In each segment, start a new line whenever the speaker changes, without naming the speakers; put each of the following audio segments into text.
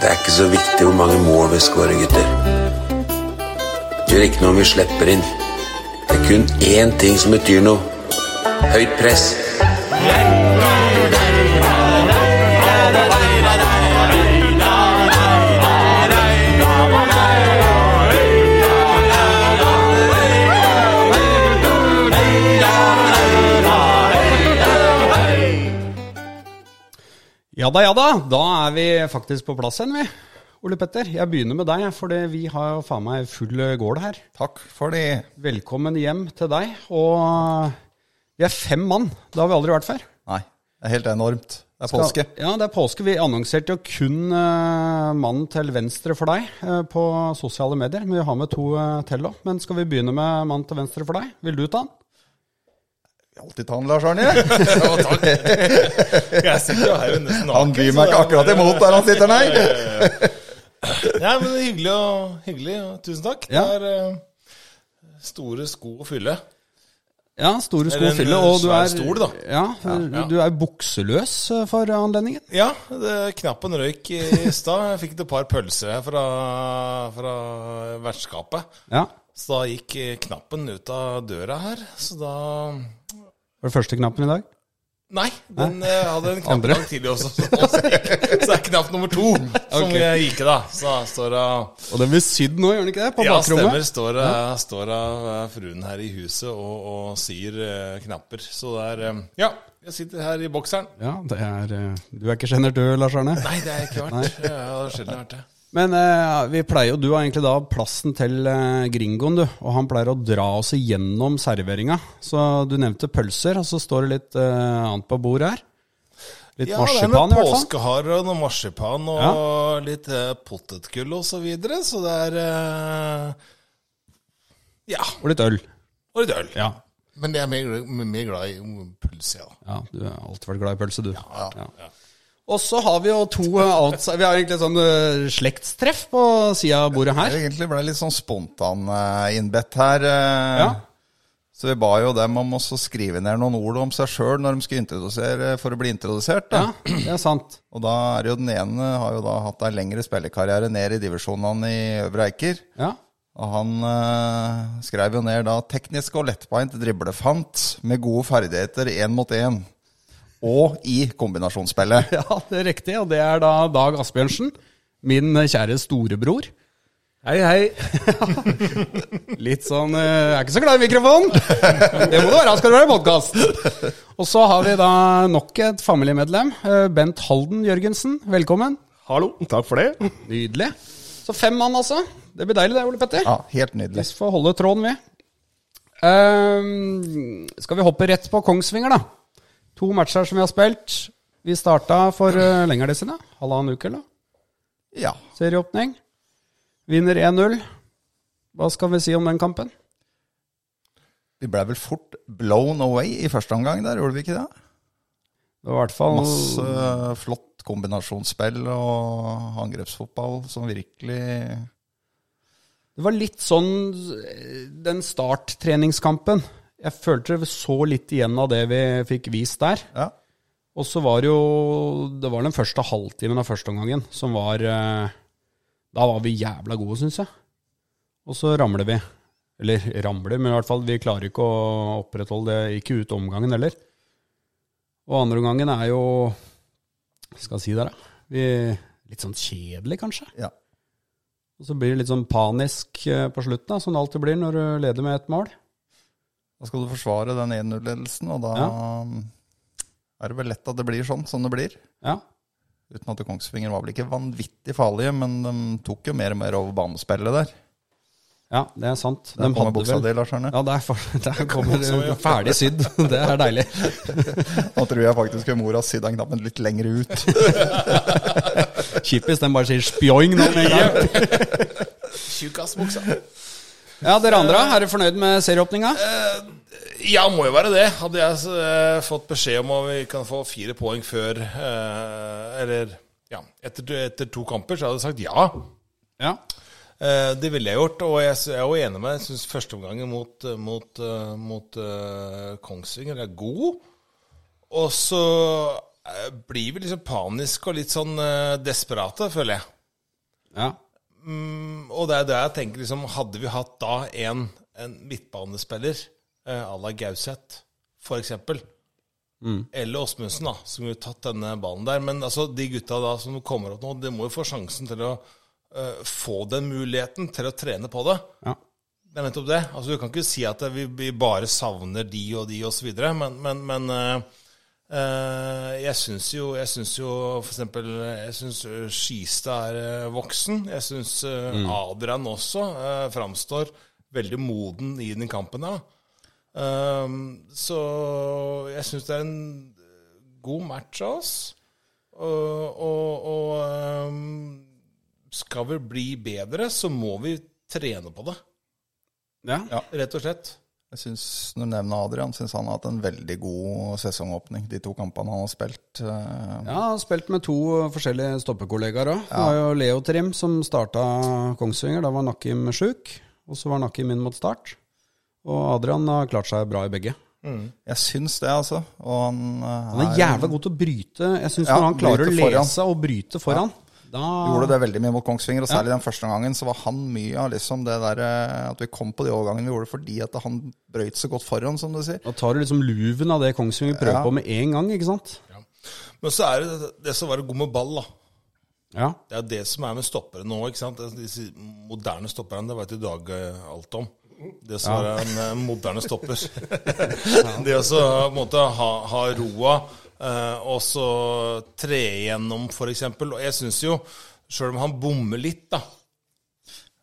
Det er ikke så viktig hvor mange mål vi skårer, gutter. Det gjør ikke noe om vi slipper inn. Det er kun én ting som betyr noe. Høyt press.
Ja da, ja da. Da er vi faktisk på plass igjen, vi. Ole Petter, jeg begynner med deg, for det- vi har jo faen meg full gård her.
Takk for det.
Velkommen hjem til deg. Og vi er fem mann. Det har vi aldri vært før.
Nei, det er helt enormt. Det er påske.
Ja, det er påske. Vi annonserte jo kun eh, mannen til venstre for deg eh, på sosiale medier. Men vi har med to eh, til òg. Men skal vi begynne med mannen til venstre for deg? Vil du ta den?
Jeg alltid tar den, Lars Arne.
Jeg sitter jo her jo nesten naken.
Han byr
så
meg
det
ikke
er
akkurat
bare-
imot der han sitter, nei.
Nei, men det er hyggelig og hyggelig. og Tusen takk.
Ja.
Det er eh, store sko å fylle.
Ja, store sko
Eller
å
en,
fylle.
eh,
Og du
svær
er,
stol, da.
Ja, du,
ja.
du er bukseløs eh, for anledningen.
Ja, det, knappen røyk i i stad. Jeg fikk et par pølser her fra, fra vertskapet.
Ja.
Så da gikk eh, knappen ut av døra her. Så da
Var det første knappen i dag?
Nei, den eh, hadde en knapp
Andre?
dag tidlig også. Så, så, gikk- så det er knapp nummer to som
Ok.
eh, gikk i, da. Så da står det
Og den blir sydd nå, gjør den ikke det? På
Ja,
bakrommet?
stemmer. Står, eh, står av eh, fruen her i huset og, og syr eh, knapper. Så det er eh, Ja, jeg sitter her i bokseren.
Ja, det er eh, Du er ikke sjenert du, Lars Arne?
Nei, det er jeg ikke vært. Jeg har sjelden vært det.
Men eh, vi pleier jo, du har egentlig da plassen til eh, gringoen, du. Og han pleier å dra oss igjennom serveringa. Så du nevnte pølser, og så står det litt eh, annet på bordet her. Litt
Ja, det er
marsipan,
noen
i hvert fall.
påskeharer og noe marsipan og litt eh, potetgull og så videre. Så det er eh, Ja.
Og litt øl.
Og litt øl.
Ja.
Men jeg er mer, glad- mer glad i mm, pølse, ja.
ja. Du har alltid vært glad i pølse, du.
ja.
Og så har vi jo to outside Vi har egentlig sånn eh, slektstreff på sida av bordet her.
Det egentlig ble litt sånn spontan eh, innbedt her. eh.
Ja.
Så vi ba jo dem om også å skrive ned noen ord om seg sjøl når de skulle introdusere eh, for å bli introdusert. Da.
ja, det er sant.
Og da er det jo den ene har jo da hatt en lengre spillekarriere ned i divisjonene i Øvre Eiker.
Ja.
Og han eh, skrev jo ned da 'teknisk og lettbeint driblefant med gode ferdigheter én mot én'. Og i kombinasjonsspillet.
ja, det er riktig. Og det er da Dag Asbjørnsen. Min kjære storebror.
Hei, hei.
Litt sånn eh, Jeg er ikke så glad i mikrofon! Det må det være, skal det være podkast! Og så har vi da nok et familiemedlem. eh, Bent Halden Jørgensen, velkommen.
Hallo. Takk for det.
Nydelig. Så fem mann, altså. Det blir deilig det, Ole Petter.
Ja, helt nydelig.
Vi får holde tråden, vi. Ehm, skal vi hoppe rett på Kongsvinger, da? To matcher som vi har spilt. Vi starta for uh, lenger det siden, da. halvannen uke, eller?
Ja.
Serieåpning. Vinner 1-0. Hva skal vi si om den kampen?
Vi ble vel fort blown away i første omgang der, gjorde vi ikke det?
Det var i hvert fall
Masse flott kombinasjonsspill og angrepsfotball som virkelig
Det var litt sånn eh, den starttreningskampen. Jeg følte vi så litt igjen av det vi fikk vist der.
Ja.
Og så var det jo Det var den første halvtimen av førsteomgangen som var eh, Da var vi jævla gode, syns jeg. Og så ramler vi. Eller ramler, men i hvert fall vi klarer ikke å opprettholde det. Ikke ut omgangen heller. Og andre omgangen er jo hva Skal jeg si det, da? Vi, litt sånn kjedelig, kanskje.
ja.
Og så blir det litt sånn panisk eh, på slutten, da, som det alltid blir når du leder med ett mål.
Da skal du forsvare den 1-0-ledelsen, og da er det vel lett at det blir sånn som det blir.
Ja.
Uten at Kongsvinger var vel ikke vanvittig farlige, men de tok jo mer og mer over banespillet der.
ja, det er sant.
Der
De
kommer
hadde
buksa
vel-
di, Lars Arne.
Ja, der, for, der kommer det ferdig sydd. Det er deilig.
Nå tror jeg faktisk mora sydde den knappen litt lenger ut.
Kjippest, den bare sier 'spjoing' nå med en gang.
Tjukkasbuksa.
Ja, dere andre, er dere fornøyd med serieåpninga?
Ja, må jo være det. Hadde jeg eh, fått beskjed om at vi kan få fire poeng før eh, Eller ja, etter, etter to kamper, så hadde jeg sagt ja.
Ja.
Eh, det ville jeg gjort, og jeg, s- jeg er jo enig med deg. Jeg syns førsteomgangen mot, eh, mot, eh, mot eh, Kongsvinger er god. Og så eh, blir vi liksom paniske og litt sånn eh, desperate, føler jeg.
Ja.
Mm, og det er det jeg tenker liksom, Hadde vi hatt da en, en midtbanespiller eh, à la Gauseth, for eksempel, eller Åsmundsen, da, som jo tatt denne ballen der Men altså, de gutta da som kommer opp nå, de må jo få sjansen til å eh, få den muligheten til å trene på det.
ja.
Det er nettopp det. Altså, du kan ikke si at vi, vi bare savner de og de osv., men, men, men eh, eh, jeg syns jo, jeg synes jo for eksempel Jeg syns Skistad er eh, voksen. Jeg syns eh, Adrian også eh, framstår veldig moden i den kampen her. da. Ehm, så jeg syns det er en god match av oss. Og, og, og ehm, skal vi bli bedre, så må vi trene på det.
ja.
Rett og slett.
Jeg synes, Når du nevner Adrian, syns han har hatt en veldig god sesongåpning. De to kampene han har spilt. eh,
Ja, han har spilt med to forskjellige stoppekollegaer òg. Det var jo Leo Trim som starta Kongsvinger. Da var Nakim sjuk, og så var Nakim inn mot start. Og Adrian har klart seg bra i begge.
Jeg syns det, altså. Og han, eh,
Han er jævla god til å bryte. Jeg syns
Ja,
når han klarer å
bryte
lese
foran.
og bryte foran, da
gjorde det veldig mye mot Kongsvinger, og særlig den første gangen så var han mye av liksom det der eh, at vi kom på de overgangene vi gjorde fordi at han brøyt så godt foran, som du sier.
Da tar du liksom luven av det Kongsvinger prøver
Ja.
på med en gang, ikke sant?
Men så er det det som var god med ball, da.
Ja.
Det er det som er med stoppere nå. ikke sant? Disse moderne stopperne, det vet jo Dag eh, alt om. Det som er en eh, moderne stopper. det å så, på en måte, ha, ha roa eh, og så tre igjennom, f.eks. Og jeg syns jo, sjøl om han bommer litt, da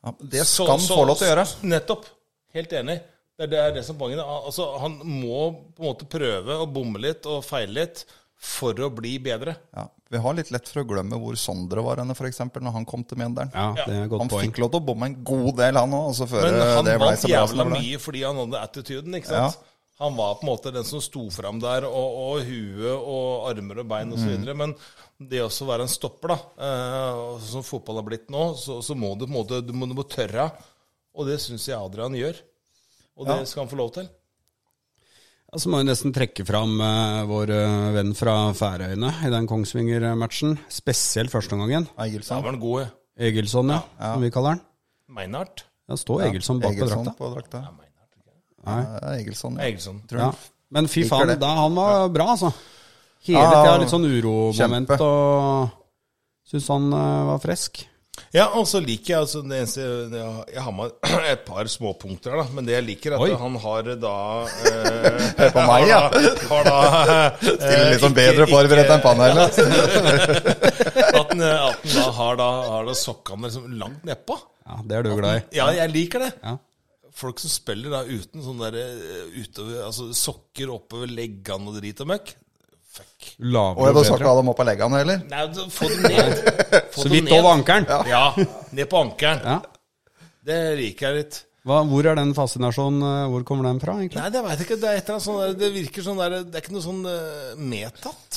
Ja, det
så-
skal han
så-
få lov til å gjøre.
Nettoget. Helt enig. Det er det, er det som er poenget. Al- Altså, han må på en måte prøve å bomme litt og feile litt for å bli bedre.
Ja. Vi har litt lett for å glemme hvor Sondre var henne, f.eks., når han kom til Mjøndalen.
ja, det er et godt
Han
poeng.
fikk lov til å bomme en god del, han òg, altså før
Men han
det ble
vant
så bra som
jævla
det ble.
mye fordi han hadde attituden, ikke sant? Han var på en måte den som sto fram der, og, og huet og armer og bein osv. videre Men det også å være en stopper, da, eh, og som fotball har blitt nå, så, så må du på en måte du må, du må tørre. Og det syns jeg Adrian gjør. Og det skal han få lov til.
Ja, Så må vi nesten trekke fram eh, vår eh, venn fra Færøyene i den Kongsvinger-matchen. Spesielt førsteomgangen.
Da
Egilson.
var han god.
Egilson, ja, som vi kaller han.
Meinhardt.
Ja, står Egilson bak på
Egilson
drakta.
på drakta.
Nei.
Ja, Egilson, ja.
Egilson.
Tror
Ja.
jeg.
Men fy
Liker
faen,
det.
da, han var bra, altså. Hele
Ja,
tida litt sånn uromoment,
kjempe.
og syns han eh, var frisk.
Ja, og så liker jeg altså, det eneste, det, Jeg har med et par småpunkter, da. Men det jeg liker, er at
Oi.
han har da eh,
Hør på meg, ja.
Har da eh,
Stille litt sånn
ikke-
bedre forberedt enn panelet.
At han, eh, at han da har da, har da sokkene liksom langt nedpå.
Ja, Det er du glad i.
Ja, jeg liker det.
Ja.
Folk som spiller da uten sånne der, eh, utover, altså, sokker oppover leggene og drit og møkk. Fuck.
Og
Lavere
jeg
og
da skal ikke
bedre.
ha dem opp av leggene heller.
Nei, du- få dem ned. Få
Så
dem
vidt
ned.
over ankelen.
Ja. Ned på ankelen.
Ja.
Det liker jeg litt.
Hva, hvor er den fascinasjonen eh, Hvor kommer den fra, egentlig?
Nei, det veit jeg ikke. Det, er et eller annet sånn der, det virker sånn der Det er ikke noe sånn eh, medtatt.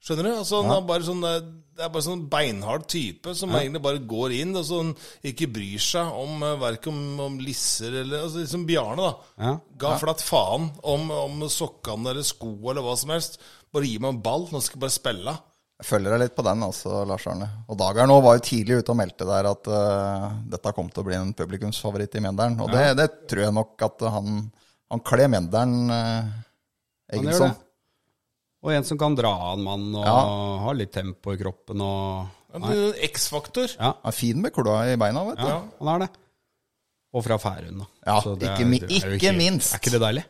Skjønner du? Altså, han er bare sånn, eh, det er bare sånn beinhard type som egentlig bare går inn og sånn, ikke bryr seg om eh, verken om, om lisser eller altså, Liksom Bjarne, da.
Ja.
Ga flatt faen om, om sokkene eller skoa eller hva som helst. Bare gi meg en ball, nå skal jeg bare spille.
Jeg følger deg litt på den, altså, Lars Arne. Og Dagern òg var jo tidlig ute og meldte der at eh, dette kom til å bli en publikumsfavoritt i Mjøndalen. Og det, det tror jeg nok at han, han kler Mjøndalen, eh,
Han gjør
Egilson.
det. Og en som kan dra av en mann, og
Ja.
har litt tempo i kroppen, og
Ja, men X-faktor.
Ja.
Han er fin med kloa i beina, vet du.
Ja, han er det. Og fra Færøyene, da.
Ja,
Så det
ikke mi-
det jo
ikke minst.
Er ikke det deilig?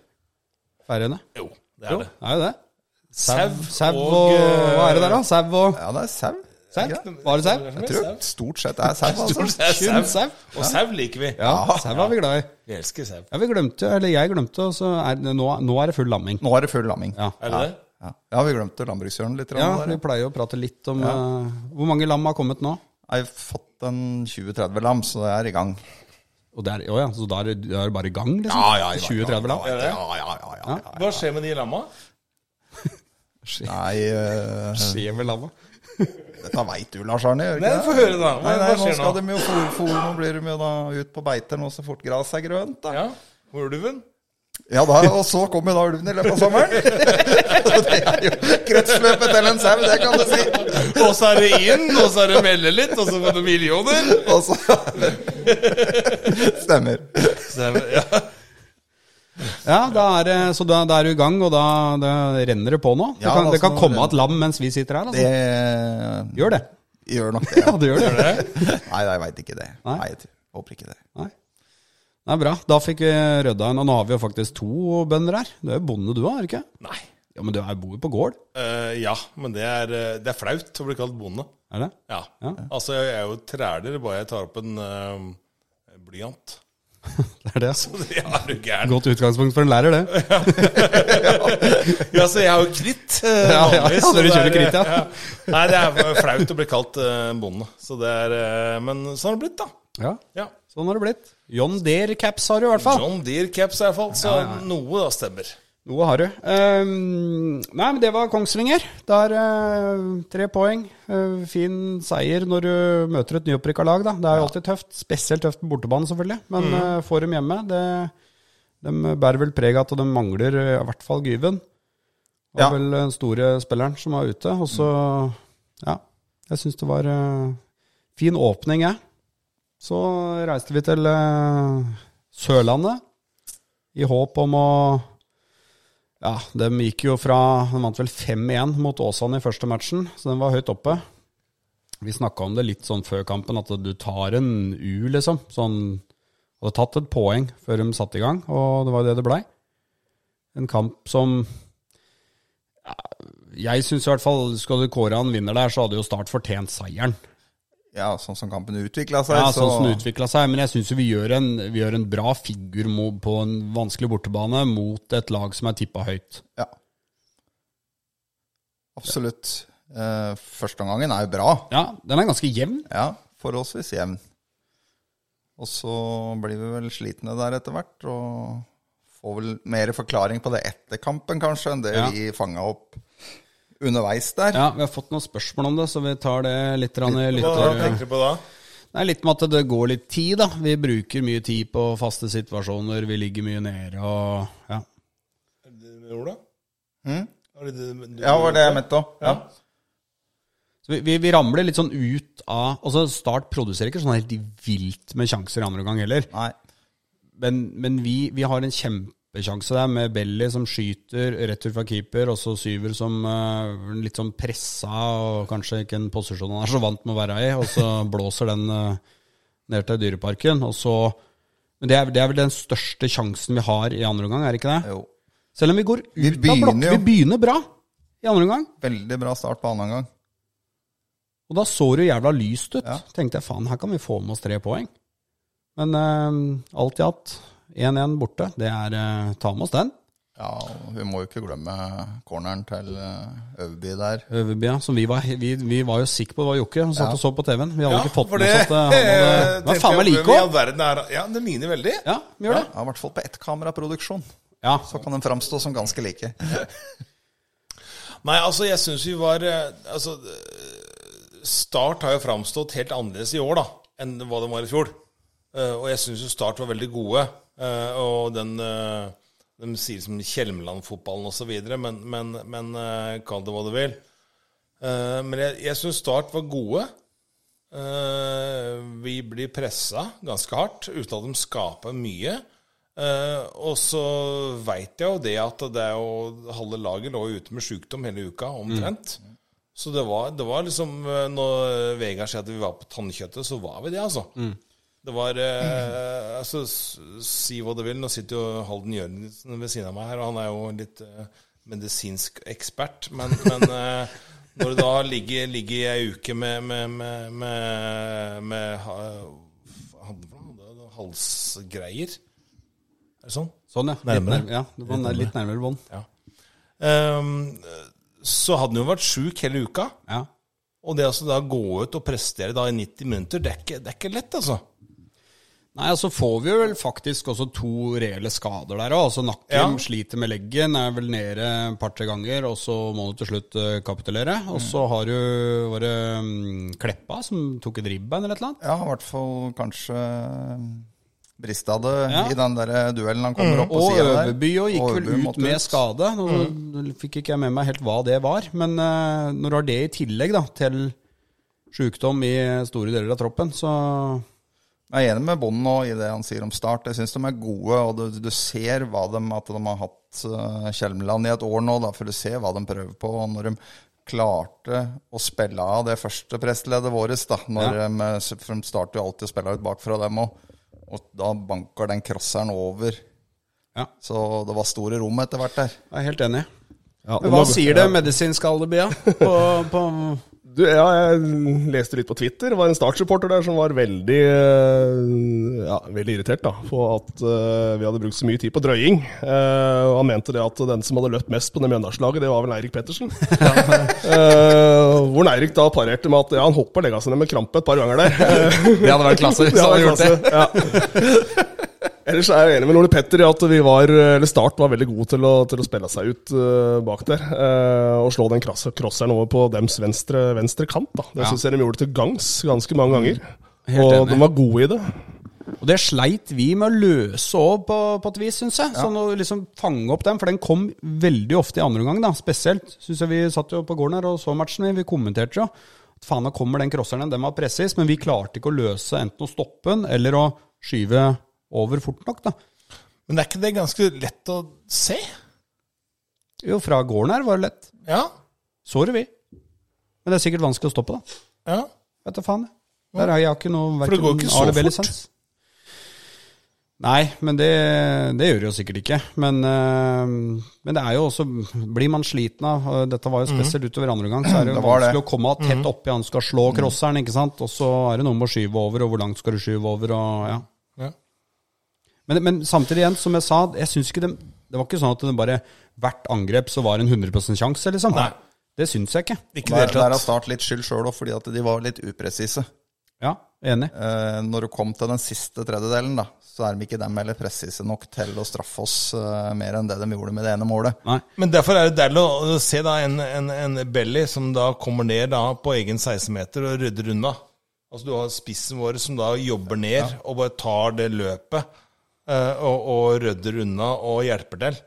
Færøyene?
Jo, det er det.
Det er jo det.
Sau
Sau og Hva er det der, da? Sau og
Ja, det er sau.
Sau?
eh, Ja,
Var det sau?
Jeg tror stort sett det er sau. Altså.
Det er
Kun
sau.
sau?
Og sau liker vi.
Ja, sau er vi glad i.
Vi elsker sau.
Ja, vi glemte, eller jeg glemte, og så er det, nå, nå er det full lamming.
Nå er det full lamming.
Ja.
Er det det?
Ja, ja vi glemte landbrukshjørnet litt.
Ja,
Ja,
vi
der.
pleier jo å prate litt om eh, Hvor mange lam har kommet nå?
Jeg har fått en 20-30 lam, så det er i gang.
Og det er, å ja, så da er det, da er det bare i gang, liksom? 20-30 lam?
Er det?
Ja, ja, ja. ja, ja.
Hva skjer med de lamma?
Nei, eh,
Skjer vel lamma?
dette veit du, Lars Arne. gjør du
Nei,
ikke det?
Få høre, da. Hva,
Nei, nei,
hva
nå
skjer
skal
nå?
de jo fôr, fôr, nå blir de jo da ut på beiter nå så fort gras er grønt. Da.
Ja, Ulven?
Ja, da, og så kom jo da ulven i løpet av sommeren. Så det er jo kretsløpet til en sau, det kan du si.
Og så er det inn, og så er det melde litt, og så får du millioner.
Og så Stemmer.
Så er det, ja.
Ja, da er, det- så da, da er du i gang, og da, da renner det på nå. Det
Ja,
kan, det
altså,
kan komme
det-
et lam mens vi sitter her. Altså.
Det
Gjør det.
gjør nok det.
Ja, det gjør det.
Nei, jeg veit ikke det.
Nei.
Nei, jeg tror- håper ikke det.
Nei. Det er bra. Da fikk vi rydda en, og nå har vi jo faktisk to bønder her. Du er jo bonde du, er du ikke?
Nei.
Ja, men du er- bor jo på gård,
Eh, ja, men det er, eh, det er flaut å bli kalt bonde.
er det?
Ja.
Ja.
Altså, jeg er jo træler bare jeg tar opp en eh, blyant.
Det er det, altså.
Ja, er du gæren?
Godt utgangspunkt for en lærer, det.
Ja, så jeg har jo kritt.
Ja,
eh,
ja, ja,
vanligvis, så
dere
det
kjører
er, eh,
kritt, ja.
Nei, det er flaut å bli kalt eh, bonde. Så det er, eh, men sånn har det blitt, da.
Ja,
Ja.
Sånn har det blitt. John Deere caps har du i hvert fall.
John Deere caps, i hvert fall. Så noe da stemmer.
Noe har du. Ehm, nei, men det var Kongsvinger. Der eh, tre poeng. Eh, fin seier når du møter et nyopprykka lag, da. Det er jo alltid tøft. Spesielt tøft på bortebane, selvfølgelig. Men eh, får dem hjemme, det de bærer vel preg av at de mangler eh, i hvert fall Gyven. Det
Ja.
var vel den store spilleren som var ute. Og så, ja Jeg syns det var eh, fin åpning, jeg. Så reiste vi til eh, Sørlandet i håp om å Ja, de gikk jo fra De vant vel 5-1 mot Åsane i første matchen, så den var høyt oppe. Vi snakka om det litt sånn før kampen, at du tar en U, liksom. Sånn Hadde tatt et poeng før de satte i gang, og det var jo det det blei. En kamp som ja, Jeg syns i hvert fall skal du kåre han vinner der, så hadde jo Start fortjent seieren.
Ja, sånn som kampen utvikla seg,
Ja,
så
sånn som det utvikla seg. Men jeg syns vi, gjør en- vi gjør en bra figur mo- på en vanskelig bortebane mot et lag som er tippa høyt.
Ja. Absolutt. Eh, Førsteomgangen er jo bra.
Ja, den er ganske jevn.
Ja, forholdsvis jevn. Og så blir vi vel slitne der etter hvert, og får vel mer forklaring på det etter kampen, kanskje, enn det
Ja.
vi fanga opp underveis der.
Ja, Vi har fått noen spørsmål om det, så vi tar det litt grann i
Hva
lytter...
tenker du på da?
Det er litt med at det går litt tid, da. Vi bruker mye tid på faste situasjoner, vi ligger mye nede og ja.
Ola?
Hm?
Mm?
Er det det du-
Ja, var det jeg mente òg. Ja.
Så vi, vi, vi ramler litt sånn ut av Altså, Start produserer ikke sånn helt vilt med sjanser i andre omgang heller.
Nei.
Men, men vi, vi har en kjempesjanse der med Belly som skyter, retur fra keeper, og så Syver som eh, litt sånn pressa, og kanskje ikke en posisjon han er så vant med å være i, og så blåser den eh, ned til Dyreparken, og så Men det er, det er vel den største sjansen vi har i andre omgang, er det ikke det?
Jo.
Selv om vi går ut
Vi
av blokk,
begynner jo.
vi begynner bra i andre omgang.
Veldig bra start på annen gang.
Og da så det jo jævla lyst ut.
Ja.
Tenkte jeg faen, her kan vi få med oss tre poeng. Men eh, alt i alt, 1-1 borte, det er eh, ta med oss den.
Ja, og vi må jo ikke glemme corneren til eh, Øverby der.
Øverbya, som vi var, vi, vi var jo sikre på det var Jokke, som satt og så på TV-en. Vi hadde
Ja,
ikke fått
for
med oss at eh, han hadde Det var
tenkte
faen meg
jeg,
like
hvem i all
òg!
verden er- Ja, det ligner veldig.
Ja, vi gjør det.
Ja, I hvert fall på ett kameraproduksjon.
Ja.
Så kan den framstå som ganske like.
Nei, altså, jeg syns vi var eh, Altså, eh, Start har jo framstått helt annerledes i år da, enn hva de var i fjor. Eh, Og jeg syns jo Start var veldig gode. eh, Og den eh, De sier som Kjelmeland-fotballen osv., men, men, men eh, kall det hva du vil. Eh, Men jeg, jeg syns Start var gode. Eh, Vi blir pressa ganske hardt, uten at de skaper mye. Eh, og så veit jeg jo det at det er jo halve laget lå ute med sjukdom hele uka, omtrent. Så det var, det var liksom eh, Når Vegard sier at vi var på tannkjøttet, så var vi det, altså. Det var eh, altså, s- Si hva du vil, nå sitter jo Halden Jørgensen ved siden av meg her, og han er jo litt eh, medisinsk ekspert, men, men eh, når du da ligger, ligger i ei uke med, med, med, med, med ha- hva hadde du for noe? Det var Halsgreier? Er det sånn?
Sånn, ja.
Nærmere.
Litt nær- Ja, det var nær- litt nærmere bånd.
Ja. Ehm, så hadde han jo vært sjuk hele uka.
Ja.
Og det altså da å gå ut og prestere da i 90 minutter, det er ikke, det er ikke lett, altså.
Nei, og så får vi vel faktisk også to reelle skader der òg. Altså nakken
Ja.
sliter med leggen, er vel nede et par-tre ganger, og så må du til slutt eh, kapitulere. Og
Mm.
så har du var det mm, Kleppa som tok et ribbein eller et eller annet.
Ja, i hvert fall kanskje Bristade
Ja.
eh,
Mm.
i den der duellen han kommer opp på
Og
siden der.
Øverby og gikk vel
Øverby
ut
måtte
med skade. Nå fikk ikke jeg med meg helt hva det var, men eh, når du har det i tillegg da, til sjukdom i store deler av troppen, så
Jeg er enig med Bonden nå i det han sier om start. Jeg syns de er gode, og du, du ser hva de, at de har hatt eh, Kjelmeland i et år nå, da, for du ser hva de prøver på. Og når de klarte å spille av det første pressleddet vårt, da, når de, eh, for de starter jo alltid å spille ut bakfra dem òg, og da banker den crosseren over.
Ja.
Så det var store rom etter hvert der.
jeg er helt enig.
Ja,
Men hva
nå-
sier det medisinske alibia på, på
Du, ja, jeg leste litt på Twitter. Det var en Start-supporter der som var veldig eh, ja, veldig irritert da, på at eh, vi hadde brukt så mye tid på drøying. Eh, og han mente det at den som hadde løpt mest på det Mjøndalslaget, det var vel Eirik Pettersen. Eh, hvor Eirik da parerte med at ja, han hoppa og legga seg ned med krampe et par ganger der. Eh,
Det hadde vært klasse.
det var klasse, Ja. Ellers er jeg enig med Ole Petter i at vi var, eller Start var veldig gode til å, til å spille seg ut eh, bak der. eh, og slå den krasse- crosseren over på dems venstre, venstre kant. da. Det synes jeg de gjorde til gangs ganske mange ganger.
Mm. Helt
og
enig.
de var gode i det.
Og det sleit vi med å løse òg, på, på et vis, syns jeg. Sånn å liksom fange opp den, for den kom veldig ofte i andre omgang, da. Spesielt. Synes jeg vi satt jo på gården her og så matchen, vi kommenterte jo. At Faen, da kommer den crosseren, den var presis, men vi klarte ikke å løse enten å stoppe den eller å skyve over fort nok, da.
Men er ikke det ganske lett å se?
Jo, fra gården her var det lett.
Ja.
Så det vi. Men det er sikkert vanskelig å stoppe, da.
ja.
Vet du faen, jeg. Der har jeg ikke noe
For det går
hverken
ikke så
A eller B
fort.
lisens. Nei, men det, det gjør det jo sikkert ikke. Men, eh, men det er jo også Blir man sliten av og Dette var jo
Mhm.
spesielt utover andre gang, så er det,
Det
jo
var det.
vanskelig å komme tett oppi han skal slå
Mhm.
crosseren, ikke sant. Og så er det noe med å skyve over, og hvor langt skal du skyve over, og ja.
Ja.
Men, men samtidig igjen, som jeg sa, jeg synes ikke det, det var ikke sånn at det bare hvert angrep så var det en 100 sjanse, liksom.
Nei.
Det syns jeg ikke.
Ikke i det
Der, der
hele
har
tatt.
Start litt skyld sjøl òg, fordi at de var litt upresise.
Ja, enig.
Eh, når det kom til den siste tredjedelen, da, så er de ikke dem heller presise nok til å straffe oss eh, mer enn det de gjorde med det ene målet.
Nei.
Men derfor er det deilig å å se da en, en, en belly som da kommer ned da på egen 16-meter og rydder unna. Altså Du har spissen vår som da jobber ned og bare tar det løpet eh, og, og rydder unna og hjelper til.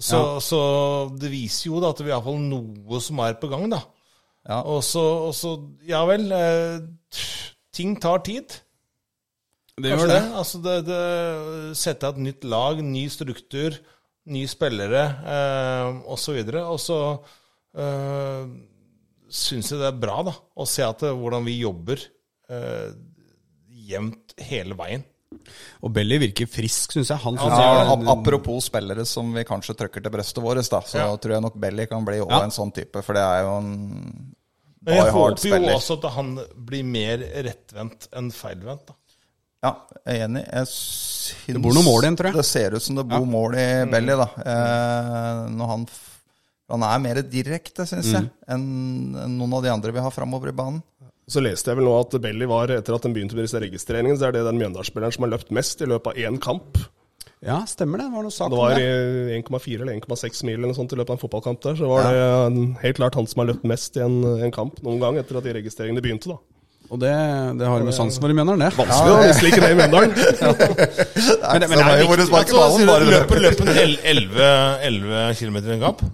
Så, så det viser jo da at vi har fått noe som er på gang, da.
Ja.
Og, så, og så Ja vel. Eh, ting tar tid.
Det
Kanskje det. Altså det, det sette et nytt lag, ny struktur, nye spillere eh, osv. Og så eh, syns jeg det er bra da, å se at det, hvordan vi jobber eh, jevnt hele veien.
Og Belly virker frisk, syns jeg. Han synes jeg
Ja,
er-
ap- apropos spillere som vi kanskje trykker til brøstet vårt, da, så
Ja.
tror jeg nok Belly kan bli også
Ja.
en sånn type, for det er jo en
Men jeg
Die hard
håper jo
spiller.
også at han blir mer rettvendt enn feilvendt. da.
Ja, jeg er enig. Jeg syns
Det bor noe mål i den, tror jeg. Mm.
Det ser ut som det bor mål i Belly, da. Eh, når han f- Han er mer direkte, syns
Mm.
jeg, enn enn noen av de andre vi har framover i banen.
Så leste jeg vel nå at Belly var, etter at den begynte med disse registreringene, så er det den Mjøndalsspilleren som har løpt mest i løpet av én kamp.
ja, stemmer det. Det var noe sak
Det
om
var
det.
eh, 1,4 eller 1,6 mil eller noe sånt i løpet av en fotballkamp der. Så var det eh, helt klart han som har løpt mest i en, en kamp noen gang etter at de registreringene begynte, da.
Og det, det har jo med sansen vår å gjøre, det.
Så det var nesten ikke det i Mjøndalen.
Men, men det er
Så jo
viktig.
hvor du sparker
Altså,
ballen,
sier
bare
du
løper.
løpen løpen el- 11, 11 km i en kamp?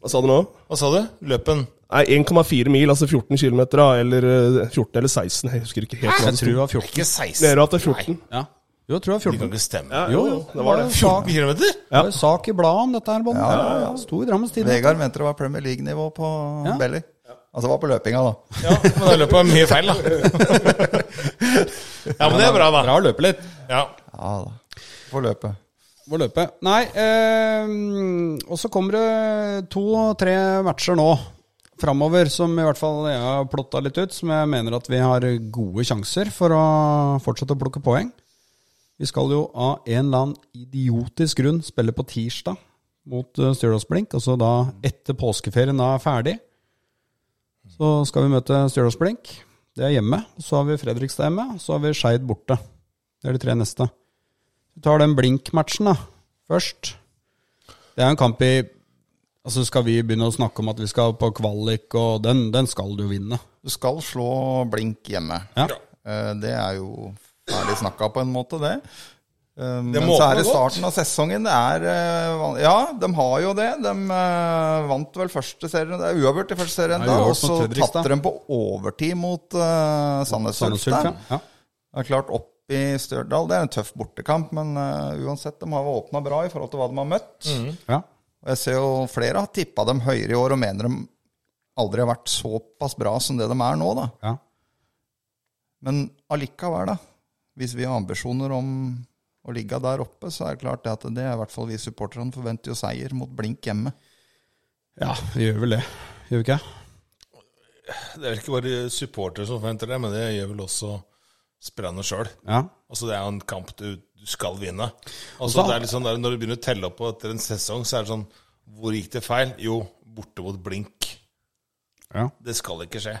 Hva sa du nå?
Hva sa du? Løpen?
Nei, 1,4 mil, altså 14 km, eller eh, 14 eller 16, jeg husker ikke helt
Jeg
hva det
tror
sto.
det var 14.
Ikke 16?
Dere at det er 14?
Ja. Jo, jeg tror det var
Det kan
14.
ikke stemme.
Jo,
jo,
jo,
det var det.
14 kilometer?
Det var jo sak i bladet om dette her, Bånd. Ja, ja, ja. Sto i Drammens Tidende.
Vegard mente det var Premier League-nivå på
Ja.
Belly. Altså det var på løpinga, da.
Ja, men da løper jeg mye feil, da. Ja, men det er bra, da.
Bra å løpe litt.
Ja.
Ja da. Får løpe.
Må løpe. Nei, eh, og så kommer det to-tre matcher nå framover som i hvert fall jeg har plotta litt ut, som jeg mener at vi har gode sjanser for å fortsette å plukke poeng. Vi skal jo av en eller annen idiotisk grunn spille på tirsdag mot eh, Stjørdals Blink, altså da etter påskeferien da er ferdig. Så skal vi møte Stjørdals Blink. Det er hjemme. Så har vi Fredrikstad hjemme, og så har vi Skeid borte. Det er de tre neste. Vi tar den Blink-matchen da, først. Det er en kamp i Altså Skal vi begynne å snakke om at vi skal på kvalik, og den, den skal du vinne.
Du skal slå blink hjemme.
Ja.
Eh, Det er jo Ferdig snakka på en måte, det. Eh, Men
må
så er
åpne
det starten av sesongen. Det er eh, van- Ja, de har jo det. De eh, vant vel første serien. Det er uavgjort i første serien
Ja,
da,
uavgjort
og så
mot Fredrikstad.
tapte de på overtid mot eh, Sandnes
Sandnes
Ulf.
Ulf,
der.
ja. ja.
Det er klart opp i Stjørdal. Det er en tøff bortekamp, men eh, uansett, de har åpna bra i forhold til hva de har møtt.
ja.
Og jeg ser jo flere har tippa dem høyere i år og mener de aldri har vært såpass bra som det de er nå, da.
ja.
Men allikevel, da. Hvis vi har ambisjoner om å ligge der oppe, så er det klart det at det er i hvert fall vi supporterne forventer jo seier mot Blink hjemme.
Ja, vi gjør vel det. Gjør vi ikke?
Det er vel ikke bare supportere som forventer det, men det gjør vel også spillerne sjøl.
Ja.
Altså, det er jo en kamp du, du skal vinne. Altså,
da-
det er litt sånn der, når du begynner å telle opp på etter en sesong, så er det sånn Hvor gikk det feil? Jo, borte mot blink.
Ja.
Det skal ikke skje.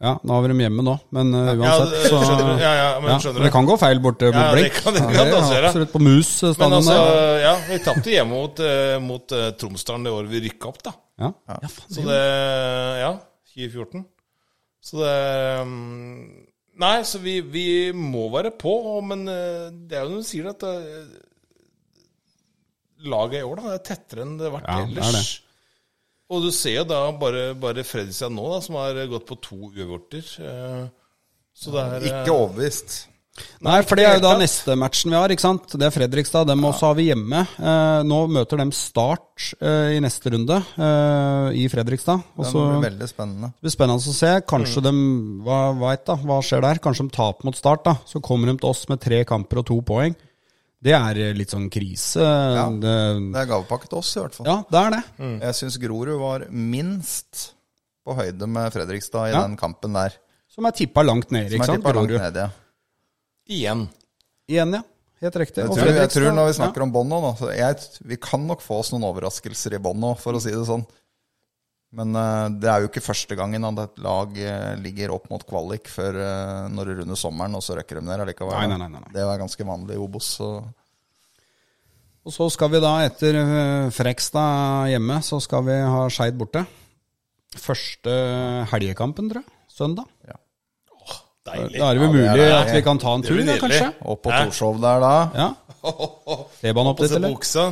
ja, nå har vi dem hjemme nå, men eh, uansett
ja,
så
skjønner du? Ja, ja, men
Ja,
skjønner
for det
du?
kan gå feil borte mot
Ja, det
blink.
kan- det kan
er
passere.
absolutt på mus eh,
Men
stadion
altså,
der.
ja, vi tapte hjemme mot, eh, mot eh, Tromsdalen det året vi rykka opp, da.
Ja. Ja, faen,
Så det Ja, 2014. Så det mm, Nei, så vi, vi må være på, og- men eh, det er jo som du sier, at eh, laget i år da, det er tettere enn det har vært
Ja, det er
ellers. Og du ser jo da bare, bare Fredrikstad nå, da, som har gått på to uavgjorter. eh, Så det er eh,
Ikke overbevist.
Nei, for det er jo da
helt klart.
neste matchen vi har, ikke sant. Det er Fredrikstad. Dem også har vi hjemme. Eh, nå møter dem Start eh, i neste runde eh, i Fredrikstad. Og
Det
så
blir
det
veldig spennende.
blir spennende å se.
Mm.
Kanskje dem Hva veit, da? Hva skjer der? Kanskje de taper mot Start, da. Så kommer de til oss med tre kamper og to poeng. Det er eh, litt sånn krise. Ja, det,
Det er gavepakke til oss, i hvert fall.
ja, det er det.
Jeg syns Grorud var minst på høyde med Fredrikstad i
Ja.
den kampen der.
Som er tippa langt nede,
Som
ikke
er
sant?
tippa langt
Grorud.
nede. ja.
igjen.
Igjen, ja. Helt riktig.
Jeg
Og
tror, jeg
Fredrikstad-
tror når vi
ja.
snakker om bånd nå, da, så jeg, vi kan nok få oss noen overraskelser i bånd nå, for å si det sånn. Men eh, det er jo ikke første gangen at et lag eh, ligger opp mot kvalik før eh, når det runder sommeren, og så røkker de ned allikevel.
Nei, nei, nei, nei, nei.
Det er ganske vanlig i Obos. Så.
Og så skal vi da etter eh, Frekstad hjemme, så skal vi ha Skeid borte. Første helgekampen, tror jeg. Søndag.
Deilig.
Da er det vel
Ja, det er
mulig
det.
at vi kan ta en tur,
blir
da,
nydelig.
kanskje?
Opp på Torshov der, da.
Ja. T-banen opp dit,
Se
eller?
buksa.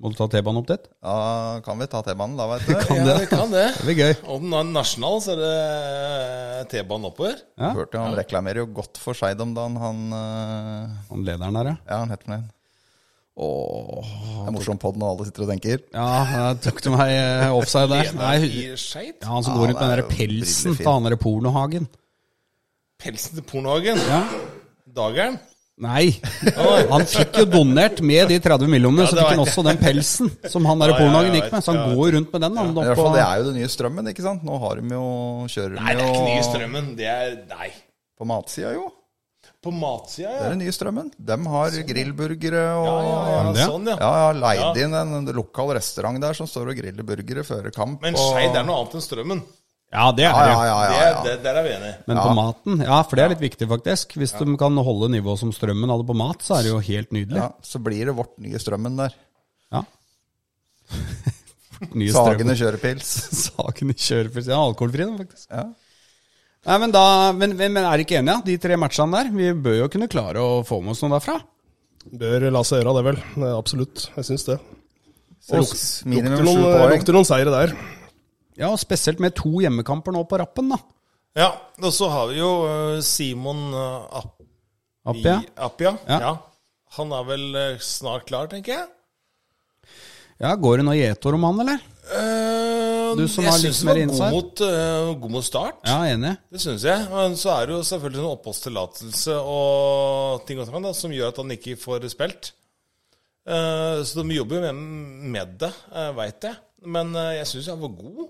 Må du ta T-banen opp dit?
Da kan vi ta T-banen, da, veit du.
Ja, vi kan det.
Det blir gøy.
Om den er nasjonal, så er det T-banen oppover.
Ja.
Hørte jo han reklamerer jo godt for Skeid om dagen, han eh,
Han lederen der, ja.
Ja, han heter noe igjen.
Åh.
Det er morsom pod når alle sitter og tenker.
Ja, der tok du meg eh, offside der. Nei,
I Skeid.
ja, han som
Ja,
går rundt med den
det er
der
jo
pelsen
brillefin.
til han der pornohagen.
Pelsen til Pornohagen.
Ja.
Dageren.
Nei. Han fikk jo donert med de 30 millionene, så
det
fikk han
vet
også den pelsen som han der
Ja, ja,
pornohagen
jeg
gikk
vet,
med. Så han
jeg
går jo rundt med den. Han,
I
opp
hvert fall,
på-
Det er jo den nye strømmen, ikke sant? Nå har de jo, kjører de
Nei, det er ikke nye
jo
strømmen. Det er Nei.
på matsida, jo.
På matsida,
Det
ja.
er den nye strømmen. De har grillburgere og
Sånn, Ja, ja, ja.
det?
Sånn, ja.
Ja, ja, leid inn en en lokal restaurant der som står og griller burgere før kamp.
Men
og-
Skeid er noe annet enn strømmen.
Ja, det er
Ja,
det.
ja, ja.
Det,
ja,
er-
ja.
det, der er vi enige.
Men på maten, ja, for det er litt viktig faktisk. Hvis de kan holde nivået som strømmen hadde på mat, så er det jo helt nydelig.
ja så blir det vårt nye strømmen der.
Ja. Nye
Sagene
strømmen.
kjørepils.
Sagene kjører for Ja, alkoholfri, den, faktisk.
Ja.
Nei, men, da, men, men men er ikke enige, de tre matchene der? Vi bør jo kunne klare å få med oss noe derfra.
Bør la seg gjøre det, vel. Eh, Absolutt. Jeg syns det.
Så luk- minimum
Lukter
sju
noen, eh,
poeng.
lukter noen seire der.
Ja, og spesielt med to hjemmekamper nå på rappen, da.
Ja, og så har vi jo eh, Simon eh, App-
Appia.
i- Appia.
Ja.
Ja. Han er vel eh, snart klar, tenker jeg.
Ja, går det noe gjetord om han, eller?
Eh,
Du som
jeg
har litt
syns
mer
han var
insight.
god mot, eh, god mot start.
Ja, enig.
Det syns jeg. Men så er det jo selvfølgelig en oppholdstillatelse og ting og tang da, som gjør at han ikke får spilt. Eh, så de jobber jo med, med det, uh, veit jeg. Men eh, jeg syns han var god.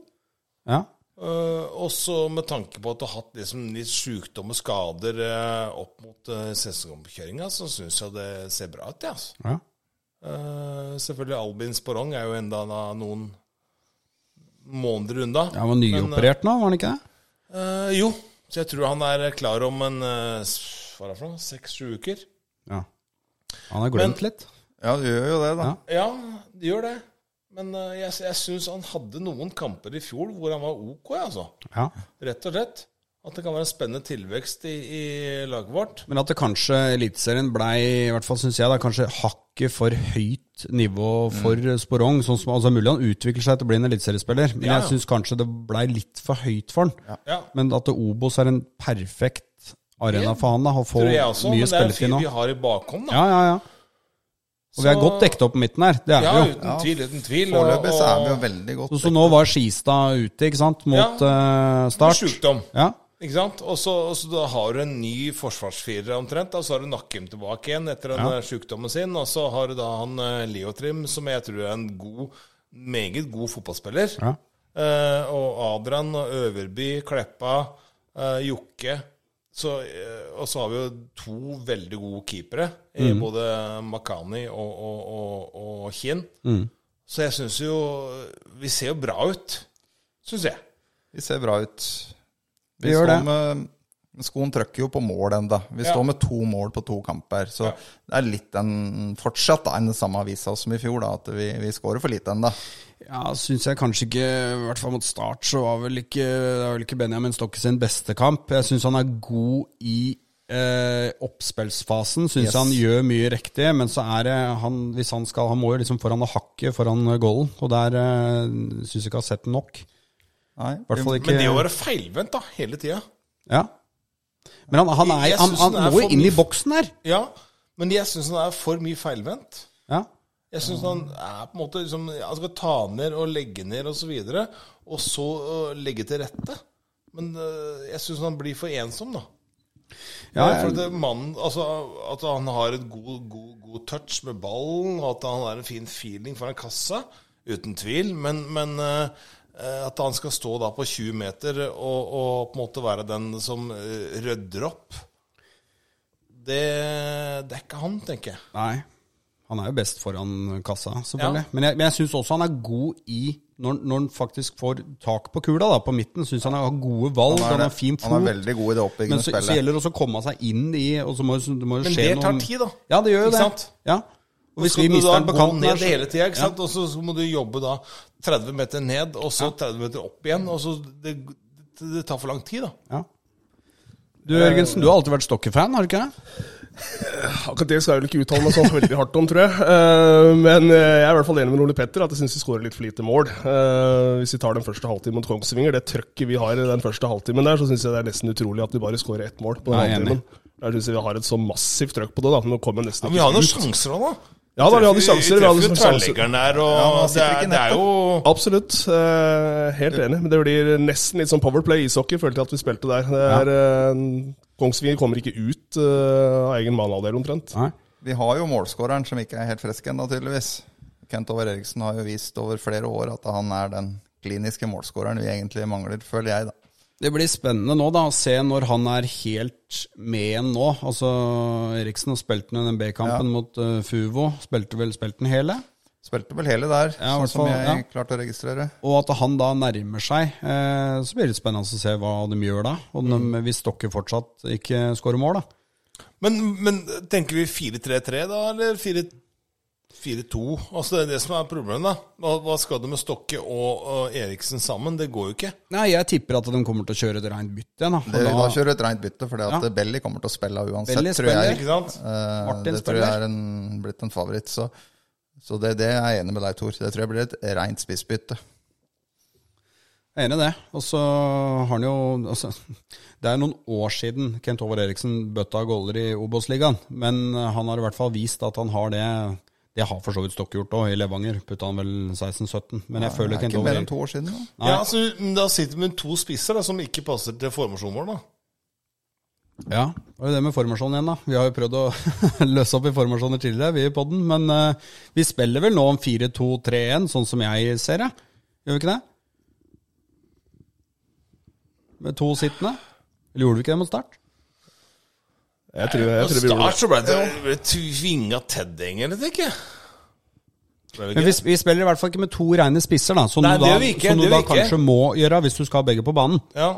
Ja.
Eh, også med tanke på at du har hatt liksom litt sjukdom og skader eh, opp mot uh, sesongomkjøringa, så syns jeg det ser bra ut. Ja, altså.
ja.
Eh, selvfølgelig Albin Sporong er jo enda da noen måneder unna.
Ja, Han var nyoperert nå, var han ikke det?
Eh, jo, så jeg tror han er klar om en eh, s- hva er det for noe, seks-sju uker.
Ja. Han har glemt litt.
Ja, du gjør jo det, da.
Ja.
Ja, det gjør det. Men eh, jeg, jeg syns han hadde noen kamper i fjor hvor han var OK, altså.
Ja.
Rett og slett. At det kan være en spennende tilvekst i, i laget vårt.
Men at det kanskje Eliteserien blei, i hvert fall syns jeg, da, kanskje hakket for høyt nivå for
Mm.
Sporong. Sånn som, altså Mulig han utvikler seg til å bli en eliteseriespiller, men
Ja, ja.
jeg syns kanskje det blei litt for høyt for han.
Ja.
Men at Obos er en perfekt arena for han, da. Han får
Tror jeg også,
mye
men det er en
spilletid
fyr
nå.
vi har i bakhånd. da.
Ja, ja, ja. Og vi er
Så-
godt dekket opp på midten her, det er
Ja,
vi jo.
uten tvil. uten tvil. og-
Foreløpig så er vi jo
og-
veldig godt
Så, så nå var Skistad ute, ikke sant, mot eh,
med
Start.
Sjukdom.
Ja.
Ikke sant? Og så, og så da har du en ny forsvarsfirer omtrent. Da. Så har du Nakkim tilbake igjen etter den der sjukdommen sin. Og så har du da han eh, Leotrim, som jeg tror er en god, meget god fotballspiller.
Ja.
Eh, og Adrian og Øverby, Kleppa, eh, Jokke. Så, eh, og så har vi jo to veldig gode keepere, i både Makani og, og, og, og Kinn. Så jeg syns jo Vi ser jo bra ut, syns jeg.
Vi ser bra ut. Vi,
Vi gjør
står
det.
Med, men skoen trøkker jo på mål enda. Vi
Ja.
står med to mål på to kamper. Så det er litt den fortsatt da, den samme avisa som i fjor, da, at vi, vi skårer for lite ennå.
Ja, syns jeg kanskje ikke I hvert fall mot start så var vel ikke, det var vel ikke Benjamin Stokke sin beste kamp. Jeg syns han er god i eh, oppspillsfasen. Syns
Yes.
han gjør mye riktig, men så er det han Hvis han skal Han må jo liksom foran og hakke foran goalen, og der eh, syns jeg ikke jeg har sett den nok.
Nei.
I hvert fall ikke
Men det å være feilvendt da, hele tida
Ja. Men han, han, er,
Jeg
han,
synes
han
den
må
er
jo
for
inn i
mye.
boksen her.
Ja, men jeg syns han er for mye feilvendt.
Ja.
Jeg syns han er på en måte liksom, Han skal ta ned og legge ned og så videre, og så øh, legge til rette. Men øh, jeg syns han blir for ensom, da.
Ja,
Ja, for det, mannen, altså, at han har et god, god, god touch med ballen, og at han har en fin feeling foran kassa, uten tvil. Men, men eh, eh, at han skal stå da på 20 meter og, og på en måte være den som eh, rydder opp, det, det er ikke han, tenker jeg.
Nei. Han er jo best foran kassa, selvfølgelig.
Ja.
Men jeg, men jeg syns også han er god i når, når han faktisk får tak på kula, da, på midten. Syns han har gode valg, han,
er det.
har fin fot.
Han er veldig god i det
men
oppbyggende
så, så
spillet.
gjelder det også å komme seg inn i Og så må, jo- det må jo
Men
skje
det tar
noen-
tid, da.
Ja, det gjør jo
Ikke
det.
sant?
Ja. Og hvis
skal
vi
du
mister
da
den på
gå
kanten her,
ned
så-
hele tida, ikke
Ja.
sant? Og så så må du jobbe da 30 meter ned, og så 30 meter opp igjen. Og så det, det, det tar for lang tid,
Ja.
da.
Eh, Du Jørgensen, du har alltid vært Stokke-fan, har du ikke det?
Akkurat det skal jeg vel ikke uttale meg så veldig hardt om, tror jeg. Eh, Men eh, jeg er i hvert fall enig med Ole Petter at jeg syns vi skårer litt for lite mål. Eh, Hvis vi tar den første halvtimen mot Kongsvinger, det trøkket vi har i den første halvtimen der, så syns jeg det er nesten utrolig at vi bare skårer ett mål på den
Ja, jeg er
halvtimen. Der syns jeg vi har et så massivt trøkk på det, da. Nå kommer nesten
Men vi har noen sjanser òg, da.
Ja da, vi hadde sjanser. Vi
treffer
hadde
jo
sjanser.
tverrleggeren der, og
han
det,
sitter ikke
er,
i
det er jo
Absolutt. eh, helt enig. Men det blir nesten litt sånn Powerplay ishockey, følte jeg at vi spilte der. Det er, eh, Kongsvinger kommer ikke ut eh, av egen mannhalvdel, omtrent.
Nei.
Vi har jo målskåreren som ikke er helt frisk ennå, tydeligvis. Kent Over Eriksen har jo vist over flere år at han er den kliniske målskåreren vi egentlig mangler, føler jeg, da.
Det blir spennende nå da, å se når han er helt med igjen nå. Altså, Eriksen har spilt den i den B-kampen mot eh, Fuvo. Spilte vel spilte den hele?
Spilte vel hele der,
Ja, i hvert
sånn
fall,
som jeg
ja.
klarte å registrere.
Og at han da nærmer seg, eh, så blir det spennende å se hva de gjør da. Og de,
Mm.
Hvis Stokke fortsatt ikke skårer mål, da.
men, men tenker vi 4-3-3 da, eller 4 4-2? Altså Det er det som er problemet. da Hva, hva skal du med Stokke og, og Eriksen sammen? Det går jo ikke.
Nei, jeg tipper at de kommer til å kjøre et rent bytte igjen. Da. Og
Det, Eh, da
da-
kjører vi et rent bytte, for
Ja.
at Belly kommer til å spille uansett,
Belly
tror jeg.
spiller.
Ikke sant?
Eh,
Martin
det tror jeg
spiller.
er en, blitt en favoritt. Så, så det, det er jeg enig med deg, Tor. Det tror jeg blir et rent spissbytte.
Jeg er Enig i det. Og så har han jo altså, Det er noen år siden Kent Håvard Eriksen bøtta goller i Obos-ligaen, men han har i hvert fall vist at han har det. Det har for så vidt Stokke gjort òg, i Levanger. Putta han vel 16-17. Men jeg føler
Det er
Kent
ikke
Håvard
mer
Eriksen
enn to år siden. Da.
Nei.
Ja, altså, men Da sitter vi med to spisser da som ikke passer til formasjonen vår. da
Ja, det var jo det med formasjon igjen, da. Vi har jo prøvd å løse opp i formasjoner tidligere, vi i podden. Men eh, vi spiller vel nå om 4-2-3-1, sånn som jeg ser det. Gjør vi ikke det? Med to sittende. Eller gjorde vi ikke det mot start?
Jeg tror, jeg
På
tror vi gjorde det.
start så ble altså, det ble tvinga Ted-gjengene, tenker jeg. Ble det
Men
ikke?
vi, vi spiller i hvert fall ikke med to reine spisser, da. Som
Nei,
du
det
da,
gjør vi ikke,
som du da
det gjør vi ikke.
kanskje må gjøre hvis du skal ha begge på banen.
Ja.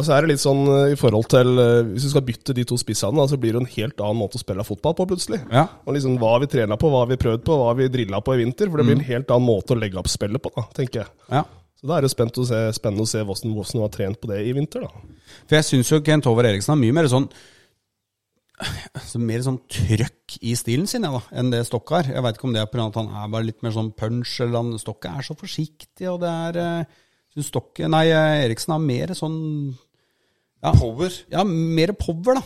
Altså er det litt sånn eh, i forhold til eh, Hvis du skal bytte de to spissene, da, så blir det en helt annen måte å spille fotball på plutselig.
Ja.
Og liksom Hva har vi trena på, hva har vi prøvd på, hva har vi drilla på i vinter? For det blir en helt annen måte å legge opp spillet på, da, tenker jeg.
Ja.
Så da er det spent å se, spennende å se hvordan Vossen har trent på det i vinter, da.
For jeg syns jo Kent Håvard Eriksen har mye mer sånn altså Mer sånn trøkk i stilen sin jeg da, enn det Stokke har. Jeg veit ikke om det er pga. at han er bare litt mer sånn punch, eller han Stokke er så forsiktig, og det er eh, synes Stokke, Nei, eh, Eriksen har mer sånn ja,
Power.
Ja, mer power, da.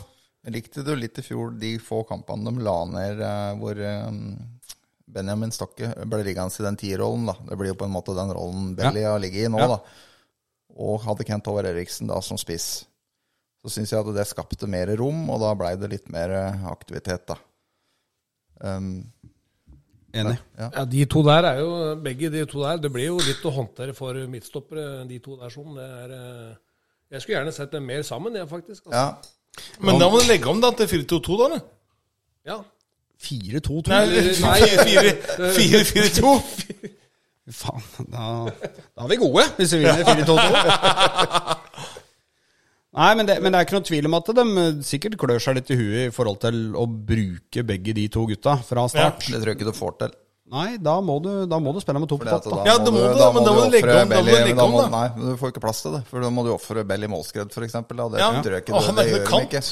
Likte du litt i fjor de få kampene de la ned eh, hvor eh, Benjamin Stokke ble liggende i den tierrollen, da. Det blir jo på en måte den rollen Belly har ligget i nå,
Ja.
da. Og hadde Kent Håvard Eriksen da som spiss. Så syns jeg at det skapte mer rom, og da blei det litt mer eh, aktivitet, da. Um,
Enig.
Ja, de to der er jo Begge de to der. Det blir jo litt å håndtere for midtstoppere, de to der sånn. Det er eh, Jeg skulle gjerne sett dem mer sammen, jeg, faktisk. Altså.
ja.
Men da må du legge om da til 4-2-2, da. eller?
Ja.
4-2-2.
Nei, 4-4-2.
Faen, da, da er vi gode, hvis vi vinner 4-2-2. Nei, men det, men det er ikke noe tvil om at de eh, sikkert klør seg litt i huet i forhold til å bruke begge de to gutta fra start.
Det tror jeg ikke du får til.
Nei, da må, du, da må du spille med to på
Fordi at
topp. da.
Ja, da må du- men da må du legge
offre
om, da må du
Belly-
legge
da
om,
må-
da.
Nei, men du får ikke plass til det. For da må du ofre Belly Målskred, for eksempel. Da. Det
Ja.
tror jeg ikke
Og
det,
han
det
er
gjør de
kant.
ikke.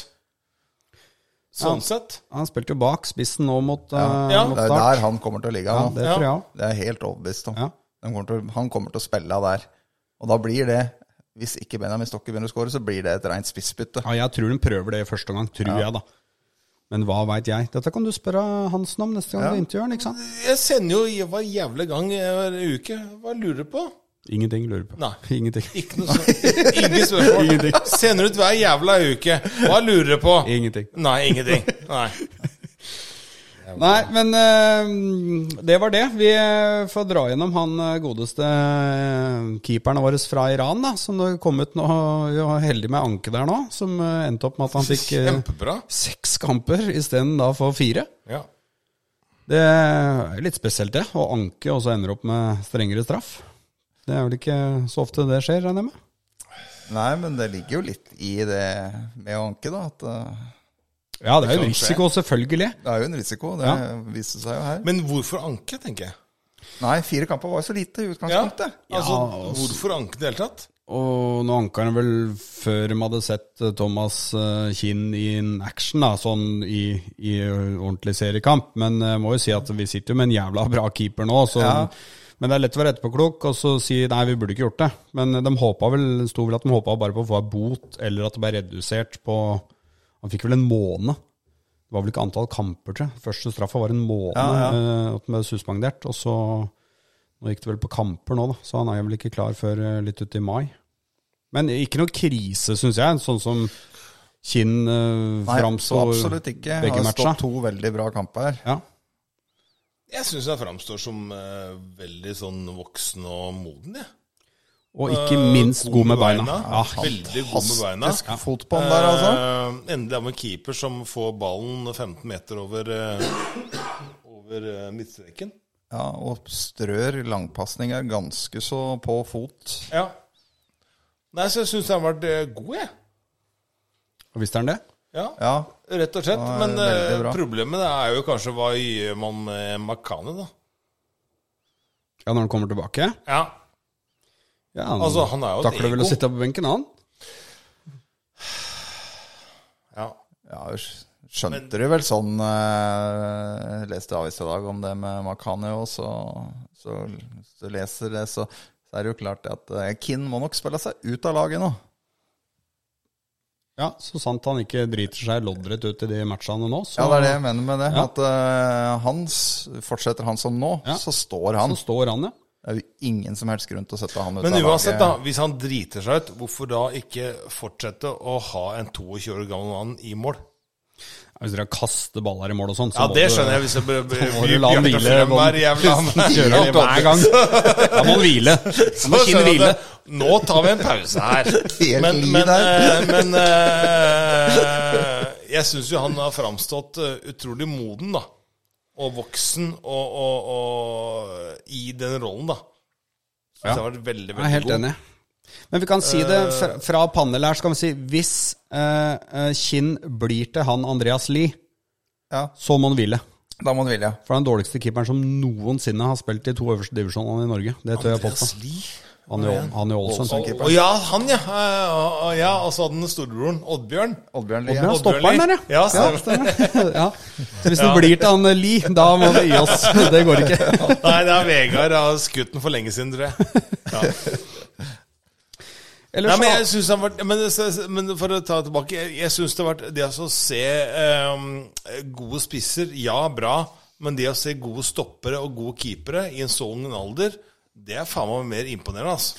Sånn sett.
Han spilte jo bak spissen nå mot, eh,
Ja.
mot
Det er
start.
der han kommer til å ligge.
Ja,
nå.
det tror jeg òg.
Det er jeg helt overbevist om.
Ja.
De kommer til, å- han kommer til å spille av der. Og da blir det, hvis ikke Benjamin Stokke begynner å skåre, så blir det et rent spissbytte.
Ja, jeg tror de prøver det i første omgang, tror jeg, da. Men hva veit jeg? Dette kan du spørre Hansen om neste gang du intervjuer han, ikke sant?
Jeg sender jo hver jævla gang eh, hver uke. Hva lurer du på?
Ingenting lurer på.
Nei.
Ingenting.
Ikke noe sånn. Ingen spørsmål. Sender ut hver jævla uke. Hva lurer du på?
Ingenting.
Nei, ingenting. Nei.
Nei, men eh, det var det. Vi eh, får dra gjennom han eh, godeste eh, keeperen vår fra Iran, da, som det kom ut nå. Vi var heldige med Anke der nå, som eh, endte opp med at han fikk eh,
Kjempebra.
seks kamper isteden da for fire.
Ja.
Det er litt spesielt, det. Å anke og så ender opp med strengere straff. Det er vel ikke så ofte det skjer, regner jeg med.
Nei, men det ligger jo litt i det med å anke, da. At eh,
Ja, det er jo en
kan
risiko, selvfølgelig.
det er jo en risiko. Det viste seg jo her.
Men hvorfor anke, tenker jeg?
Nei, fire kamper var jo så lite i
Ja.
utgangspunktet.
Altså, hvorfor anke i det hele tatt?
Og nå anka han vel før de hadde sett eh, Thomas eh, Kinn in action, da, sånn i, i ordentlig seriekamp. Men jeg må jo si at vi sitter jo med en jævla bra keeper nå. Så, Men det er lett å være etterpåklok og så si nei, vi burde ikke gjort det. Men eh, de håpa vel, det sto vel at de håpa bare på å få ei bot, eller at det ble redusert på Han fikk vel en måned. Det var vel ikke antall kamper, tror jeg. Første straffa var en måned eh, at den ble suspendert. Og så Nå gikk det vel på kamper nå, da, så han er jo vel ikke klar før eh, litt uti mai. Men ikke noe krise, syns jeg. Sånn som Kinn eh,
Nei,
framstår
så absolutt ikke. Det
begge
har
matcha.
stått to veldig bra kamper her.
Ja.
Jeg syns jeg framstår som eh, veldig sånn voksen og moden, jeg.
Og ikke minst god med beina. Ah, Ja,
Veldig god med beina.
Fantastisk fot på han der, altså.
Eh, endelig av en keeper som får ballen 15 meter over, eh, over eh, midtstreken.
Ja, og strør langpasninger ganske så på fot.
Ja. Nei, så jeg syns han har vært eh, god, jeg.
Og visste han det?
Ja.
Ja,
Rett og slett.
Ja,
Men
veldig
eh,
bra.
problemet er jo kanskje hva gjør man med Makane, da?
Ja, når han kommer tilbake?
Ja.
Ja, han
Altså, han er jo et
takler vel
ego.
å sitte på benken, han.
ja.
ja skjønte du vel sånn eh, Leste avis i dag om det med Makani og så, så, så leser det, så, så er det jo klart at eh, Kinn må nok spille seg ut av laget nå.
Ja, Så sant han ikke driter seg loddrett ut i de matchene nå, så,
Ja, det er det jeg mener med det.
Ja.
At eh, hans, fortsetter han som nå,
Ja.
så står han.
så står han, ja.
Det er jo ingen som helst grunn til å sette han ut
Men
av
uansett, da.
laget.
Hvis han driter seg ut, hvorfor da ikke fortsette å ha en 22 år gammel mann i mål?
Hvis dere kaster baller i mål og sånn, så
Ja,
må
det
du-
skjønner jeg, hvis jeg blir
må du la han hvile.
hver jævla
Kjører han hver gang. Da må han hvile. Da
Så
må Kinn
skjønner jeg
hvile.
at det- Nå tar vi en pause her.
Helt
Men,
li
men,
der.
eh, men eh, jeg syns jo han har framstått eh, utrolig moden, da. Og voksen, og, og, og i den rollen, da. Så det har vært veldig,
Jeg er
veldig
helt enig. Men vi kan si
Eh.
det fra, fra panel her, så kan vi si hvis eh, eh, Kinn blir til han Andreas Lie,
Ja.
så må han hvile.
Da må du ville.
For det er den dårligste keeperen som noensinne har spilt i to øverste divisjonene i Norge. Det tør jeg påstå.
Lie.
Han i Ål- han i Ålesund.
Å ja, han, ja. Eh, og- Ja, Og så hadde han storebroren, Oddbjørn.
Oddbjørn
Ja,
Lie.
stopper han der,
Ja, stemmer.
stemmer. ja. Så hvis det blir til han eh, Lie, da må vi gi oss. Det går ikke.
Nei, det er Vegard. Jeg har skutt den for lenge siden, tror jeg. Ja. Nei,
Ellers,
men
så-
jeg synes det har vært men, det- men for å ta det tilbake Jeg, jeg syns det har vært Det altså å se eh, gode spisser, ja, bra. Men det å se gode stoppere og gode keepere i en så ung alder, det er faen meg mer imponerende, altså.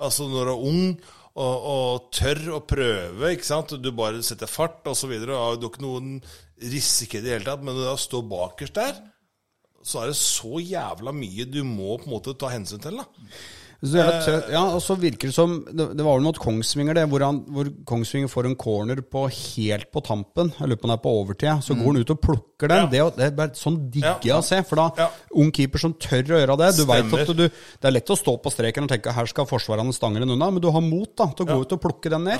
Altså når du er ung og, og tør å prøve, ikke sant. og Du bare setter fart osv. Du har ikke noen risiko i det hele tatt. Men når du da står bakerst der, så er det så jævla mye du må på en måte ta hensyn til, da.
Så jævla tø-
Eh,
Ja, og så virker det som Det det var vel mot Kongsvinger, det, hvor, han, hvor Kongsvinger får en corner på helt på tampen. Jeg lurer på om det er på overtid. Så går han ut og plukker den. Det, er jo- det er bare sånn digger jeg å se. For da,
Mm. Ja.
ung keeper som tør å gjøre det Du vet
Stemmer.
at du Det er lett å stå på streken og tenke her skal forsvarerne stange den unna, men du har mot da til å gå ut og plukke den ned.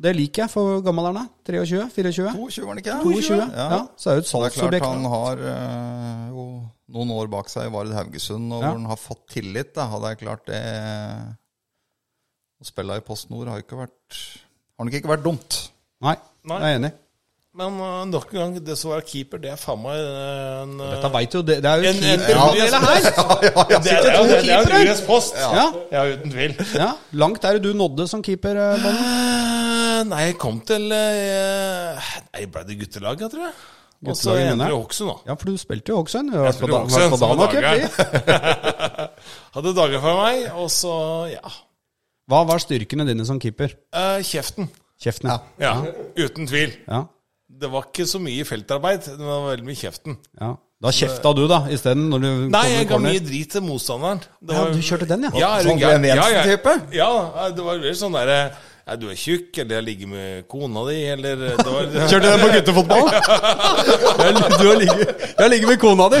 Det liker jeg, for hvor gammel er han? da? 23? 24?
22, var det ikke?
22? Ja.
Ja.
så er det jo et
Det er klart
salgsobjekt.
han har eh, jo noen år bak seg i Vard Haugesund, og
Ja.
hvor han har fått tillit. Da. Og Det er klart det Å spille i Post Nord har jo ikke vært Har nok ikke vært dumt.
Nei,
Nei.
jeg er enig.
Men uh, nok en gang, det som er keeper, det er faen meg en eh,
Dette vet jo, det, det er jo
En- en-
keeper
Ja.
det gjelder her!
Det er, det er,
to
det er, det
keepere.
er USS Post.
Ja.
Ja, uten tvil.
ja. Langt er det du nådde som keeper, eh, Bolle?
Eh, Nei, jeg kom til eh, Nei, ble det guttelaget, tror jeg. Og så
Guttelaget,
endte
mener
det
jeg.
Hokksund, da.
Ja, for du spilte jo Hokksund. Du har vært på
spilte
da-
sånn Hokksund,
vært på
som var
Danacup,
dager.
vi.
Hadde dager for meg, og så ja.
Hva var styrkene dine som keeper?
Eh, kjeften.
Kjeften, ja.
Ja, uten tvil.
ja.
Det var ikke så mye feltarbeid, det var veldig mye kjeften.
ja. Da kjefta du, da, isteden? Når du kom
Nei,
i
jeg ga
corner.
mye drit til motstanderen. Det
Ja, du kjørte den, ja.
ja er du
Sånn
gæren?
Glenn Jensen-type?
Ja, ja, det var veldig sånn derre ja, Du er tjukk, eller jeg ligger med kona di, eller eh, det var,
Kjørte den på guttefotball? Jeg- du har ligget, jeg ligger med kona di!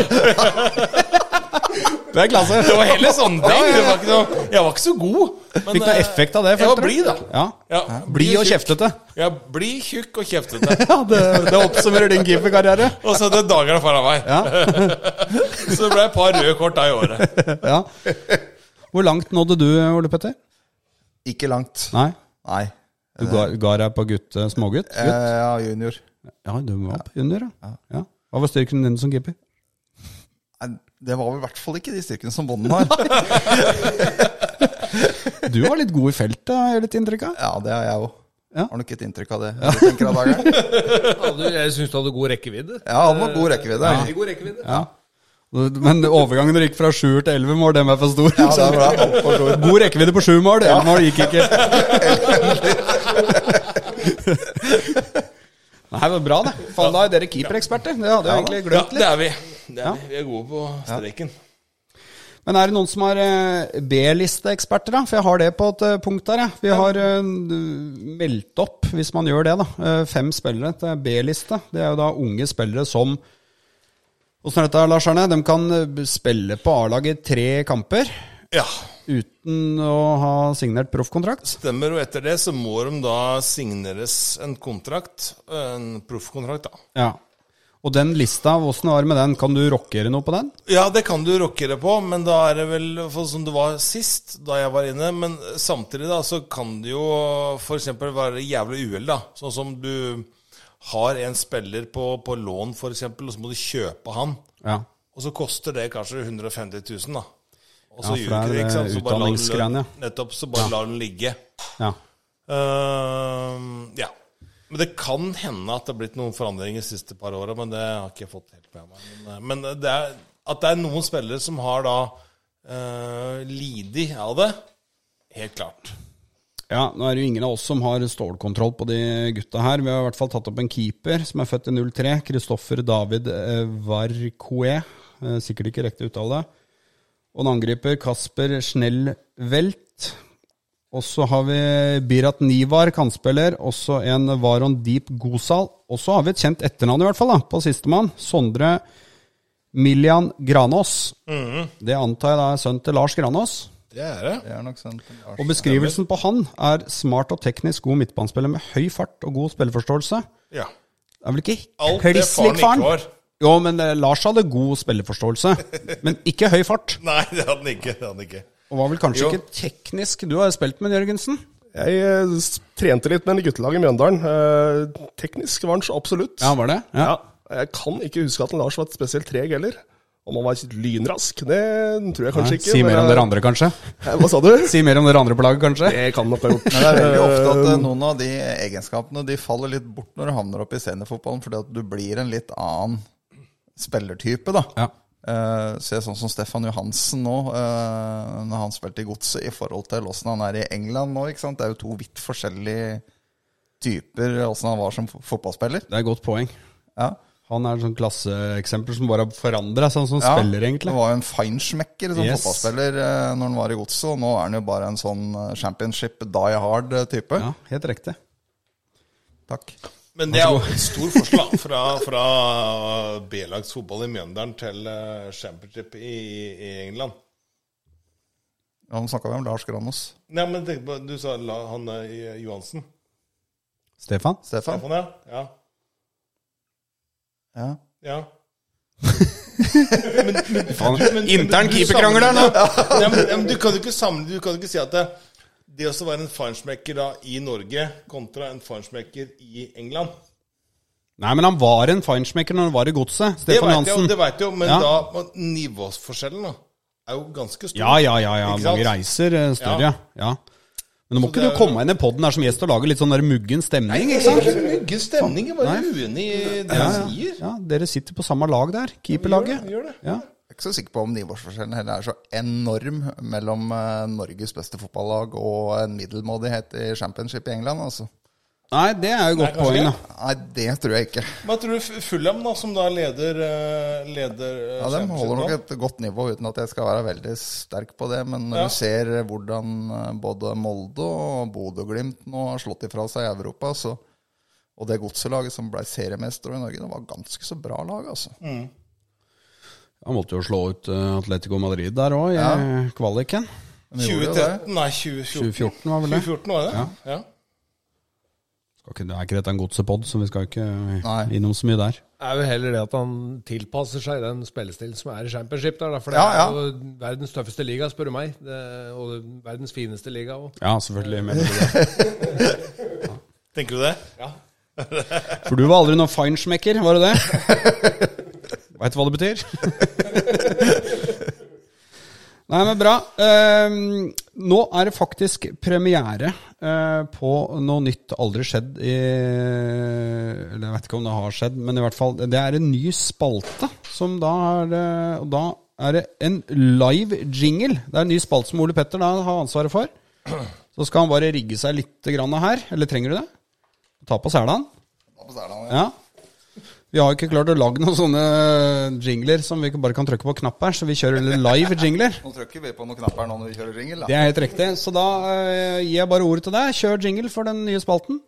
Det er klasse.
Det var heller sånne ting. Det var ikke noe, jeg var ikke så god. men,
Fikk noe
eh,
effekt av det?
Jeg var
følte du?
blid, da.
Ja.
Ja,
Blid og
tjukk.
kjeftete.
Ja, blid, tjukk og kjeftete.
Ja, det, det oppsummerer din keeperkarriere.
Og så hadde jeg dagene foran meg. så det ble et par røde kort da i året.
Ja. Hvor langt nådde du, Ole Petter?
Ikke langt.
Nei?
Nei.
Du ga, ga deg på gutt, smågutt?
Eh,
Gutt?
ja, junior.
Ja, du var på junior, ja. ja. Hva var styrken din som keeper?
Nei, det var vel i hvert fall ikke de styrkene som Bonden har.
Du var litt god i feltet, har jeg litt inntrykk av.
Ja, det har jeg òg.
Ja.
Har nok et inntrykk av det. Jeg tenker av dageren.
Hadde- Jeg syns du hadde god rekkevidde.
Ja, han var god rekkevidde.
Veldig god rekkevidde.
Ja. Men overgangen du gikk fra sjuer til elleve mål, den var for stor.
Ja, det var alt for stor.
God rekkevidde på sju mål, elleve mål gikk ikke. Nei, det var bra, det. Faen, da er dere keepereksperter. Det hadde jeg egentlig
Ja,
glemt litt.
det er vi. Det er vi. vi er gode på streken.
Men er det noen som har eh, B-listeeksperter, da? For jeg har det på et eh, punkt der, jeg. Vi har eh, meldt opp, hvis man gjør det, da. eh, Fem spillere til B-liste. Det er jo da unge spillere som Åssen er dette, Lars Arne? De kan eh, spille på A-laget i tre kamper
Ja.
uten å ha signert proffkontrakt.
Stemmer, og etter det så må de da signeres en kontrakt, en proffkontrakt, da.
Ja. Og den lista, åssen var det med den? Kan du rockere noe på den?
Ja, det kan du rocke det på, men da er det vel for som det var sist, da jeg var inne. Men samtidig da, så kan det jo f.eks. være jævlig uhell, da. Sånn som du har en spiller på, på lån, f.eks., og så må du kjøpe han.
Ja.
Og så koster det kanskje 150 000, da. Og så
Ja, for det er
ljuger det, ikke sant.
det
Så bare lar du
utdanningsgreiene, ja.
Nettopp, så bare lar den ligge.
ja.
Ehm, ja. Men det kan hende at det har blitt noen forandringer de siste par åra, men det har ikke jeg fått helt med meg. Men, men det er, at det er noen spillere som har da uh, lidd av det, helt klart.
Ja, nå er det jo ingen av oss som har stålkontroll på de gutta her. Vi har i hvert fall tatt opp en keeper som er født i 03. Kristoffer David eh, Varcoe. Eh, Sikkert ikke riktig uttale. Og en angriper, Kasper Schnellvelt. Og så har vi Birat Nivar, kantspiller. Også en Varon Deep Gosal. Og så har vi et kjent etternavn, i hvert fall, da, på sistemann. Sondre Miljan Granås. Det antar jeg da er sønnen til Lars Granås.
Det er det.
Det er nok sånn til Lars.
Og beskrivelsen på han er smart og teknisk god midtbanespiller med høy fart og god spilleforståelse.
Ja.
Det er vel ikke
Alt det
kliss
faren
lik
ikke
faren?
var.
Jo, men eh, Lars hadde god spillerforståelse, men ikke høy fart.
Nei, det hadde han ikke. Det hadde han ikke.
Og var vel kanskje
Jo.
ikke teknisk Du har jo spilt med Jørgensen.
Jeg eh, s- trente litt med guttelaget i Mjøndalen. Eh, teknisk var han så absolutt.
Ja, var det? Ja.
Ja, jeg kan ikke huske at Lars var spesielt treg heller. Om han var lynrask, det tror jeg kanskje
Nei,
ikke.
si
men
mer om
jeg-
dere andre, kanskje.
Hva sa du?
Si mer om dere andre på laget, kanskje.
Det kan nok ha gjort.
Men det er veldig ofte at eh, noen av de egenskapene de faller litt bort når du havner opp i seniorfotballen, fordi at du blir en litt annen spillertype, da.
Ja.
Eh, se sånn som Stefan Johansen nå, eh, når han spilte i Godset, i forhold til åssen han er i England nå. ikke sant? Det er jo to vidt forskjellige typer åssen han var som fo- fotballspiller.
Det er et godt poeng.
Ja.
Han er et sånt klasseeksempel som bare har forandra seg, sånn som
Ja,
spiller, egentlig.
Han var jo en feinschmecker som
Yes.
fotballspiller eh, når han var i Godset, og nå er han jo bare en sånn eh, championship die hard-type.
Ja, helt riktig.
Takk.
Men det er jo en stor forskjell da, fra, fra B-lagsfotball i Mjøndalen til eh, championship i, i England.
Ja, Nå snakka vi om Lars Granås.
Nei, men tenk på, du sa la, han eh, Johansen.
Stefan?
Stefan?
Stefan, ja? Ja.
Ja.
ja.
Intern
keeperkrangel
her nå!
Ja, men, ja, men du kan jo ikke samle Du kan jo ikke si at det, det å være en farnsmekker da i Norge kontra en farnsmekker i England
Nei, men han var en feinschmecker når han var i godset.
Det
Stefan
vet jeg jo,
Johansen.
det vet jeg jo men
Ja.
da men Nivåsforskjellen da er jo ganske stor.
Ja, ja, ja. ja.
Ikke sant?
Mange reiser eh, større, ja. ja. Men nå må
det
ikke du
er jo-
komme inn i poden her som gjest og lage litt sånn der muggen stemning, ikke sant?
Mygge stemning. Jeg er bare uenig i det
Ja,
han
ja.
sier.
ja, dere sitter på samme lag der. Keeperlaget.
Gjør det, gjør det.
Ja.
Jeg er ikke så sikker på om nivåsforskjellen heller er så enorm mellom eh, Norges beste fotballag og en middelmådighet i championship i England. altså.
Nei, det er jo godt
kanskje
poeng,
det.
da.
Nei, det tror jeg ikke.
Men tror du F- Fulham, da, som da leder, eh, leder eh,
Ja, De holder nok
Championship
et godt nivå, uten at jeg skal være veldig sterk på det. Men når
Ja.
du ser hvordan eh, både Molde og Bodø-Glimt nå har slått ifra seg i Europa, så, og det godselaget som ble seriemester i Norge, det var ganske så bra lag, altså.
Mm.
Han måtte jo slå ut eh, Atletico Madrid der òg, i eh, kvaliken.
De gjorde jo
da?
det.
2013, nei, 2014.
2014 var vel det.
2014 var det? Ja.
Skal ikke, det er ikke dette en godsepod, så vi skal ikke eh,
Nei.
innom så mye der.
Det er jo heller det at han tilpasser seg den spillestilen som er i championship. Der, da, for det
Ja, ja.
er jo verdens tøffeste liga, spør du meg. Det, og verdens fineste liga òg.
Ja, selvfølgelig. mener du det.
Tenker du det? Ja.
For du var aldri noen feinschmecker, var du det? Veit du hva det betyr? Nei, men bra. Ehm, nå er det faktisk premiere eh, på noe nytt aldri skjedd i Eller jeg vet ikke om det har skjedd, men i hvert fall Det er en ny spalte som da er eh, Og da er det en live jingle. Det er en ny spalte som Ole Petter da har ansvaret for. Så skal han bare rigge seg litt grann her. Eller trenger du det? Ta på selen. Ja. Vi har jo ikke klart å lage noen sånne jingler som vi bare kan trykke på knapp her, så vi kjører live jingler.
Nå trykker vi på noen knapper nå når vi kjører ringel.
Det er helt riktig. Så da eh, gir jeg bare ordet til deg. Kjør jingle for den nye spalten.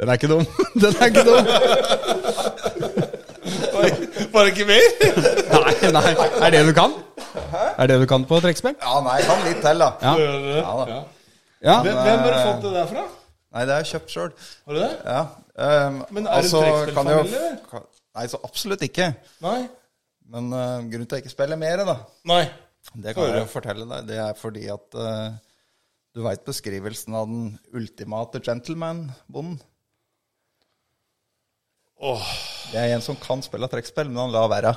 Den er ikke dum. Den er ikke dum.
Var det ikke mer?
Nei, nei. Er det du kan? Er det du kan på trekkspill?
Ja, nei, kan litt til, da.
Ja.
Ja, da.
Ja.
Hvem hvem har du fått det der fra?
Nei, det har jeg kjøpt sjøl.
Har du det?
Ja. ehm,
Men er det en
altså, kan jeg jo-
trekkspillfamilie, eller?
kan- Nei, så absolutt ikke.
Nei?
Men eh, grunnen til at jeg ikke spiller mer, da,
Nei.
det kan
Høre.
jeg jo fortelle deg, det er fordi at eh, du veit beskrivelsen av den ultimate gentleman-bonden.
Åh.
Det er en som kan spille trekkspill, men han lar være.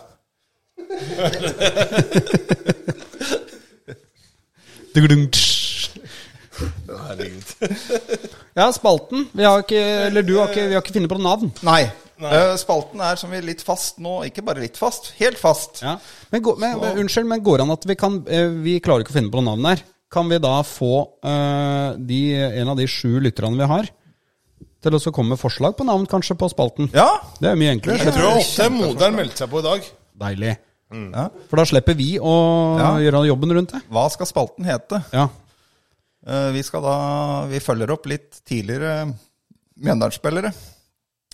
ja, spalten. Vi har ikke, eller du har ikke, vi har ikke funnet på noe navn.
Nei. Eh, spalten er som vi er litt fast nå, ikke bare litt fast, helt fast.
Ja. Men, gå, men, men, unnskyld, men går det an at vi kan eh, Vi klarer ikke å finne på noe navn der. Kan vi da få eh, de, en av de sju lytterne vi har, til å så komme med forslag på navn, kanskje, på spalten?
Ja.
Det er mye enklere.
Jeg
Slipper,
tror åtte moderen meldte seg på i dag.
deilig. Mm.
Ja.
For da slipper vi å
Ja.
gjøre jobben rundt det.
Hva skal spalten hete?
Ja.
Eh, Vi skal da Vi følger opp litt tidligere Mjøndalen-spillere.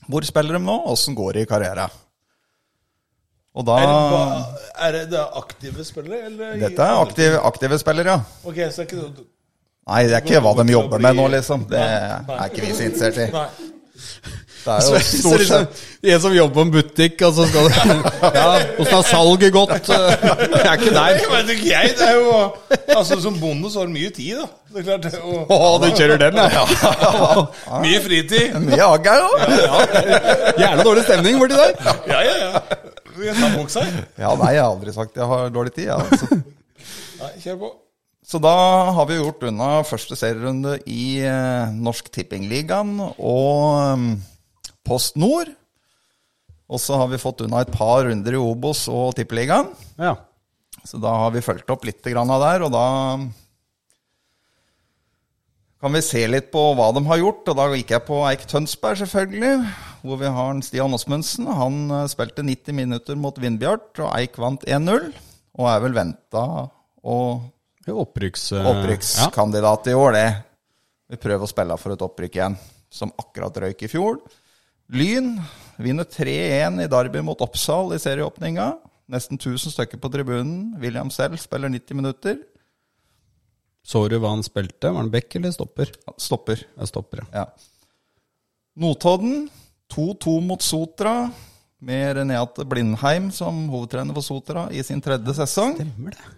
Hvor spiller de nå? Åssen går det i karrieren? Og da
Er det, ba- Ah. er det da aktive spillere, eller
Dette er aktive, aktive spillere, ja.
Ok, så er ikke det
Nei, det er ikke hva de jobber med nå, liksom. Det er ikke vi så interessert i. liksom-
Nei.
Det er jo stort sett
En som jobber på en butikk, og så skal du Ja, åssen har salget gått? Det er ikke
Nei,
deg.
men det er ikke jeg. Det er jo Altså, som bonde så har du mye tid, da. Det er klart. det er jo-
Å, du kjører den, ja.
Mye fritid.
mye agg her òg.
Jævla dårlig stemning borti der.
Ja, ja, ja. Du kan ta buksa. jeg.
Ja, nei, jeg har aldri sagt jeg altså. har dårlig tid. Ja. Så,
Nei, kjør på.
så da har vi gjort unna første serierunde i eh, Norsk Tippingligaen og um, Post Nord. Og så har vi fått unna et par runder i Obos og Tippeligaen.
Ja.
Så da har vi fulgt opp litt grann av der, og da mm, kan vi se litt på hva de har gjort. Og da gikk jeg på Eik Tønsberg, selvfølgelig, hvor vi har en Stian Osmundsen. Han eh, spilte 90 minutter mot Vindbjart, og Eik vant 1-0. Og er vel venta og
Det er Opprykks... eh, ja.
opprykkskandidat i år, det. Vi prøver å spille for et opprykk igjen, som akkurat røyk i fjor. Lyn vinner 3-1 i Derby mot Oppsal i serieåpninga. Nesten 1000 stykker på tribunen. William selv spiller 90 minutter.
Så du hva han spilte? Var han back eller stopper?
Han Stopper.
Jeg stopper, ja.
Ja. Notodden 2-2 mot Sotra. Med Renate Blindheim som hovedtrener for Sotra i sin tredje sesong.
Stemmer det.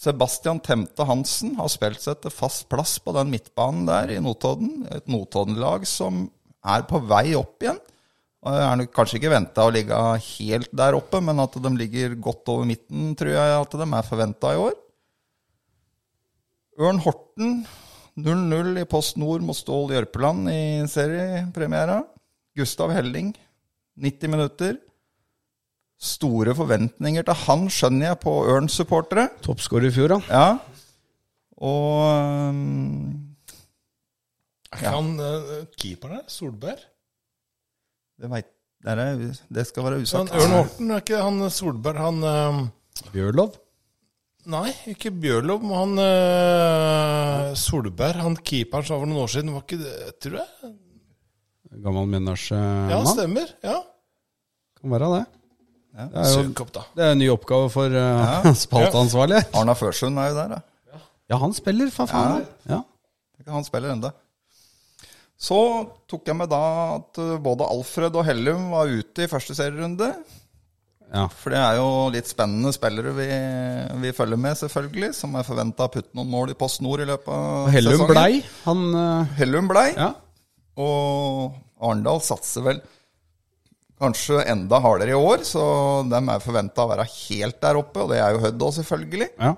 Sebastian Temte Hansen har spilt seg til fast plass på den midtbanen der i Notodden. Et Notodden-lag som er på vei opp igjen. Og Er nok kanskje ikke venta å ligge helt der oppe, men at de ligger godt over midten, tror jeg at de er forventa i år. Ørn Horten 0-0 i Post Nord mot Stål Jørpeland i seriepremiera. Gustav Helling 90 minutter. Store forventninger til han, skjønner jeg, på Ørn-supportere.
Toppskårer i fjor, han.
Ja. Og um,
Ja. Han eh, keeperen her, Solberg
det, vet, det, er, det skal være
han,
usagt.
Ørn Horten, er ikke han Solberg han eh,
Bjørlov.
Nei, ikke Bjørlov, men han eh, Solberg, han keeperen som var for noen år siden, var ikke det, tror jeg?
Gammel
Ja,
Mjøndalsmann.
stemmer. Ja.
kan være det. Det er jo
Søk opp, da.
det er en ny oppgave for uh, spalteansvarlig.
Arna Førsund er jo der, da.
Ja, han spiller, for faen. Ja.
Han spiller enda. Så tok jeg med da at uh, både Alfred og Hellum var ute i første serierunde.
Ja.
For det er jo litt spennende spillere vi, vi følger med, selvfølgelig. Som er forventa å putte noen mål i Post Nord i løpet av
Hellum
sesongen.
blei. Han eh,
Hellum blei.
Ja.
Og Arendal satser vel kanskje enda hardere i år, så de er forventa å være helt der oppe, og det er jo Hødd òg, selvfølgelig.
ja.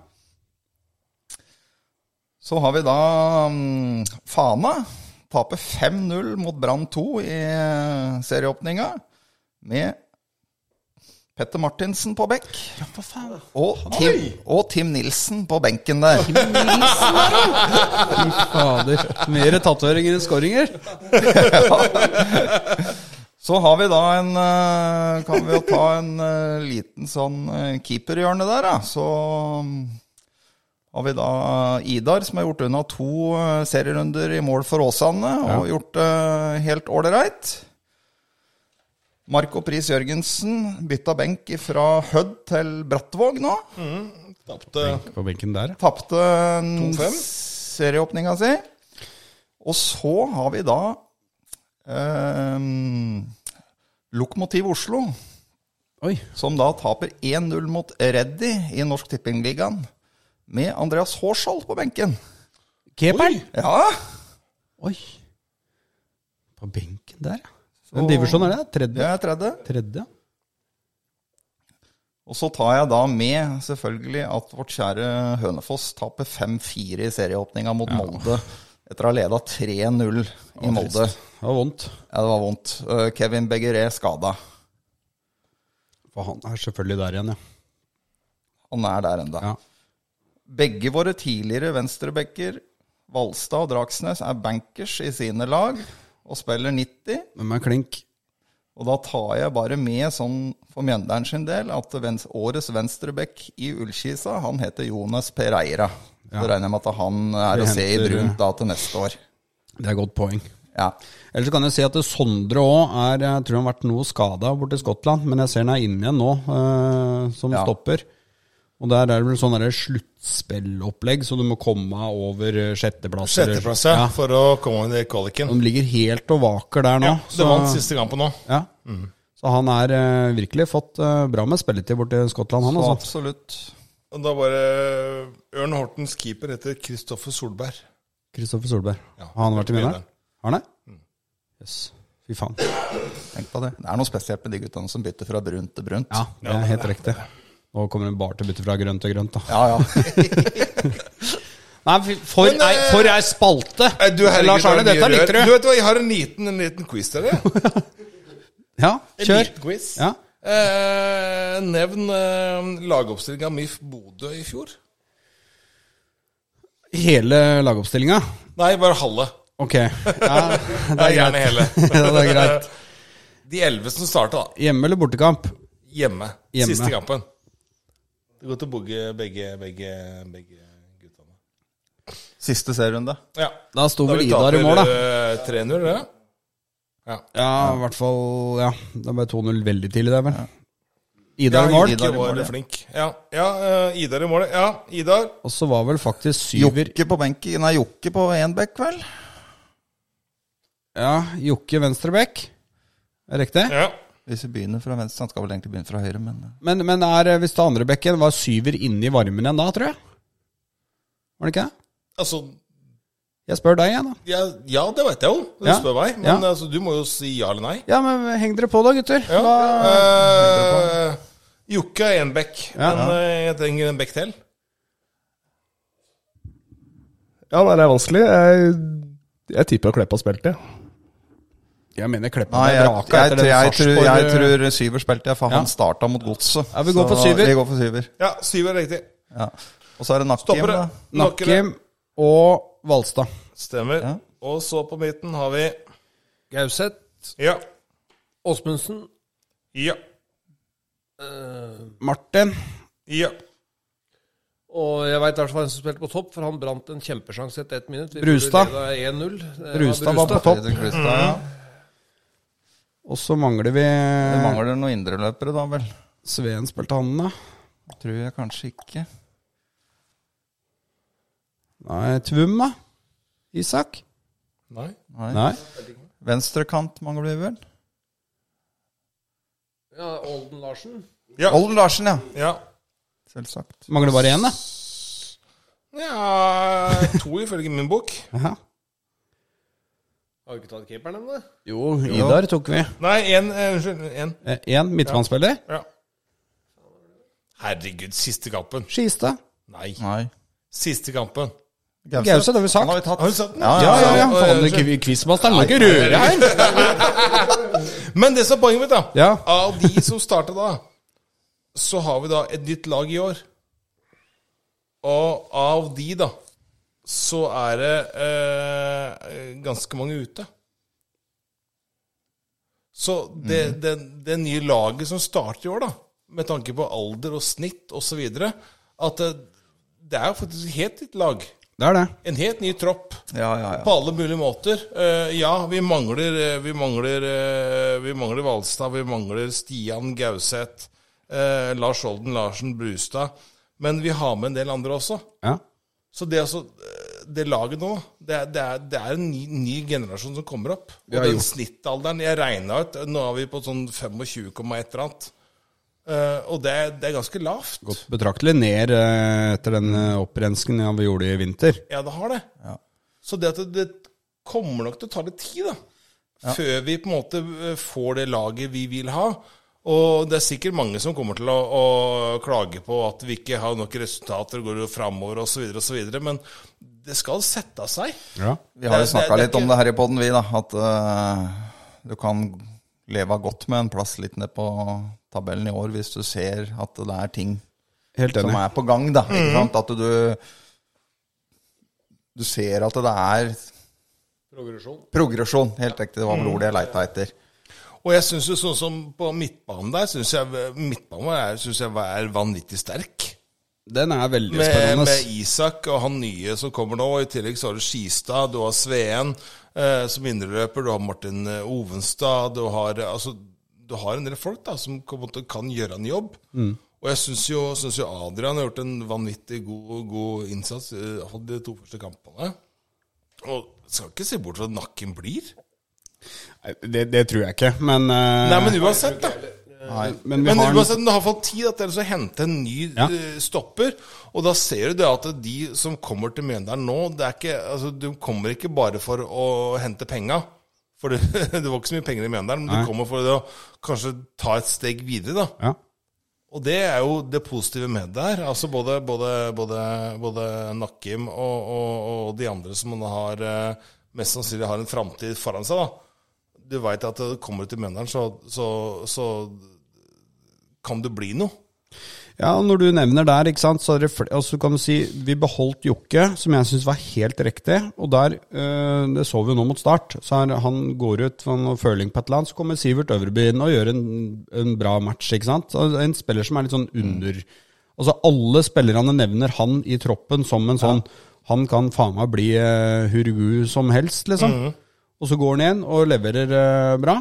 Så har vi da mm, Fana. Taper 5-0 mot Brann 2 i serieåpninga med Petter Martinsen på bekk
Hva faen?
og Tim, og Tim Nilsen på benken der.
Fy fader. Mer tatoveringer enn skåringer.
Så har vi da en eh, Kan vi jo ta en eh, liten sånn eh, keeperhjørne der, da. Så mm, har vi da eh, Idar, som har gjort unna to eh, serierunder i mål for Åsane, og gjort det helt ålreit. Marco Pris Jørgensen bytta benk fra Hødd til Brattvåg nå.
Tapte
På benken der, ja.
Tapte en
2-5.
serieåpninga si. Og så har vi da eh, Lokomotiv Oslo,
Oi.
som da taper 1-0 mot Reddy i Norsk Tippingligaen. Med Andreas Hårskjold på benken.
Keeperen.
Ja,
Oi. På benken der, ja. Hvilken divisjon er det?
det
Tredje?
er tredje.
Tredje?
Og så tar jeg da med selvfølgelig at vårt kjære Hønefoss taper 5-4 i serieåpninga mot Molde. Etter å ha leda 3-0 i Molde.
Det var vondt.
Ja, det var vondt. Eh, Kevin Beggeré skada.
For han er selvfølgelig der igjen, ja.
Han er der enda.
Ja.
Begge våre tidligere venstrebacker, Valstad og Dragsnes, er bankers i sine lag og spiller 90.
Hvem er klink?
Og da tar jeg bare med, sånn for Mjøndalen sin del, at vens årets venstreback i Ullkisa, han heter Jonas Pereira. Så regner jeg med at han er
Vi
å se i
henter-
brunt da til neste år.
Det er et godt poeng.
Ja.
Ellers så kan jeg si at det Sondre òg er Jeg tror han har vært noe skada borte i Skottland, men jeg ser han er inne igjen nå, eh, som
Ja.
stopper. Og der er det vel sånn der sluttspillopplegg, så du må komme deg over eh, sjetteplass. eller-
Sjetteplass, ja, for å komme inn i kvaliken.
De ligger helt og vaker der nå.
Ja, det vant siste kampen nå.
Ja.
Mm.
Så han er eh, virkelig fått eh, bra med spilletid borti Skottland, han
Så
altså.
absolutt.
Og da var det Ørn Hortens keeper heter Kristoffer Solberg.
Kristoffer Solberg.
Ja,
har han vært i
Mjøndalen.
vinneren? Har han
Mm.
det? Jøss. Fy faen.
Tenk på det. Det er noe spesielt med de guttene som bytter fra brunt til brunt.
Ja, det er helt riktig. Nå kommer hun bare til å bytte fra grønt til grønt, da.
ja. ja.
Nei, fy- for,
Men, eh,
ei- for ei spalte!
Nei, Du, herregud,
Lars Arne,
det er mye
dette liker
rør. Du
du.
vet hva, Jeg har en liten, en liten quiz til dere.
Ja,
En
kjør.
liten quiz.
Ja.
Eh, nevn eh, lagoppstillinga MIF Bodø i fjor.
Hele lagoppstillinga?
Nei, bare halve.
Ok. Ja, det
Nei,
er
gjerne
greit.
hele.
Ja, det er greit.
De elleve som starta, da.
Hjemme eller bortekamp?
Hjemme.
Hjemme.
Siste kampen. Det går til å booge begge, begge, begge guttene.
Siste serierunde.
Ja.
Da sto
Da
vel
vi
Idar i
taper
mål, da.
eh, 3-0, det. Ja.
Ja, i hvert fall Ja, det ble 2-0 veldig tidlig der, vel. Idar i mål.
Idar
Idar
i mål,
var
ja.
flink. Ja, ja eh, Idar i målet. Ja, Idar.
Og så var vel faktisk syver
Jokke på benken Nei, Jokke på én bekk, vel?
Ja, Jokke venstreback. Er det Riktig.
Ja.
Hvis vi begynner fra venstre Han skal vel egentlig begynne fra høyre, men eh.
Men, men er, eh, hvis det er andre bekken var syver inne i varmen igjen da, tror jeg. Var det ikke det?
Altså,
Jeg spør deg igjen, da.
ja, ja det vet jeg jo. Du
Ja.
spør meg. Men
Ja.
altså, du må jo si ja eller nei.
Ja, men heng dere på da, gutter.
Ja.
Hva,
Eh, Jokke er én bekk,
Ja.
men eh, jeg trenger en bekk til.
Ja, nei, det er vanskelig. Jeg, jeg tipper Kleppa spilte, jeg.
jeg mener Kleppa
Nei,
ble
jeg, jeg,
vraka etter
tror-
den
jeg, tror,
Sarpsborg- eh.
jeg tror Syver spilte, jeg, for han starta mot Godset.
Ja, vi går for
Så
syver.
Vi går for syver.
Ja, syv er riktig.
Ja. Og så er det Nakkim,
Stopper
da.
det. Knocker det.
Nakkim og Valstad.
Stemmer. Og så på midten har vi
Gauseth,
Ja.
Åsmundsen
Ja.
eh,
Martin.
Ja.
Og jeg veit i hvert fall hvem som spilte på topp, for han brant en kjempesjanse etter ett minutt. Vi
Brustad.
trodde det var 1-0. Det var
Brustad var på
Brustad.
topp. Mm.
Fredrik Lystad, ja.
Og så mangler vi
Det mangler noen indreløpere, da vel.
Sveen spilte han, da.
Tror jeg kanskje ikke.
Nei, Tvum, da. Isak?
Nei.
Nei.
Nei.
Venstrekant mangler vi vel.
Ja, Olden Larsen.
Ja.
Olden Larsen, ja.
ja.
Selvsagt.
Mangler bare én, da.
Ja To ifølge min bok.
Jaha.
Har vi ikke tatt keeperen ennå?
Jo, Idar tok vi.
Nei, én. eh, Unnskyld. Én.
Én midtbanespiller.
Ja. Herregud, siste kampen.
Skistad.
Nei.
Nei.
Siste kampen.
Gause, det har vi sagt.
Han har vi tatt. altså,
Har du sett den?
Ja,
Ja, ja, ja.
Oi,
Faen,
unnskyld.
kvi- Quizmasteren må ikke røre her.
Men det som er poenget mitt, da.
Ja.
Av de som starta da, så har vi da et nytt lag i år. Og av de, da, så er det eh, ganske mange ute. Så det, det, det nye laget som starter i år, da, med tanke på alder og snitt osv., at det, det er jo faktisk et helt nytt lag.
Det er det.
En helt ny tropp.
Ja, ja,
På
ja.
alle mulige måter. Eh, ja, vi mangler eh, Vi mangler eh, Vi mangler Valstad, vi mangler Stian Gauseth, eh, Lars Olden Larsen Brustad. Men vi har med en del andre også.
Ja.
Så det, er altså, eh, det laget nå, det er, det er, det er en ny, ny generasjon som kommer opp. Og
har
den
gjort-
snittalderen Jeg regna ut, nå er vi på sånn 25, et eller annet. Eh, og det, er- det er ganske lavt.
Gått betraktelig ned eh, etter den eh, opprenskningen vi gjorde i vinter.
Ja, det har det.
Ja.
Så det at det, det kommer nok til å ta litt tid, da. Før vi på en måte eh, får det laget vi vil ha. Og det er sikkert mange som kommer til å, å klage på at vi ikke har nok resultater, går jo framover osv., osv., men det skal sette seg.
Ja.
Vi har jo
Det- det-
snakka
det er
litt om
ikke-
det her i poden, vi, da. At eh, du kan leve godt med en plass litt ned på tabellen i år, hvis du ser at det er ting
Helt
som
enig.
er på gang, da.
Mhm.
Ikke sant? At du du ser at det er
Progresjon.
progresjon. Helt riktig, det var
Mhm.
vel ordet jeg leita etter.
Og jeg syns jo sånn som på midtbanen der, syns jeg midtbanen vår er, synes jeg er vanvittig sterk.
Den er veldig
Med,
spennende.
med Isak og han nye som kommer nå. og I tillegg så har du Skistad, du har Sveen eh, som indreløper, du har Martin eh,
Mm.
Ovenstad. Du har, eh, altså, du har en del folk da, som kommer til- kan gjøre en jobb. Og jeg syns jo, synes jo Adrian har gjort en vanvittig god, god innsats, eh, iallfall de to første kampene. Og skal ikke se bort fra at nakken blir.
Det, det tror jeg ikke, men, eh,
Nei, men uansett, da.
men vi
Men
har en-
uansett, du har fått tid da, til å hente en ny
Ja.
eh, stopper. Og da ser du det at de som kommer til Mjøndalen nå, det er ikke, altså, du kommer ikke bare for å hente penga. For det, det var ikke så mye penger i Mjøndalen, men
Nei.
du kommer for å kanskje ta et steg videre. da.
ja.
Og det er jo det positive med det her. Altså både, både, både, både Nakkim og, og, og de andre som man har eh, mest sannsynlig har en framtid foran seg, da. Du veit at eh, kommer du til Mjøndalen, så, så, så kan det bli noe.
Ja, og når du nevner der, ikke sant, så er det fl altså, kan du si vi beholdt Jokke, som jeg syns var helt riktig. Og der, eh, det så vi jo nå mot start, så er han går ut for noe føling på et eller annet, så kommer Sivert Øvrebyen og gjør en, en bra match, ikke sant. Og En spiller som er litt sånn
Mm.
under Altså alle spillerne nevner han i troppen som en sånn Han kan faen meg bli eh, hurgu som helst, liksom.
Mm.
Og så går han igjen og leverer eh, bra.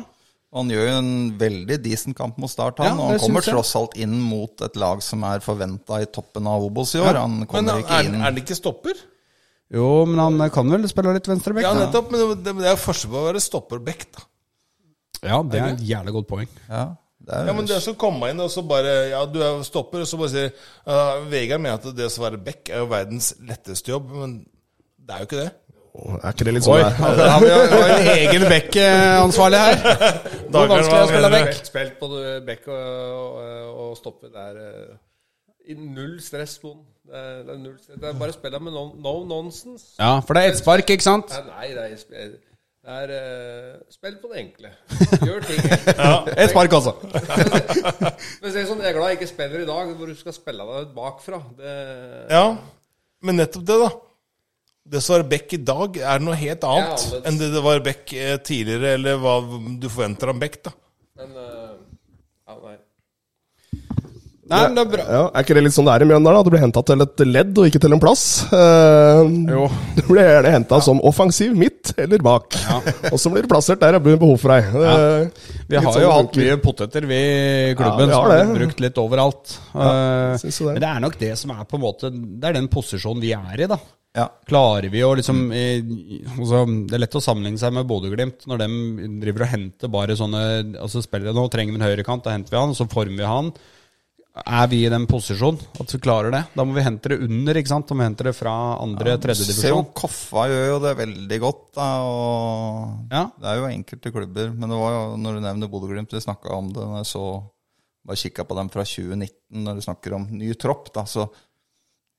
Han gjør jo en veldig decent kamp mot Start, han.
Ja,
og han
det
kommer
synes jeg.
tross alt inn mot et lag som er forventa i toppen av Obos i år. Han
Men eh,
kommer
er,
ikke
er,
inn.
er det ikke stopper?
Jo, men han kan vel spille litt venstreback?
Ja,
da?
nettopp. Men det, det er jo forskjell på å være stopperbekk, da.
ja, det er et jævlig godt poeng.
Ja, det er,
Ja, men det som kommer inn, og så bare Ja, du er stopper, og så bare sier uh, Vegard mener at det å være bekk er jo verdens letteste jobb, men det er jo ikke det.
Er ikke det litt sånn? det er?
Da har vi jo- vi har en egen Beck-ansvarlig her.
Det er vanskelig å spille
mener
back. Spilt på det- back og, og, og stoppe. Det er eh, i null stress, Mon. Det er, det er null stress. Det er bare å spille med no, no nonsense.
Ja, for det er ett spark, ikke sant?
Nei, nei, det er, sp- det er eh, spill på det enkle. Gjør ting enkelt.
Ett spark, altså.
Men se sånn, jeg er glad jeg ikke spiller i dag, hvor du skal spille deg ut bakfra. Det,
Ja, men nettopp det, da. Det som er Beck i dag, er noe helt annet
Ja, det-
enn det det var Beck eh, tidligere, eller hva du forventer av Beck, da.
Men eh, ja, nei.
Nei, men det er bra.
Ja, er ikke det litt sånn det er i Mjøndalen? At du blir henta til et ledd og ikke til en plass? Eh, Du blir gjerne henta som offensiv midt eller bak. Og så blir du plassert der det blir behov for deg. Eh,
Vi
litt
har
sånn
jo
det
hatt
funker.
mye poteter, vi i
Ja,
klubben.
vi
som
har
har
det.
blitt brukt litt overalt. Eh,
synes jo det.
Men det er nok det som er på en måte Det er den posisjonen vi er i, da.
ja.
Klarer vi å liksom eh, altså, Det er lett å sammenligne seg med Bodø-Glimt når de driver og henter bare sånne Altså spillere Nå trenger vi en høyrekant, da henter vi han, og så former vi han. Er vi i den posisjonen at vi klarer det? Da må vi hente det under, ikke sant? Da må vi hente det fra andre, tredje
Du ser jo
divisjon.
Koffa gjør jo det veldig godt, da. Og
Ja.
det er jo enkelte klubber. Men det var jo, når du nevner Bodø-Glimt, vi snakka om det når jeg så Bare kikka på dem fra 2019, når du snakker om ny tropp, da. Så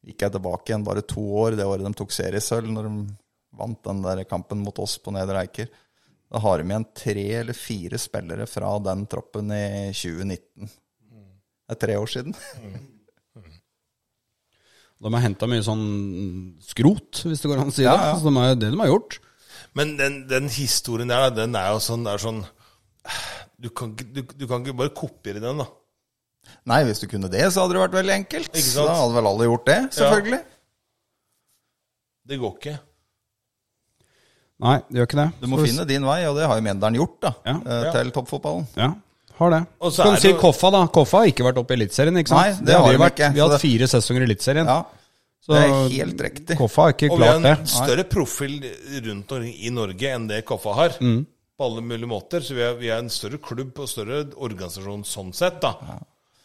gikk jeg tilbake igjen bare to år, det året de tok seriesølv, når de vant den der kampen mot oss på Nedre Eiker. Da har de igjen tre eller fire spillere fra den troppen i 2019. Det er tre år siden.
De har henta mye sånn skrot, hvis det går an å si
Ja,
det.
ja.
Så de er, det de har gjort.
Men den, den historien der, da, den er jo sånn, det er sånn du kan, ikke- du, du kan ikke bare kopiere den, da.
Nei, hvis du kunne det, så hadde det vært veldig enkelt.
Ikke sant?
Da hadde vel alle gjort det, selvfølgelig.
Det går ikke.
Nei, det gjør ikke det.
Du må
Så-
finne din vei, og det har jo Mjøndalen gjort, da.
Ja.
eh, Til toppfotballen.
Ja, har det.
Og så
Så kan
er
du si
det jo-
Koffa, da. Koffa har ikke vært oppe i Eliteserien, ikke sant?
Nei, det har
vi
de
vært.
ikke,
Vi har
så
hatt fire sesonger i Eliteserien.
Ja,
så
det er helt riktig.
Koffa har ikke
Og vi har
klart det.
en større profil rundt omkring i Norge enn det Koffa har.
Mm.
På alle mulige måter. Så vi er, vi er en større klubb og større organisasjon sånn sett, da.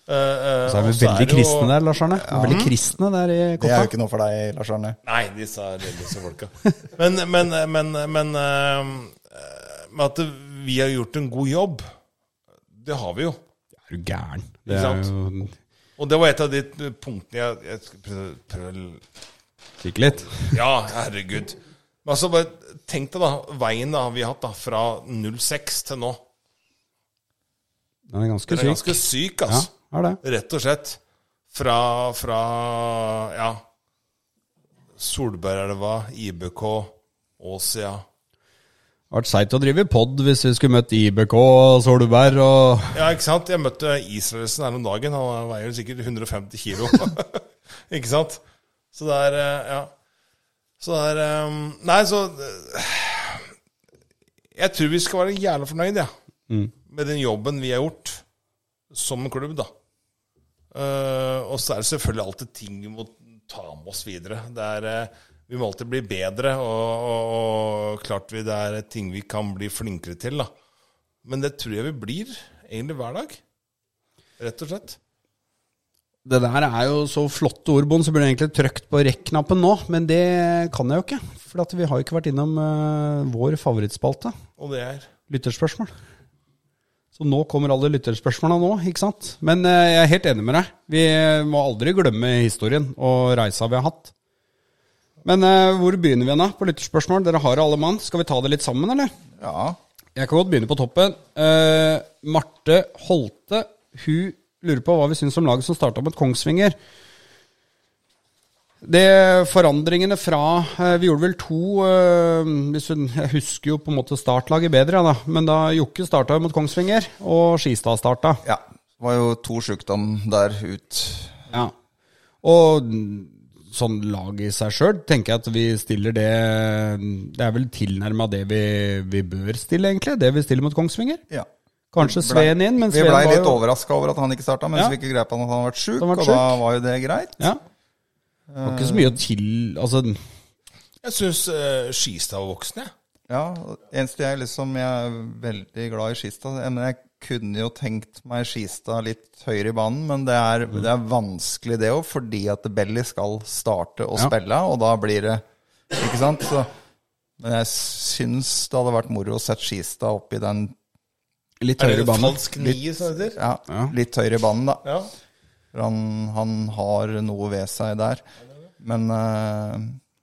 Eh, eh,
Så er
og
vi veldig
det jo-
kristne der, Lars Arne. Veldig kristne der i
Det er
Koffa.
jo ikke noe for deg, Lars Arne.
Nei, disse er religiøse folka. Men, men, men, men eh, med at vi har gjort en god jobb, det har vi jo.
Er du gæren? Det
Ikke
er
sant?
jo
Og det var et av de punktene jeg, jeg skal prøve, prøve
Kikke litt.
Ja, herregud. Men altså, bare tenk deg da, veien da vi har hatt da, fra 06 til nå.
Den er ganske
Den er
syk.
ganske syk,
Ja,
altså.
er det.
Rett og slett. Fra, fra ja Solbergelva, IBK, Åsia
Vært seigt å drive i pod hvis vi skulle møtt IBK og Solberg og
Ja, ikke sant? Jeg møtte Israelsen her om dagen. Han veier jo sikkert 150 kilo. ikke sant? Så det er eh, Ja. Så det er eh, Nei, så eh, Jeg tror vi skal være jævla fornøyd, jeg. Ja, med den jobben vi har gjort som klubb, da. Eh, og så er det selvfølgelig alltid ting vi må ta med oss videre. Det er, eh, vi må alltid bli bedre, og, og, og klart vi, det er ting vi kan bli flinkere til. da. Men det tror jeg vi blir egentlig hver dag. Rett og slett.
Det der er jo så flotte ord, Bond, så burde jeg egentlig trykt på rekk-knappen nå. Men det kan jeg jo ikke, for at vi har jo ikke vært innom eh, vår favorittspalte,
Og det er
lytterspørsmål. Så nå kommer alle lytterspørsmåla nå, ikke sant? Men eh, jeg er helt enig med deg. Vi eh, må aldri glemme historien og reisa vi har hatt. Men eh, hvor begynner vi igjen da, på lytterspørsmål? Dere har alle mann. Skal vi ta det litt sammen, eller?
Ja.
Jeg kan godt begynne på toppen. Eh, Marte Holte hun lurer på hva vi syns om laget som starta med Kongsvinger. Det forandringene fra eh, Vi gjorde vel to eh, hvis hun, Jeg husker jo på en måte startlaget bedre, ja, da. men da Jokke starta mot Kongsvinger, og Skistad starta.
ja. Det var jo to sjukdom der ut.
Ja. Og sånn lag i seg sjøl tenker jeg at vi stiller det Det er vel tilnærma det vi, vi bør stille, egentlig. Det vi stiller mot Kongsvinger.
Ja.
Kanskje
Blei-
Sveen inn, men
Vi
Sveen
blei
var
litt
jo
overraska over at han ikke starta, mens
Ja.
vi ikke greip på at han hadde vært sjuk,
Han var
og da
sjuk.
var jo det greit.
Ja. Det var ikke så mye å til Altså,
Jeg syns Skistad var voksen, jeg.
Ja, eneste jeg liksom Jeg er veldig glad i Skistad. Men jeg kunne jo tenkt meg Skistad litt høyere i banen, men det er,
Mm.
det er vanskelig det òg, fordi at Belly skal starte å
Ja.
spille, og da blir det Ikke sant? Så, men jeg syns det hadde vært moro å sette Skistad opp i den
litt
Er
høyere
det
bane.
falsk nier, som det heter?
ja,
Ja.
litt høyere i banen, da.
Ja.
For han, han har noe ved seg der. Men eh,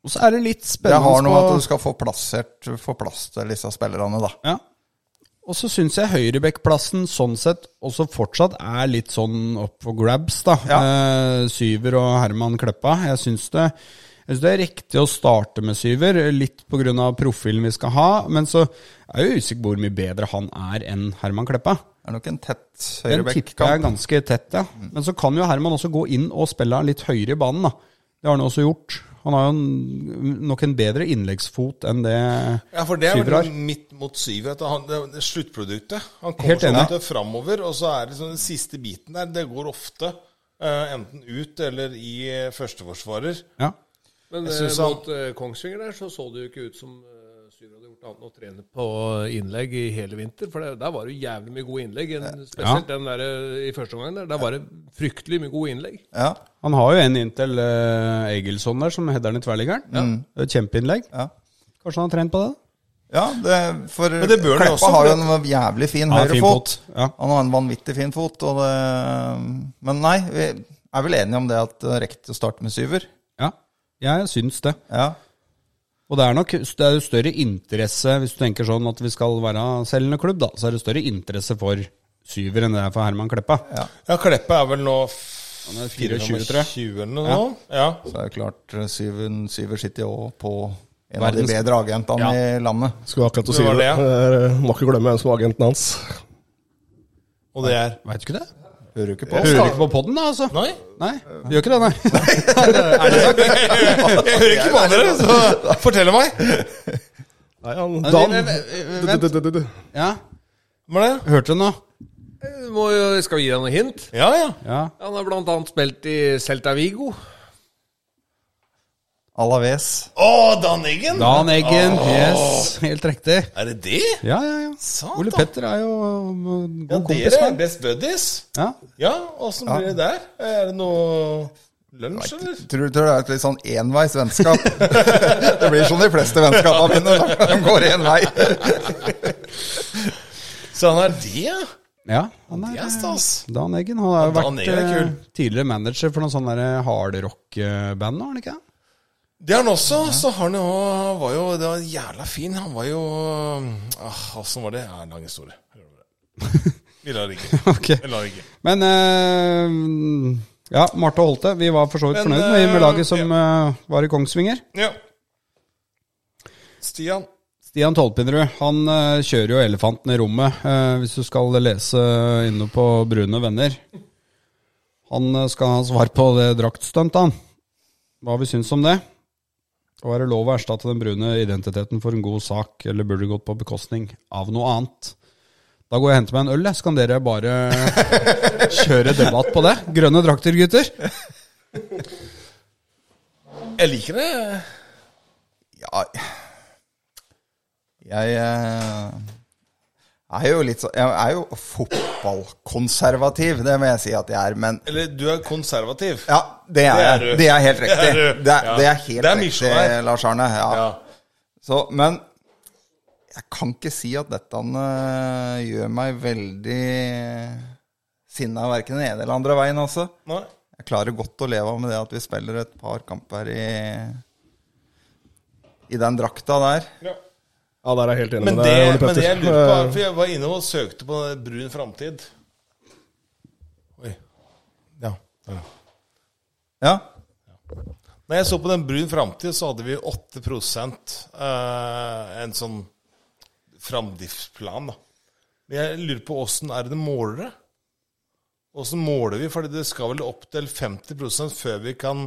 Og så er det litt
det har
spennende
noe med at du
på
skal få plassert Få plass til disse spillerne, da.
ja. Og så syns jeg høyrebekkplassen sånn sett også fortsatt er litt sånn up for grabs, da. Eh, syver og Herman Kleppa. Jeg syns det, jeg synes det er riktig å starte med Syver, litt pga. profilen vi skal ha. Men så er jeg jo usikker på hvor mye bedre han er enn Herman Kleppa.
Det er nok en tett
Den tipper jeg er
høyreback-kamp.
ganske tett, ja. Men så kan jo Herman også gå inn og spille litt høyere i banen, da. Det har han også gjort. Han har jo en, nok en bedre innleggsfot enn det
Ja, for det er
Syver har.
vel midt mot syv. At han, det er sluttproduktet. Han
Helt
kommer sånn
enig.
ut framover, og så er det sånn den siste biten der. Det går ofte eh, enten ut eller i eh, førsteforsvarer.
Ja.
Men
Jeg
eh,
synes han-
mot eh, Kongsvinger der så så det jo ikke ut som eh, Syver hadde gjort annet enn å trene på innlegg i hele vinter. For det, der var det jo jævlig mye gode innlegg. En, spesielt den der eh, i første omgang der. Der var det fryktelig mye gode innlegg.
Ja,
Han har jo en inntil uh, Egilson der som header den i tverrliggeren. Mm. Det er et Kjempeinnlegg.
ja.
Kanskje han har trent på det?
ja det, for
det bør han
Kleppa
jo også,
har jo
for
en jævlig fin
Ja, fin
høyrefot.
fot, ja.
Han har en vanvittig fin fot. Og det, men nei, vi er vel enige om det at det er riktig å starte med syver.
Ja, jeg syns det.
Ja,
Og det er nok det er jo større interesse, hvis du tenker sånn at vi skal være selgende klubb, da, så er det større interesse for syver enn det er for Herman Kleppa.
ja.
Ja, Kleppe er vel nå
er 24, tror jeg.
24 eller noe sånt. Ja.
Så er det klart, syven, syver sitter jo også på en av
Verdens-
de bedre agentene i landet.
Skulle akkurat til
Det
å si
var
det. Eh, Må ikke glemme hvem som var agenten hans.
Og det er
Veit ikke det.
Hører du ikke på?
Hører ikke på podden, da, altså.
Nei,
Nei, vi gjør ikke det, nei.
jeg hører ikke på dere, så fortell meg.
Nei, han Dan. Du, du, du, du, du.
Ja,
Hva er det?
hørte du noe?
Eh, Må, jo- skal vi gi deg noe hint?
Ja, ja.
Ja.
Han har bl.a. spilt i Celta Vigo.
Alaves.
Å, Dan Eggen!
Dan Eggen, yes, helt riktig.
Er det det?
Ja, ja, ja.
Satan.
Ole Petter er jo um,
Ja,
god kompis
dere er
med
best buddies.
ja.
Ja, åssen blir det der? Er det noe lunsj, eller?
Tror, tror det er et litt sånn enveis vennskap. det blir som de fleste vennskapene mine. De går én vei.
Så han er det, ja?
ja, han
Det
er
er stas.
Dan Eggen. Han har jo
Dan
vært
Eggen er
eh,
kul.
tidligere manager for noen sånne der eh, hardrock-band, har han ikke? det?
Det er han også. Så har han jo, var jo Det var jævla fin. Han var jo ah, Åssen var det? Ja, en lang historie. Vi lar det ikke.
Ok.
Vi lar det ikke.
Men eh, ja, Marte Holte. Vi var for så vidt
Men,
fornøyd med, med laget som
eh,
eh, var i Kongsvinger.
Ja. Stian.
Stian Tolpinrud han eh, kjører jo elefanten i rommet, eh, hvis du skal lese inne på Brune venner. Han eh, skal ha svar på det draktstuntet, han. Hva vi syns om det. Og er det lov å erstatte den brune identiteten for en god sak, eller burde det gått på bekostning av noe annet? Da går jeg og henter meg en øl, jeg, så kan dere bare kjøre debatt på det. Grønne drakter, gutter.
Jeg liker det.
Ja Jeg eh, er jo litt sånn Jeg er jo fotballkonservativ, det må jeg si at jeg er. Men
Eller du er konservativ.
ja, det er,
Det er
jeg.
du.
det er helt riktig.
Det
Det
er
er,
du.
det er,
Ja.
helt
Det er
riktig,
misjonær.
Lars Arne. Ja.
Ja.
Så, men jeg kan ikke si at dette eh, gjør meg veldig sinna verken den ene eller andre veien, altså.
Nei.
Jeg klarer godt å leve av med det at vi spiller et par kamper i, i den drakta der.
Ja, der er jeg helt enig
Men,
med
det,
deg, Ole
men det
Petter.
jeg lurer på, er, for jeg var inne og søkte på Brun framtid. Oi. Ja. ja.
Ja.
Når jeg så på den brun framtid, så hadde vi 8 eh, en sånn framdriftsplan. da. Men jeg lurer på åssen er det det måler det? Åssen måler vi? Fordi det skal vel opp til 50 før vi kan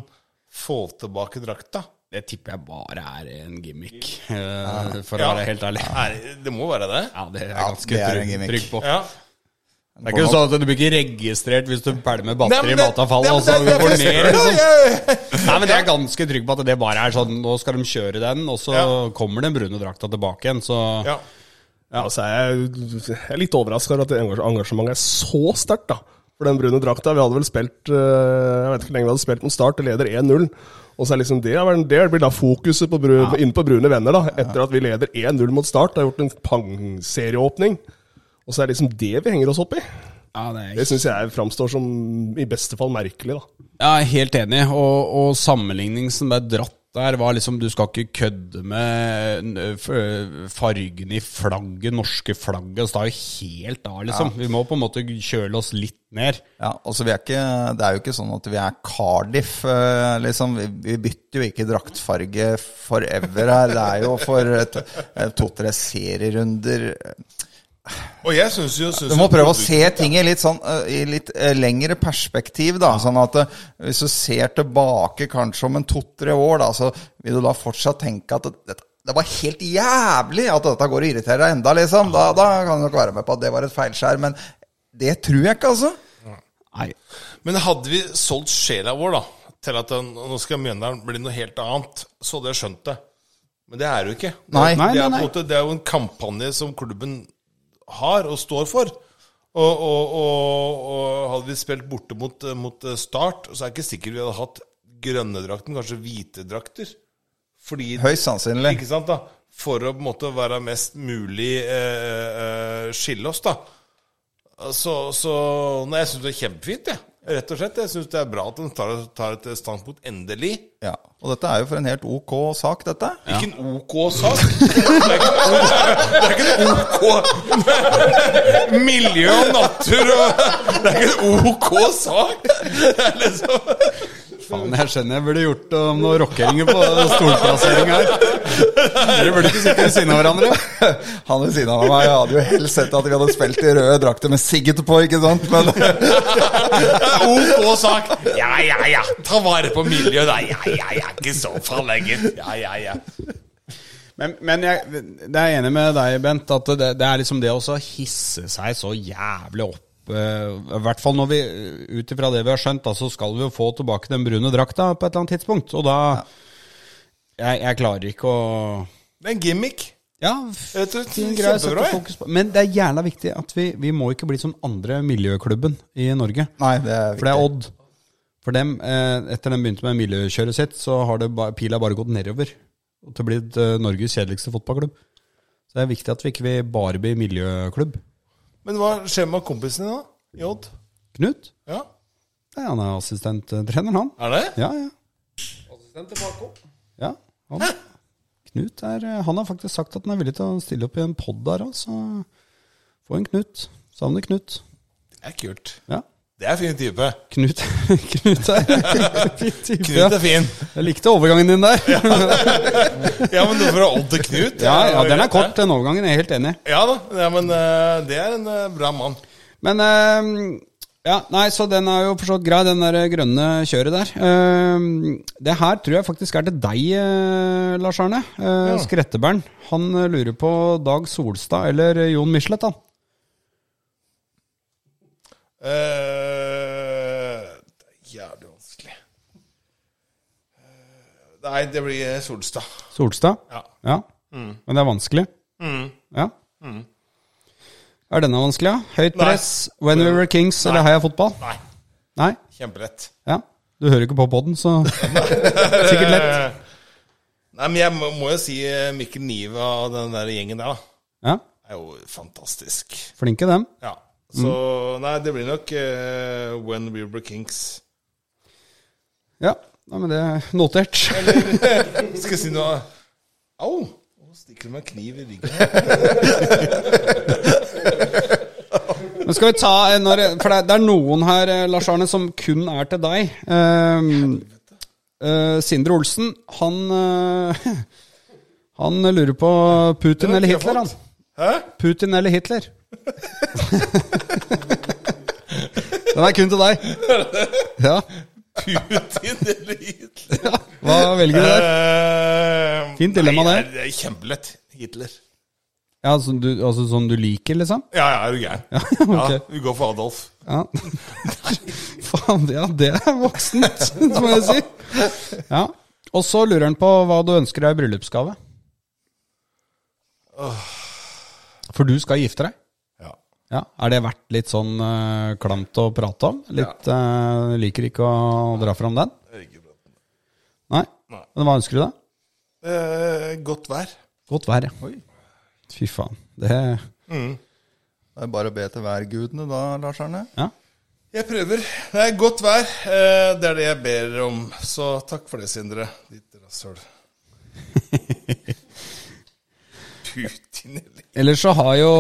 få tilbake drakta.
Det tipper jeg bare er en gimmick, eh, for å
Ja.
være helt ærlig.
Er, det må være det?
Ja, det er jeg
Ja,
ganske
det er en
trygg,
gimmick.
trygg på.
Ja.
Det er ikke sånn at du blir ikke registrert hvis du pælmer batteri i
Nei, men det-
matavfallet.
Nei, men
Altså,
det-
du
det-
går
det-
ned,
Ja,
liksom.
ja, ja.
Nei, men Jeg er ganske trygg på at det bare er sånn Nå skal de kjøre den, og så
Ja.
kommer den brune drakta tilbake igjen. Så
Ja.
Altså, jeg, jeg er litt overraska over at det engasj- engasjementet er så sterkt, da. For den brune drakta, vi hadde vel spilt eh, Jeg vet ikke hvor lenge vi hadde spilt om start, det leder 1-0. Og så er liksom det, det blir da fokuset på bru- inne på brune venner, da. Etter at vi leder 1-0 mot start, har gjort en pang-serieåpning. Og så er det liksom det vi henger oss opp i.
ja, det er
Det syns jeg framstår som i beste fall merkelig, da.
Jeg er helt enig, og, og sammenligningen som ble dratt der, var liksom du skal ikke kødde med n- f- fargen i flagget, norske flagget. Så det er jo helt av, liksom. Vi må på en måte kjøle oss litt ned.
Ja, altså vi er ikke, Det er jo ikke sånn at vi er Cardiff. eh, liksom. Vi, vi bytter jo ikke draktfarge forever her. Det er jo for et- eh, to-tre serierunder.
Og jeg syns jo synes
Du må
jo-
prøve å se ting i litt, sånn, eh, i litt eh, lengre perspektiv. da, sånn at eh, Hvis du ser tilbake kanskje om en to-tre år, da, så vil du da fortsatt tenke at det, det var helt jævlig at dette går og irriterer deg enda, liksom. Da, da kan du nok være med på at det var et feilskjær, men det tror jeg ikke, altså.
Nei.
Men hadde vi solgt sjela vår da, til at den, nå skal Mjøndalen bli noe helt annet, så hadde jeg skjønt det. Men det er det jo ikke.
Nei.
det, er- det, er,
Nei, nei,
på en måte, det er jo en kampanje som klubben har og står for. Og, og, og, og hadde vi spilt borte mot, mot Start, så er det ikke sikkert vi hadde hatt grønne drakten, kanskje hvite drakter. Fordi
Høyst sannsynlig.
ikke sant da? For å på en måte være mest mulig eh, eh, skille oss, da. Så, så nei, jeg syns det er kjempefint, jeg. Rett og slett. Jeg syns det er bra at de tar, tar et standpunkt endelig.
Ja, og dette er jo for en helt ok sak, dette.
Ikke en OK sak. Det er ikke, det er ikke en OK Miljø og natur og Det er ikke en OK sak! Det er liksom
Faen, jeg skjønner jeg burde gjort om noen rockeringer på stolplassering her. Dere burde ikke sitte ved siden av hverandre.
Han ved siden av meg jeg hadde jo helst sett at vi hadde spilt i røde drakter med Sigget på, ikke sant? Men
OK sak. Ja, ja, ja. Ta vare på miljøet, da. Ja, ja, ja. Ikke så farlig, gitt. Ja, ja, ja.
Men, men jeg, det er jeg enig med deg, Bent, at det, det er liksom det å så hisse seg så jævlig opp. eh, I hvert fall når vi, ut ifra det vi har skjønt, da, så skal vi jo få tilbake den brune drakta på et eller annet tidspunkt. Og da jeg, jeg klarer ikke å
Det er en gimmick.
ja,
Jeg tror det er
fin greie å sette
kjempebra, jeg.
fokus på. Men det er jævla viktig at vi, vi må ikke bli som andre miljøklubben i Norge.
nei, det er
For det er
viktig.
Odd. For dem, eh, etter de begynte med miljøkjøret sitt, så har det ba, pila bare gått nedover. Og til å bli eh, Norges kjedeligste fotballklubb. Så det er viktig at vi ikke vi bare blir miljøklubb.
Men hva skjer med kompisen din, da? I Odd?
Knut,
Ja.
det er han er assistenttreneren, han.
Er det?
Ja, ja.
Assistent til Paco.
ja han. Knut er, eh, han har faktisk sagt at han er villig til å stille opp i en pod der, altså. Få en Knut. Savner Knut.
Det er kult.
Ja.
Det er fin type.
Knut, Knut er fin type.
Knut
ja.
er fin.
Jeg likte overgangen din der.
Ja, men du fra Odd til Knut?
Ja, ja, den er kort, den overgangen. Jeg er helt enig.
Ja da. Ja, men eh, det er en eh, bra mann.
Men ehm, Ja, nei, så den er jo forstått grei, den der grønne kjøret der. Ehm, det her tror jeg faktisk er til deg, eh, Lars Arne. Eh, Skrettebern. Han eh, lurer på Dag Solstad eller Jon Michelet, han.
Eh, det er jævlig vanskelig. Eh, Nei, det blir Solstad.
Solstad?
Ja.
Ja. Men det er vanskelig? Ja. Er denne vanskelig, ja? Høyt
Nei.
press, When We Were Kings eller Heia Fotball?
Nei,
Nei?
kjempelett.
Ja. Du hører ikke på podden, så Sikkert lett.
Nei, men jeg må, må jo si eh, Mikkel Niva og den der gjengen der, da.
Ja.
er jo fantastisk.
Flinke, dem.
Ja. Så nei, det blir nok eh, When We Were Kings.
Ja. Nei, men det er notert.
Skal jeg si noe Au! Nå stikker du meg en kniv i ryggen.
Men skal vi ta eh, når, For det, det er noen her, eh, Lars Arne, som kun er til deg. Ehm, eh, Sindre Olsen, han eh, Han lurer på Putin eller
ikke jeg
Hitler, han.
Hæ?
Putin eller Hitler? Den er kun til deg. Ja,
Putin eller Hitler?
Hva velger du der?
Eh,
Fint dilemma,
nei,
det.
Det er kjempelett. Hitler.
Ja, altså, du, altså sånn du liker, liksom?
Ja, ja, er du gæren? Ja,
ok.
vi går for Adolf.
Ja. Faen, ja, det er voksent, må jeg si. Ja. Og så lurer han på hva du ønsker deg i bryllupsgave. For du skal gifte deg?
Ja.
Ja, Er det vært litt sånn eh, klamt å prate om? Litt eh, Liker ikke å dra fram den? Nei.
Nei.
Men hva ønsker du deg?
Eh, godt vær.
Godt vær, ja. Fy faen. Det
Det er bare å be til værgudene da, Lars Arne.
Ja.
Jeg prøver. Det er godt vær. Eh, det er det jeg ber om. Så takk for det, Sindre. Ditt rasshøl. Putin eller
Ellers så har jo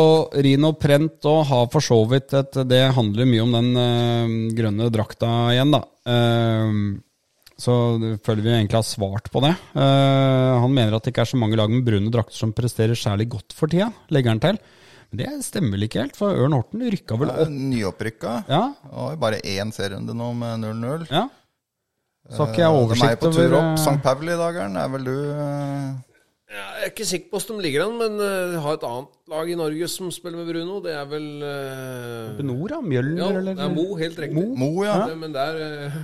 Rino Prent og har for så vidt et Det handler mye om den eh, grønne drakta igjen, da. Eh, så det føler vi egentlig har svart på det. Eh, han mener at det ikke er så mange lag med brune drakter som presterer særlig godt for tida, legger han til. Men det stemmer vel ikke helt, for Ørn Horten rykka vel
Eh,
opp?
Nyopprykka.
Ja,
Og bare én serierunde nå med 0-0.
ja. Så har ikke jeg
De er
oversikt
på tur
over
opp.
eh,
St. Pauli-dageren er vel du eh,
Ja, jeg er ikke sikker på hvordan de ligger an, men eh, vi har et annet lag i Norge som spiller med Bruno. Det er vel eh,
Nord, da? Mjølner,
Ja,
eller?
det er Mo, helt riktig.
Mo, ja.
Det- Men der eh,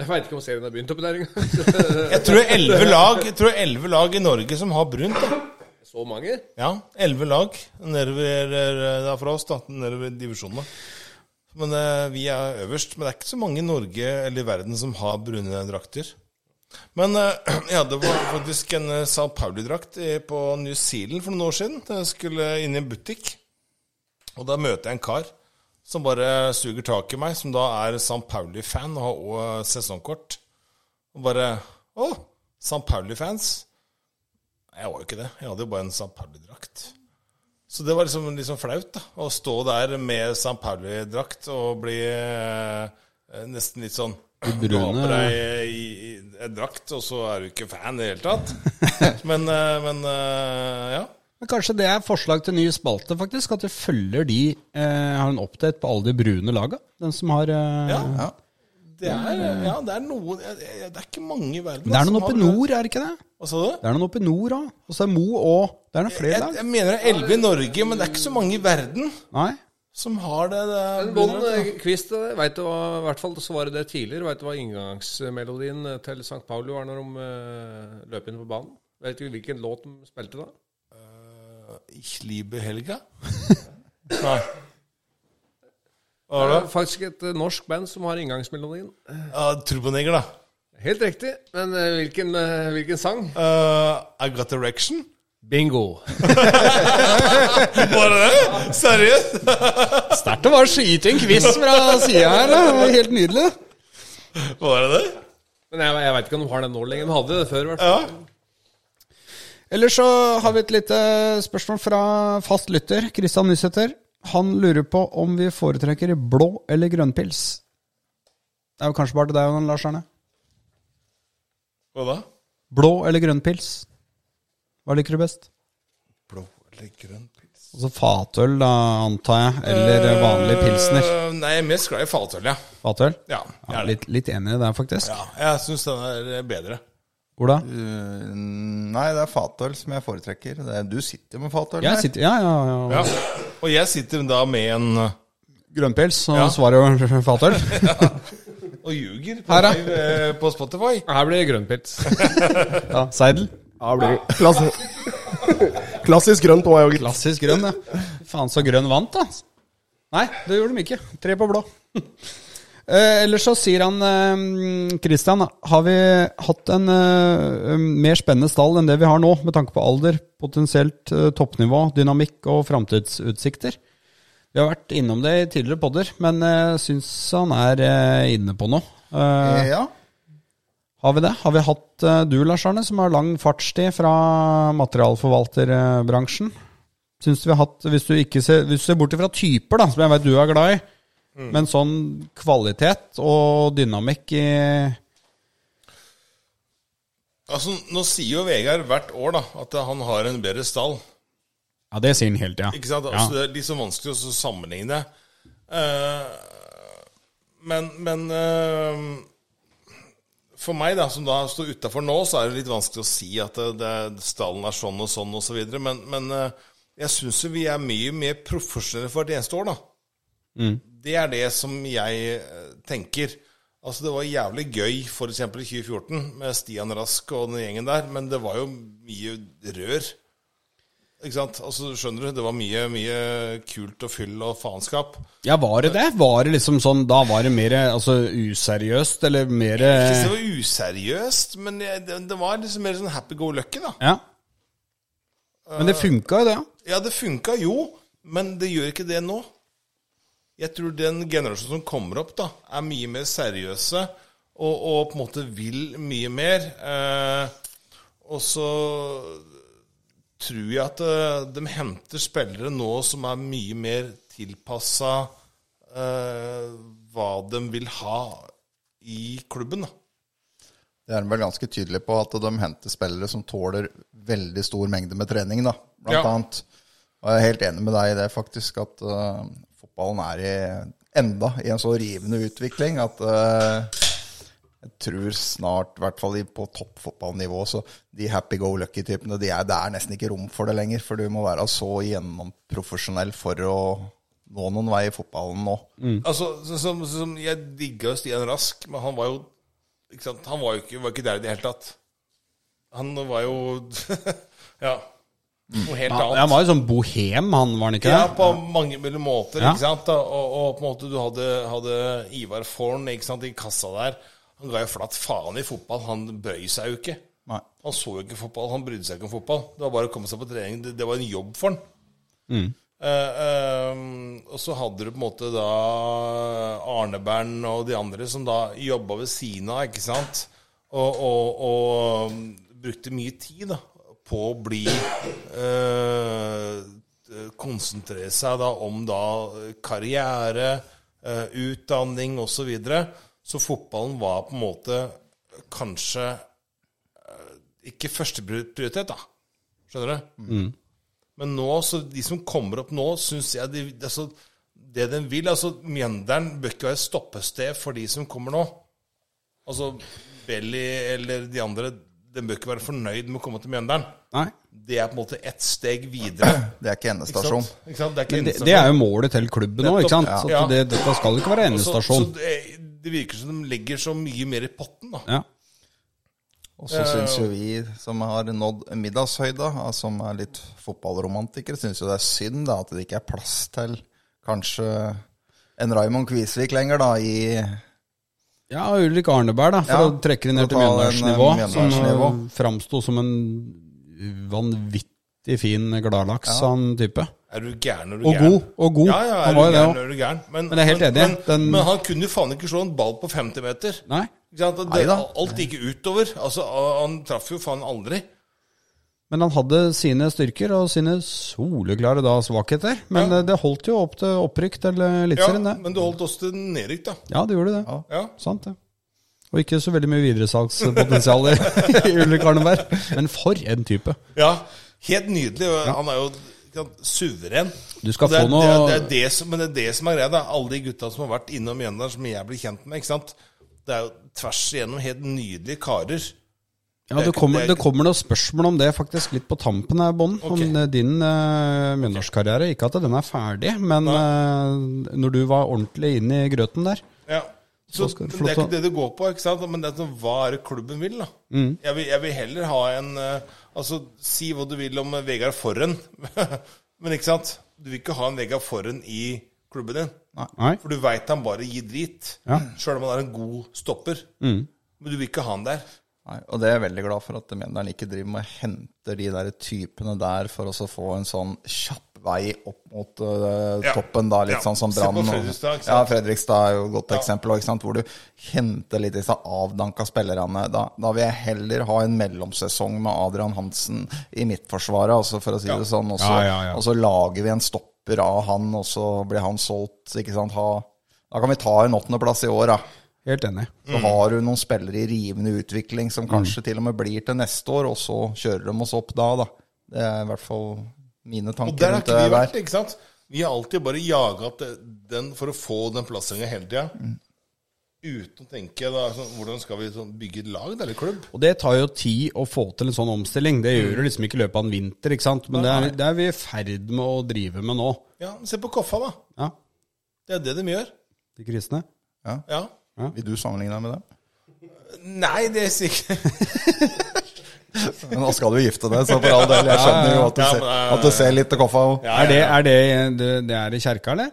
Jeg veit ikke om serien har begynt oppi der engang.
Jeg tror det er 11 lag, jeg tror det er 11 lag i Norge som har brunt. Da.
Så mange?
Ja, 11 lag nedover eh, da fra oss, da, nedover divisjonene. Men eh, vi er øverst. Men det er ikke så mange i Norge eller i verden som har brune drakter. Men eh, jeg hadde faktisk en eh, Sao Pauli-drakt i- på New Zealand for noen år siden. Jeg skulle inn i en butikk, og da møter jeg en kar som bare suger tak i meg, som da er San Pauli-fan og har også sesongkort. Og bare Å, San Pauli-fans? Nei, Jeg var jo ikke det. Jeg hadde jo bare en San Pauli-drakt. Så det var liksom, liksom flaut, da. Å stå der med San Pauli-drakt og bli eh, nesten litt sånn Du har på deg i, i, en drakt, og så er du ikke fan i det hele tatt. Men, eh, men eh, ja.
Men Kanskje det er forslag til ny spalte, faktisk. At du følger de eh, Har en oppdate på alle de brune laga. Den som har eh,
Ja. Det er, ja, det er noen jeg- jeg- Det er ikke mange i verden. altså,
Men det er noen
som
oppe i
har-
nord, er det ikke det?
Hva sa du?
Det er noen oppe i nord òg. Og så er Mo og Det er noen flere
Jeg, jeg
lag.
mener det er elleve i Norge, men det er ikke så mange i verden
Nei?
som har det.
En
det
Bånd Kvist, eh, vet du hva, i hvert fall så var det det tidligere, vet du hva inngangsmelodien eh, til St. Pauli var når de eh, løp inn på banen? Vet du hvilken låt de spilte da?
Ich liebe Helga? Nei. Hva
Det
var
er
det?
faktisk et eh, norsk band som har inngangsmelodien.
Ja, Turboneger, da.
Helt riktig, men eh, hvilken, eh, hvilken sang?
Eh, I Got Erection?
Bingo.
Var det det? Seriøst?
Sterkt å bare skyte en quiz fra sida her. da. Det var Helt nydelig.
Var det det?
Men jeg, jeg veit ikke om de har den nå lenger. De hadde det før, i hvert fall.
Ja.
Ellers så har vi et lite spørsmål fra fast lytter, Kristian Nysæter. Han lurer på om vi foretrekker blå eller grønnpils. Det er jo kanskje bare til deg, Lars Arne.
Hva da?
Blå eller grønnpils? Hva liker du best?
Blå eller grønn pils?
Altså fatøl, da, antar jeg. Eller vanlig pilsner.
Eh, nei, jeg er mest glad i fatøl, ja.
Fatøl?
Ja, jeg
Ja,
er det.
litt, litt enig i det, faktisk.
ja Eh, jeg syns den er bedre.
Ola?
Uh, Nei, det er fatøl som jeg foretrekker. Det er, du sitter jo med fatøl.
Jeg
her.
sitter, ja, ja, ja.
Ja. Og jeg sitter da med en eh,
Grønnpils, og svaret var fatøl.
Og ljuger på,
Her, da.
live, eh, på Spotify.
Her blir det grønnpils.
Ja, seidel.
Ja, det blir klassisk, klassisk grønn på meg òg, gitt.
Klassisk grønn, ja. Faen så grønn vant, da. Nei, det gjorde de ikke. Tre på blå. Eh, ellers så sier han eh, Christian, har vi hatt en eh, mer spennende stall enn det vi har nå, med tanke på alder, potensielt eh, toppnivå, dynamikk og framtidsutsikter? Vi har vært innom det i tidligere podder, men jeg syns han er eh, inne på noe. Eh,
Ja.
har vi det? Har vi hatt eh, du, Lars Arne, som har lang fartstid fra materialforvalterbransjen? Syns du vi har hatt, hvis du, ikke ser, hvis du ser bort fra typer, da, som jeg vet du er glad i,
Mm.
men sånn kvalitet og dynamikk i
Altså, nå sier jo Vegard hvert år da, at han har en bedre stall.
Ja, det sier han hele tida.
Ikke sant? Altså, det er litt så vanskelig å så sammenligne. Eh, men men eh, for meg, da, som da står utafor nå, så er det litt vanskelig å si at det, det, stallen er sånn og sånn osv. Så videre. men men eh, jeg syns jo vi er mye mer profesjonelle for hvert eneste år, da. Det er det som jeg eh, tenker. Altså, det var jævlig gøy f.eks. i 2014 med Stian Rask og den gjengen der, men det var jo mye rør. Ikke sant? Altså, skjønner du? Det var mye, mye kult og fyll og faenskap.
Ja, var det det? Var det liksom sånn Da var det mer altså, useriøst, eller mer
Ikke så det var useriøst, men jeg- det, det var liksom mer sånn happy go lucky, da.
Ja. Men
Eh,
det funka jo, det. ja.
Ja, det funka jo, men det gjør ikke det nå. Jeg tror den generasjonen som kommer opp, da, er mye mer seriøse og, og på en måte vil mye mer. Eh, og så tror jeg at eh, de henter spillere nå som er mye mer tilpassa eh, hva de vil ha i klubben. da.
Det er de vel ganske tydelig på at de henter spillere som tåler veldig stor mengde med trening, da, blant
Ja.
annet. Og jeg er helt enig med deg i det, faktisk, at øh, fotballen er i, enda i en så rivende utvikling at øh, jeg tror snart, i hvert fall i- på toppfotballnivå, så de happy-go-lucky-typene de er, Det er nesten ikke rom for det lenger, for du må være så gjennomprofesjonell for å nå noen vei i fotballen nå.
Altså, så- som, som Jeg digga jo Stian Rask, men han var jo ikke sant? Han var jo ikke, var ikke der i det hele tatt. Han var jo Ja. Noe helt
Han, han
annet.
var jo sånn bohem, han, var han ikke
Ja,
det?
på mange mulige måter.
Ja.
ikke sant? Da, Og, og på en måte du hadde, hadde Ivar Forn ikke sant, i kassa der. Han ga jo flatt faen i fotball. Han bøy seg jo ikke.
Nei.
Han så jo ikke fotball, han brydde seg ikke om fotball. Det var bare å komme seg på trening. Det, det var en jobb for han. Eh, ehm, og så hadde du på en måte da Arnebern og de andre som da jobba ved siden av, ikke sant? Og, og, og um, brukte mye tid da, på å bli eh, Konsentrere seg da om da eh, karriere, eh, utdanning osv. Så, videre. så fotballen var på en måte kanskje ikke førsteprioritet, da. Skjønner du?
Mm.
Mm. Men nå, så de som kommer opp nå, syns jeg de, altså, Det den vil altså Mjøndalen bør ikke være et stoppested for de som kommer nå. Altså Belly eller de andre De bør ikke være fornøyd med å komme til Mjøndalen.
Nei.
Det er på en måte ett steg videre.
Det er ikke
Ikke sant?
endestasjon.
Ikke sant? Det er ikke
Det,
endestasjon.
det er jo målet til klubben nå, ikke sant?
Nettopp,
Så
ja.
det, dette skal ikke være
så, så
endestasjon.
det, det virker som de legger så mye mer i potten, da.
Ja.
Og så syns jo vi som har nådd middagshøyda, altså som er litt fotballromantikere, syns jo det er synd da, at det ikke er plass til kanskje en Raymond Kvisvik lenger, da, i
Ja, Ulrik Arneberg, da, for
Ja,
å trekke det ned
for
til
å ta en,
Mjøndalsnivå.
eh,
Som eh,
Mjøndalsnivå.
framsto som en vanvittig fin gladlaks, han type.
Er du gæren når du
Og
gæren?
god, og god.
Ja, ja, er
Han
du
var jo det
gæren
også.
når du gæren. Men,
Men jeg er helt enig.
Men,
Den-
men han kunne jo faen ikke slå en ball på 50 meter.
Nei?
Ikke sant? Og Det, alt gikk jo utover. Altså, a- han traff jo faen aldri.
Men han hadde sine styrker og sine soleklare da svakheter. Men eh, det holdt jo opp til opprykk til eh,
Ja,
Eliteserien, det.
men du holdt oss til nedrykk, da.
Ja, det gjorde det.
Ja.
Sant, det. Og ikke så veldig mye videresalgspotensial i Ulrik Arneberg. Men for en type.
ja. Helt nydelig. og Han er jo ikke sant, suveren.
Du skal
Og det er,
få noe-
det, er, det er det som, Men det er det som er greia. da. Alle de gutta som har vært innom Mjøndalen, som jeg blir kjent med. ikke sant? Det er jo tvers igjennom helt nydelige karer.
Ja, det
ikke-
kommer,
det er
det
ikke-
kommer noen spørsmål om det faktisk litt på tampen her, Bånd.
Ok.
Om eh, din uh, Mjøndalskarriere. Ikke at den er ferdig, men eh, når du var ordentlig inne i grøten der
Ja. Så,
skal
men
du
det
få
er
lov til
ikke det det går på, ikke sant? men det er sånn, hva er det klubben vil. da? Jeg, vil jeg vil heller ha en eh, Altså, Si hva du vil om eh, Vegard Forren, men ikke sant? du vil ikke ha en Vegard Forren i klubben din.
Nei?
For du veit han bare gir drit,
Ja.
sjøl om han er en god stopper. Men du vil ikke ha han der.
Nei, og det er jeg veldig glad for at Mjøndalen ikke driver med å hente de der typene der for også å få en sånn kjapp vei opp mot øh,
Ja.
toppen, da, litt
Ja.
sånn som
Se på
Brann. og-
Fredrikstad, ikke sant?
Ja, Fredrikstad er jo et godt eksempel, også, ikke sant? hvor du henter litt disse avdanka spillerne. Da, da vil jeg heller ha en mellomsesong med Adrian Hansen i midtforsvaret, altså for å si det sånn. Og så
Ja, ja, ja.
og så lager vi en stopper av han, og så blir han solgt, ikke sant. Ha, da kan vi ta en åttendeplass i år, da.
Helt enig.
Så har du noen spillere i rivende utvikling som kanskje til og med blir til neste år, og så kjører de oss opp da, da. Det er i hvert fall mine
Og
tanker
der har
rundt
ikke
det
vi vært,
der.
ikke sant? Vi har alltid bare jaga til den for å få den plasseringa hele tida. Uten å tenke da, sånn, hvordan skal vi sånn, bygge et lag eller klubb?
Og det tar jo tid å få til en sånn omstilling. Det gjør du liksom ikke i løpet av en vinter, ikke sant. Men det er, det er vi i ferd med å drive med nå.
Ja, Se på Koffa, da.
Ja,
Det er det de gjør.
de kristne.
Ja.
Vil du sammenligne deg med dem?
Nei, det er sikkert
Men da skal du gifte deg, så for all del. Jeg skjønner jo at du
Ja, men,
ser, at du ser litt til koffa. og-
Ja,
Er det, er det, det, det er i kjerka, eller?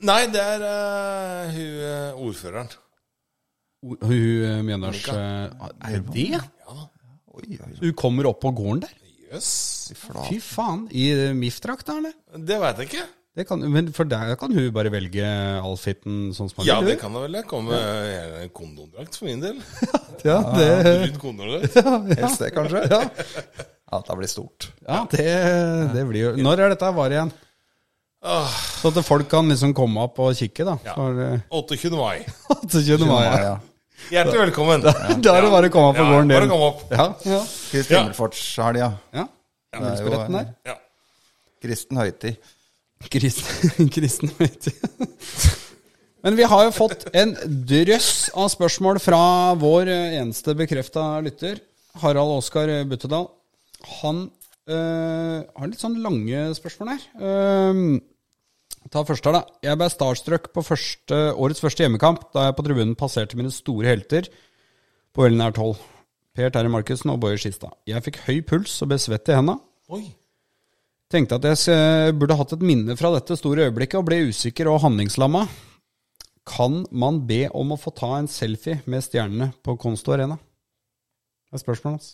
Nei, det er eh, hun eh, ordføreren.
Hun- Hun Mjøndals... eh, Er det det?
Oi, oi,
Hun kommer opp på gården der?
Jøss.
Fy faen. I eh, MIF-drakt, da, eller?
Det veit jeg ikke.
Det kan, men for der kan hun bare velge outfiten sånn som han
Ja,
vil, du.
det kan det vel. Jeg kommer med eh, en kondomdrakt for min del.
Ja, det,
Brun kondomdrakt.
Helst det, kanskje? Ja, dette blir stort.
ja det, det blir jo Når er dette var igjen?
Ah.
Så at folk kan liksom komme opp og kikke, da. eh, Så er det-
28. mai.
28. mai.
Ja,
ja.
ja.
Hjertelig velkommen.
Da er det bare å komme opp på
Ja,
gården
bare
din.
kom opp.
Ja, ja.
Kristi himmelfartshelga.
ja.
Det er jo
Ulsberetten der.
en
Ja.
kristen høytid.
Kristen, kristen vet du. Men vi har jo fått en drøss av spørsmål fra vår eh, eneste bekrefta lytter, Harald Oskar eh, Buttedal. Han eh, har litt sånn lange spørsmål her. Eh, Ta første her, da. Jeg ble starstruck på første, årets første hjemmekamp da jeg på tribunen passerte mine store helter på veldig nært hold. Per Terje Markussen og Boje Skistad. Jeg fikk høy puls og ble svett i henda.
Oi.
Tenkte at jeg s- burde hatt et minne fra dette store øyeblikket, og ble usikker og handlingslamma. Kan man be om å få ta en selfie med stjernene på Konsto Arena? Det er spørsmålet hans.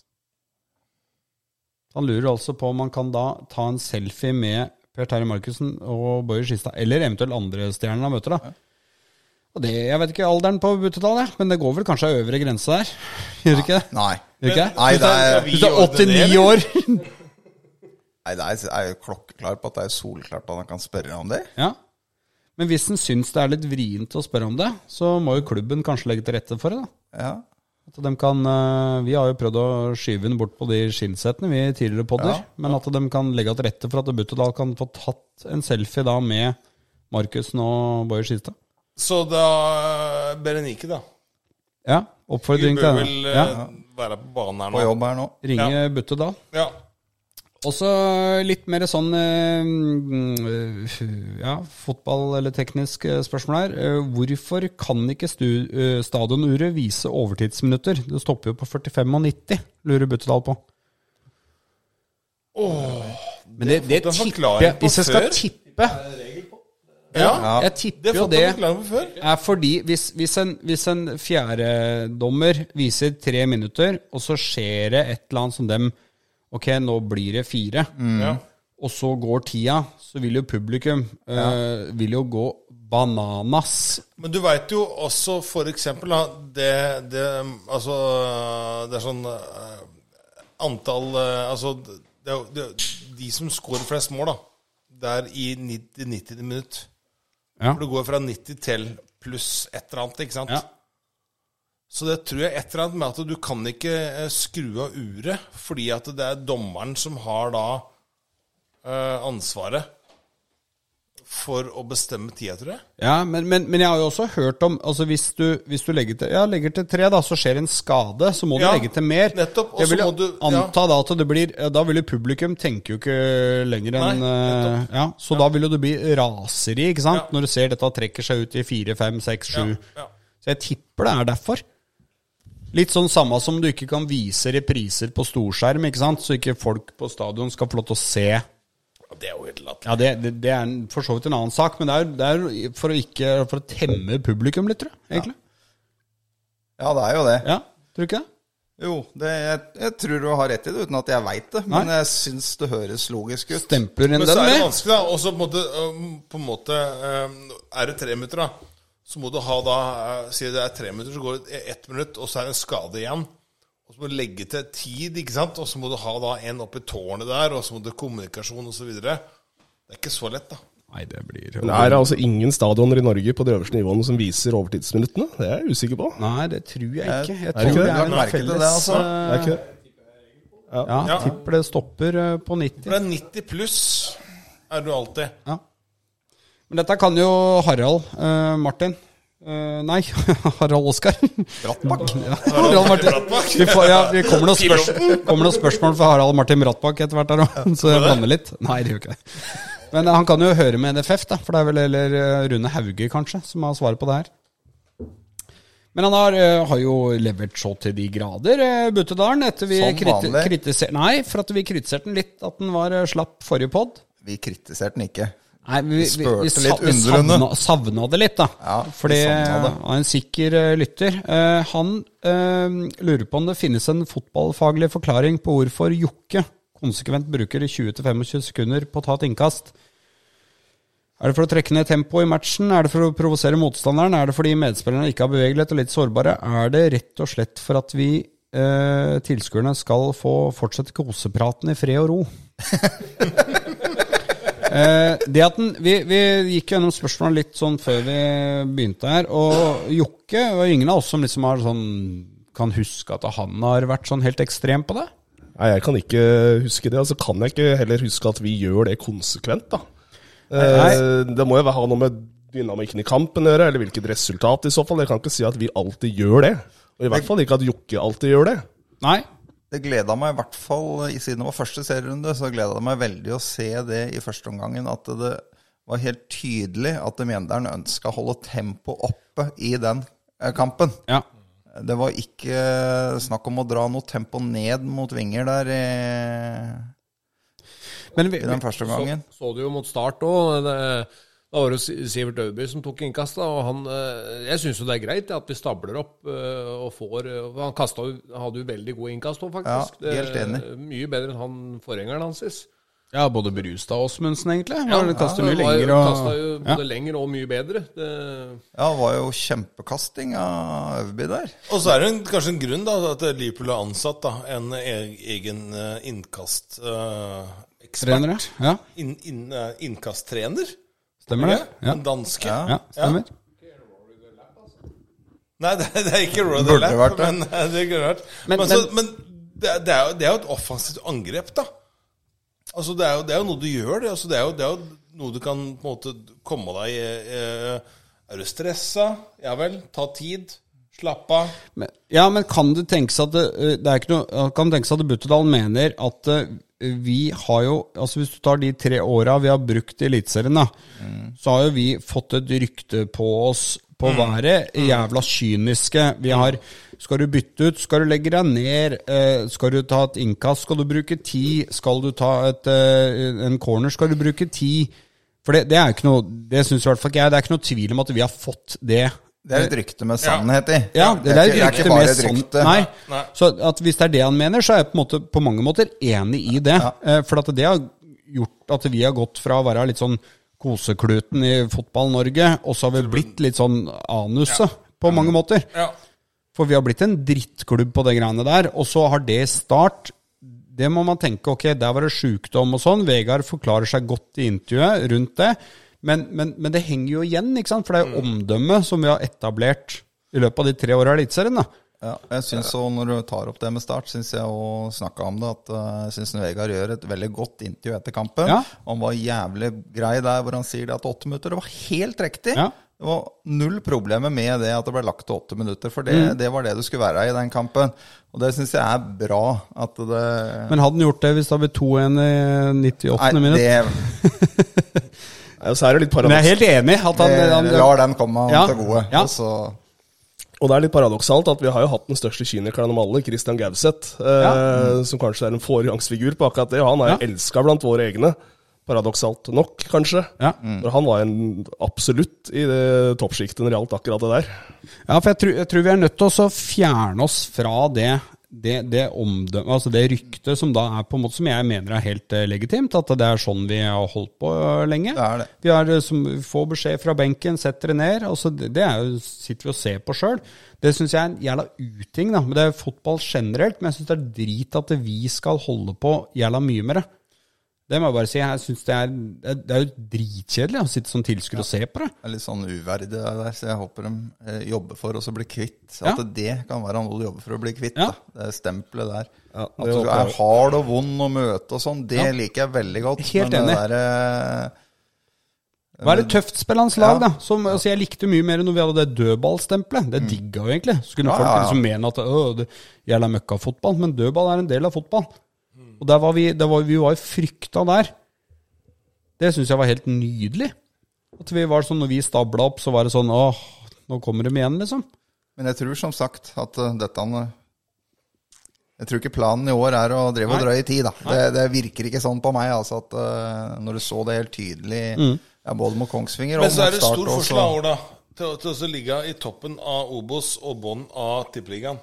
Han lurer altså på om man kan da ta en selfie med Per Terje Markussen og Boyer Skistad, eller eventuelt andre stjerner han møter, da. Og det, Jeg vet ikke alderen på Buttedal, jeg, men det går vel kanskje ei øvre grense der? Gjør det ikke det?
Nei.
Gjør det ikke det?
Nei, det er,
Vi
Hvis du er
ordner det,
89 år!
nei, det er, jeg er jo klokkeklar på at det er solklart at han kan spørre om det.
Ja. Men hvis en syns det er litt vrient å spørre om det, så må jo klubben kanskje legge til rette for det. da.
Ja.
At de kan, eh, vi har jo prøvd å skyve den bort på de skinnsettene vi tidligere podder, men at de kan legge til rette for at Buttedal kan få tatt en selfie da med Markussen og Boje Skistad.
Så da eh, Berenike, da.
Ja,
Du
oppfordring
bør
til
vel
henne.
eh,
Ja,
være på banen her
På
nå.
jobb her nå.
ringe Buttedal.
Ja.
Og så litt mer sånn eh, mm, eh, ja, fotball- eller teknisk eh, spørsmål her. Eh, Hvorfor kan ikke stu, eh, stadionuret vise overtidsminutter? Det stopper jo på 45 og 90, lurer Buttedal på. Men det, det,
fått en
tipper
forklaring
jeg
på
Hvis jeg skal
før.
tippe
ja.
Jeg
Det
tipper jo
fant
det
jeg forklaring på før.
er fordi hvis, hvis en, hvis en fjerdedommer viser tre minutter, og så skjer det et eller annet som dem Ok, nå blir det fire.
Ja.
og så går tida, så vil jo publikum eh, vil jo gå bananas.
Men du veit jo også for eksempel da, det, det Altså, det er sånn eh, Antall eh, Altså, det, er jo- det, er de som scorer flest mål, da, det er i 90. 90. minutt.
Ja.
For det går fra 90 til pluss et eller annet, ikke sant?
Ja.
Så det tror jeg et eller annet med at du kan ikke eh, skru av uret, fordi at det er dommeren som har da eh, ansvaret for å bestemme tida, tror jeg.
Ja, men, men, men jeg har jo også hørt om altså hvis, du, hvis du legger til ja, legger til tre, da, så skjer en skade, så må du
Ja,
legge til mer.
nettopp, og
jeg
så
vil jo
må du- ja.
anta da at det blir eh, Da vil jo publikum tenke jo ikke lenger enn
Nei,
eh, ja, Så da vil jo det bli raseri, ikke sant? Når du ser dette trekker seg ut i fire, fem, seks, sju.
ja.
Så jeg tipper det er derfor. Litt sånn samme som du ikke kan vise repriser på storskjerm, ikke sant? Så ikke folk på stadion skal få lov til å se
Ja, Det er jo helt latterlig.
ja, det, det, det er en- for så vidt en annen sak, men det er, det er jo for, å ikke, for å temme publikum litt, tror jeg. Egentlig.
Ja, det er jo det.
Ja, tror du ikke det?
Jo, det, jeg, jeg tror du har rett i det, uten at jeg veit det. Men jeg syns det høres logisk ut.
Stempler en eh?
Men så
den
er det
med?
vanskelig, da. Og så på en måte, øhm, på en måte øhm, Er det tre minutter, da, så må du ha da øh, Si det er tre minutter, så går det ett minutt, og så er det en skade igjen. Og så må du legge til tid, ikke sant? Og så må du ha da en opp i tårnet der, og så må du ha kommunikasjon og så videre Det er ikke så lett, da.
Nei, det blir
Men er det altså ingen stadioner i Norge på de øverste nivåene som viser overtidsminuttene? Det er jeg usikker på.
Nei, det tror jeg ikke. Jeg
ikke
tror
det?
det er
Du
en
har merket
felles
det, altså.
Det er ikke det.
eh, Ja, tipper det stopper eh, på 90.
For det er 90 pluss er du alltid.
Ja. Men dette kan jo Harald eh, Martin Eh, Nei, Harald Oskar. Brattbakk. Ja, Harald Martin.
Brattbakk.
Vi, får, ja, vi kommer noen spørs kommer noen spørsmål fra Harald Martin Brattbakk etter hvert, her også, så jeg blander litt. Nei, det gjør ikke det. Men eh, han kan jo høre med NFF, da, for det er vel eller eh, Rune Hauge kanskje som har svaret på det her. Men han har, eh, har jo levert så til de grader, eh, Buttedalen, etter vi
Som
kriti
vanlig.
kritiserte Nei, for at vi kritiserte den litt, at den var eh, slapp forrige pod.
Vi kritiserte den ikke.
Nei, vi, vi, vi,
spurte
sa-
litt
vi
undrende.
savna, savna det litt, da.
Ja, vi
Fordi
savna det.
han er en sikker eh, lytter. Eh, han eh, lurer på om det finnes en fotballfaglig forklaring på hvorfor Jokke konsekvent bruker 20-25 sekunder på å ta et innkast. Er det for å trekke ned tempoet i matchen? Er det for å provosere motstanderen? Er det fordi medspillerne ikke har bevegelighet og litt sårbare? Er det rett og slett for at vi eh, tilskuerne skal få fortsette kosepraten i fred og ro? Eh, det at den, vi, vi gikk gjennom spørsmålet litt sånn før vi begynte her, og Jokke og ingen av oss som liksom har sånn kan huske at han har vært sånn helt ekstrem på det.
Nei, jeg kan ikke huske det. Og så kan jeg ikke heller huske at vi gjør det konsekvent, da. Eh, Det må jo ha noe med dynamikken i kampen å gjøre, eller hvilket resultat i så fall. Jeg kan ikke si at vi alltid gjør det. Og i hvert fall ikke at Jokke alltid gjør det.
Nei.
Det gleda meg i hvert fall, i- siden det var første serierunde, så gleda det meg veldig å se det i første omgangen. At det var helt tydelig at Mjenderen ønska å holde tempoet oppe i den eh, kampen.
Ja.
Det var ikke snakk om å dra noe tempo ned mot vinger der i,
Men vi,
i den første omgangen.
Så, så du jo mot start òg. Da var det jo Si- Sivert Øyby som tok innkastet. Og han, eh, jeg syns jo det er greit at vi stabler opp eh, og får eh, og Han kastet, jo- hadde jo veldig gode innkast òg, faktisk.
Ja, helt
Det er
enig.
Mye bedre enn han forgjengeren hans. Sist.
ja, både Brustad og Åsmundsen, egentlig. Ja, det kaster mye
Det var jo-
lenger og
kastet jo
ja.
både lenger og mye bedre. Det,
Ja, det var jo kjempekasting av Øverby der.
Og så er det en, kanskje en grunn da, at Liverpool har ansatt da, en e- egen eh, innkast... eh, ekspert.
trenere. Ja,
inn, inn, eh, innkasttrener.
stemmer det. Ja,
En danske.
ja stemmer.
Nei, det, det er ikke Royal
Burde
Lap,
vært det.
men eh, det kunne vært.
Men-
Men, så, men det, er- det, er jo, det er jo et offensivt angrep, da. Altså, det er jo, det er jo noe du gjør, det. Altså, det, er jo, det er jo noe du kan på en måte komme deg eh, Er du stressa? Ja vel, ta tid. Slapp av.
Men, ja, men kan det tenkes at det, eh, det er ikke noe, kan det tenkes at Buttedal mener at eh, vi har jo altså Hvis du tar de tre åra vi har brukt i Eliteserien, da, så har jo vi fått et rykte på oss på å være jævla kyniske. Vi har Skal du bytte ut? Skal du legge deg ned? Eh, skal du ta et innkast? Skal du bruke ti? Skal du ta et, eh, en corner? Skal du bruke ti? For det, det er jo ikke noe Det syns i hvert fall ikke jeg. Det er ikke noe tvil om at vi har fått det.
Det er et rykte med sannhet i.
Ja, det, er,
ikke-
et rykte med sånn Nei. Så at hvis det er det han mener, så er jeg på, en måte, på mange måter enig i det. Eh, For at det har gjort at vi har gått fra å være litt sånn kosekluten i Fotball-Norge, og så har vi blitt litt sånn anuset på mange måter.
Ja.
For vi har blitt en drittklubb på de greiene der, og så har det start Det må man tenke, ok, der var det sjukdom og sånn. Vegard forklarer seg godt i intervjuet rundt det. Men, men, men
Mm.
det henger jo igjen, ikke sant? For det er jo omdømmet som vi har etablert i løpet av de tre åra i Eliteserien. da.
Ja, jeg synes også Når du tar opp det med start, syns jeg òg snakka om det. at eh, Jeg syns Vegard gjør et veldig godt intervju etter kampen.
Ja.
Han var jævlig grei der hvor han sier det at åtte minutter det var helt riktig.
Ja.
Det var null problemer med det at det ble lagt til åtte minutter, for det,
Mm.
det var det du skulle være i den kampen. Og det syns jeg er bra. at det...
Men hadde han gjort det hvis det hadde blitt 2-1 i 98. minutt?
det,
Ja, Så er det litt
Men jeg er
paradoks.
helt enig. At han, han,
det lar den komme han
Ja,
til gode.
ja.
Og så,
Og det er litt paradoksalt at vi har jo hatt den største kynikeren av alle, Christian Gauseth, eh, som kanskje er en foregangsfigur på akkurat det. og Han er jo elsket elska blant våre egne, paradoksalt nok, kanskje.
Ja.
For han var en absolutt i det toppsjiktet når det gjaldt akkurat det der.
ja, for jeg tror, jeg tror vi er nødt til også å fjerne oss fra det, det, det omdømmet, altså det ryktet som da er på en måte som jeg mener er helt eh, legitimt, at det er sånn vi har holdt på eh, lenge.
Det er det.
Vi har, eh, som, får beskjed fra benken, sett dere ned. Altså, det, det er jo, sitter vi og ser på sjøl. Det syns jeg er en jævla uting, da. Men det er fotball generelt. Men jeg syns det er drit at vi skal holde på jævla mye med det. Det må jeg bare si. Jeg synes det, er, det er- det er jo dritkjedelig å sitte som tilskuer og se på det.
Det er litt sånn uverdig det der, så jeg håper de eh, jobber for å så bli kvitt.
Ja.
At det kan være noe du jobber for å bli kvitt.
Ja.
Da. Det stempelet der.
Ja,
at
det
du
håper
er
jeg.
hard og vond å møte og sånn, det
Ja.
liker jeg veldig godt.
Helt
men
enig.
det der, eh,
Være tøftspillende lag,
Ja. Mm.
da. Som, altså, jeg likte mye mer når vi hadde det dødballstempelet. Det digga jo egentlig. Så kunne
Ja,
folk
ja, ja.
liksom mene at «Åh, det gjelder møkkafotball, men dødball er en del av fotball. Og der var vi, der var, vi var jo frykta der. Det syns jeg var helt nydelig. At vi var sånn, Når vi stabla opp, så var det sånn åh, nå kommer de igjen, liksom.
men jeg tror som sagt at eh, dette han, eh, Jeg tror ikke planen i år er å drive og drøye i tid, da. Det, det virker ikke sånn på meg, altså. At eh, når du så det helt tydelig
Mm.
ja, både mot Kongsvinger og
Men så er
mot
det
Start
stor
også.
forskjell av år, da. Til, til å ligge i toppen av Obos og bånn av Tippeligaen.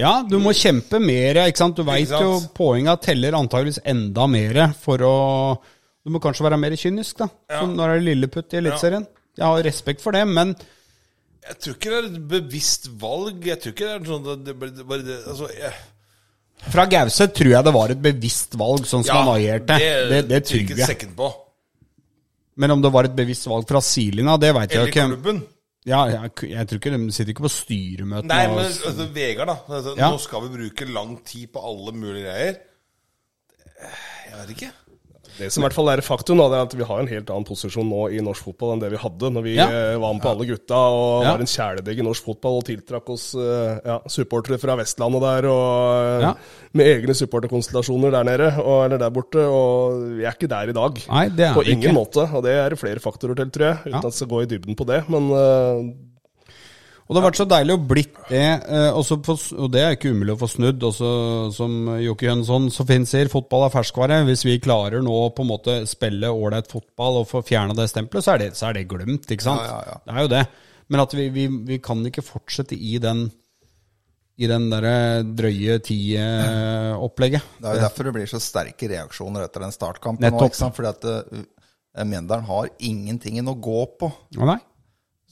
Ja, du må kjempe mer, ikke sant. Du veit
sant?
jo poenga teller antageligvis enda mer for å Du må kanskje være mer kynisk, da. Som når det er Lilleputt i Eliteserien. Jeg har respekt for det, men
Jeg tror ikke det er et bevisst valg. Jeg tror ikke det er sånn at det bare, det bare det, altså, jeg,
Fra Gauseth tror jeg det var et bevisst valg, sånn som han agerte. Det, det, tror
ikke
jeg.
sekken på.
Men om det var et bevisst valg fra sidelinja, det veit jeg
Eller
ikke.
klubben.
Ja, jeg, jeg tror ikke de sitter ikke på styremøtene.
Nei,
og-
men altså, Vegard, da. Altså,
Ja.
Nå skal vi bruke lang tid på alle mulige greier. Jeg vet ikke.
Det som i hvert fall er faktum, da, det er at vi har en helt annen posisjon nå i norsk fotball enn det vi hadde når vi
Ja.
eh, var med på alle gutta og
Ja.
var en kjæledegg i norsk fotball og tiltrakk oss eh, ja, supportere fra Vestlandet der, og eh,
Ja.
med egne supporterkonstellasjoner der nede, og, eller der borte. Og vi er ikke der i dag.
Nei, det er
på
vi
ingen
ikke.
måte. Og det er det flere faktorer til, tror jeg, uten
Ja.
at jeg skal gå i dybden på det. Men eh,
Og det har vært så deilig å blitt det, eh, også få s- og det er ikke umulig å få snudd. Også, som Jokke Jønsson så fint sier, fotball er ferskvare. Hvis vi klarer nå på en måte spille ålreit fotball og få fjerna det stempelet, så er det, så er det glemt, ikke sant?
Ja, ja, ja.
Det er jo det. Men at vi, vi, vi kan ikke fortsette i den i den derre drøye ti-opplegget.
Det er jo derfor det blir så sterke reaksjoner etter den startkampen. Nå,
Nettopp.
ikke sant? Fordi at eh, Mjøndalen har ingenting å gå på.
nei.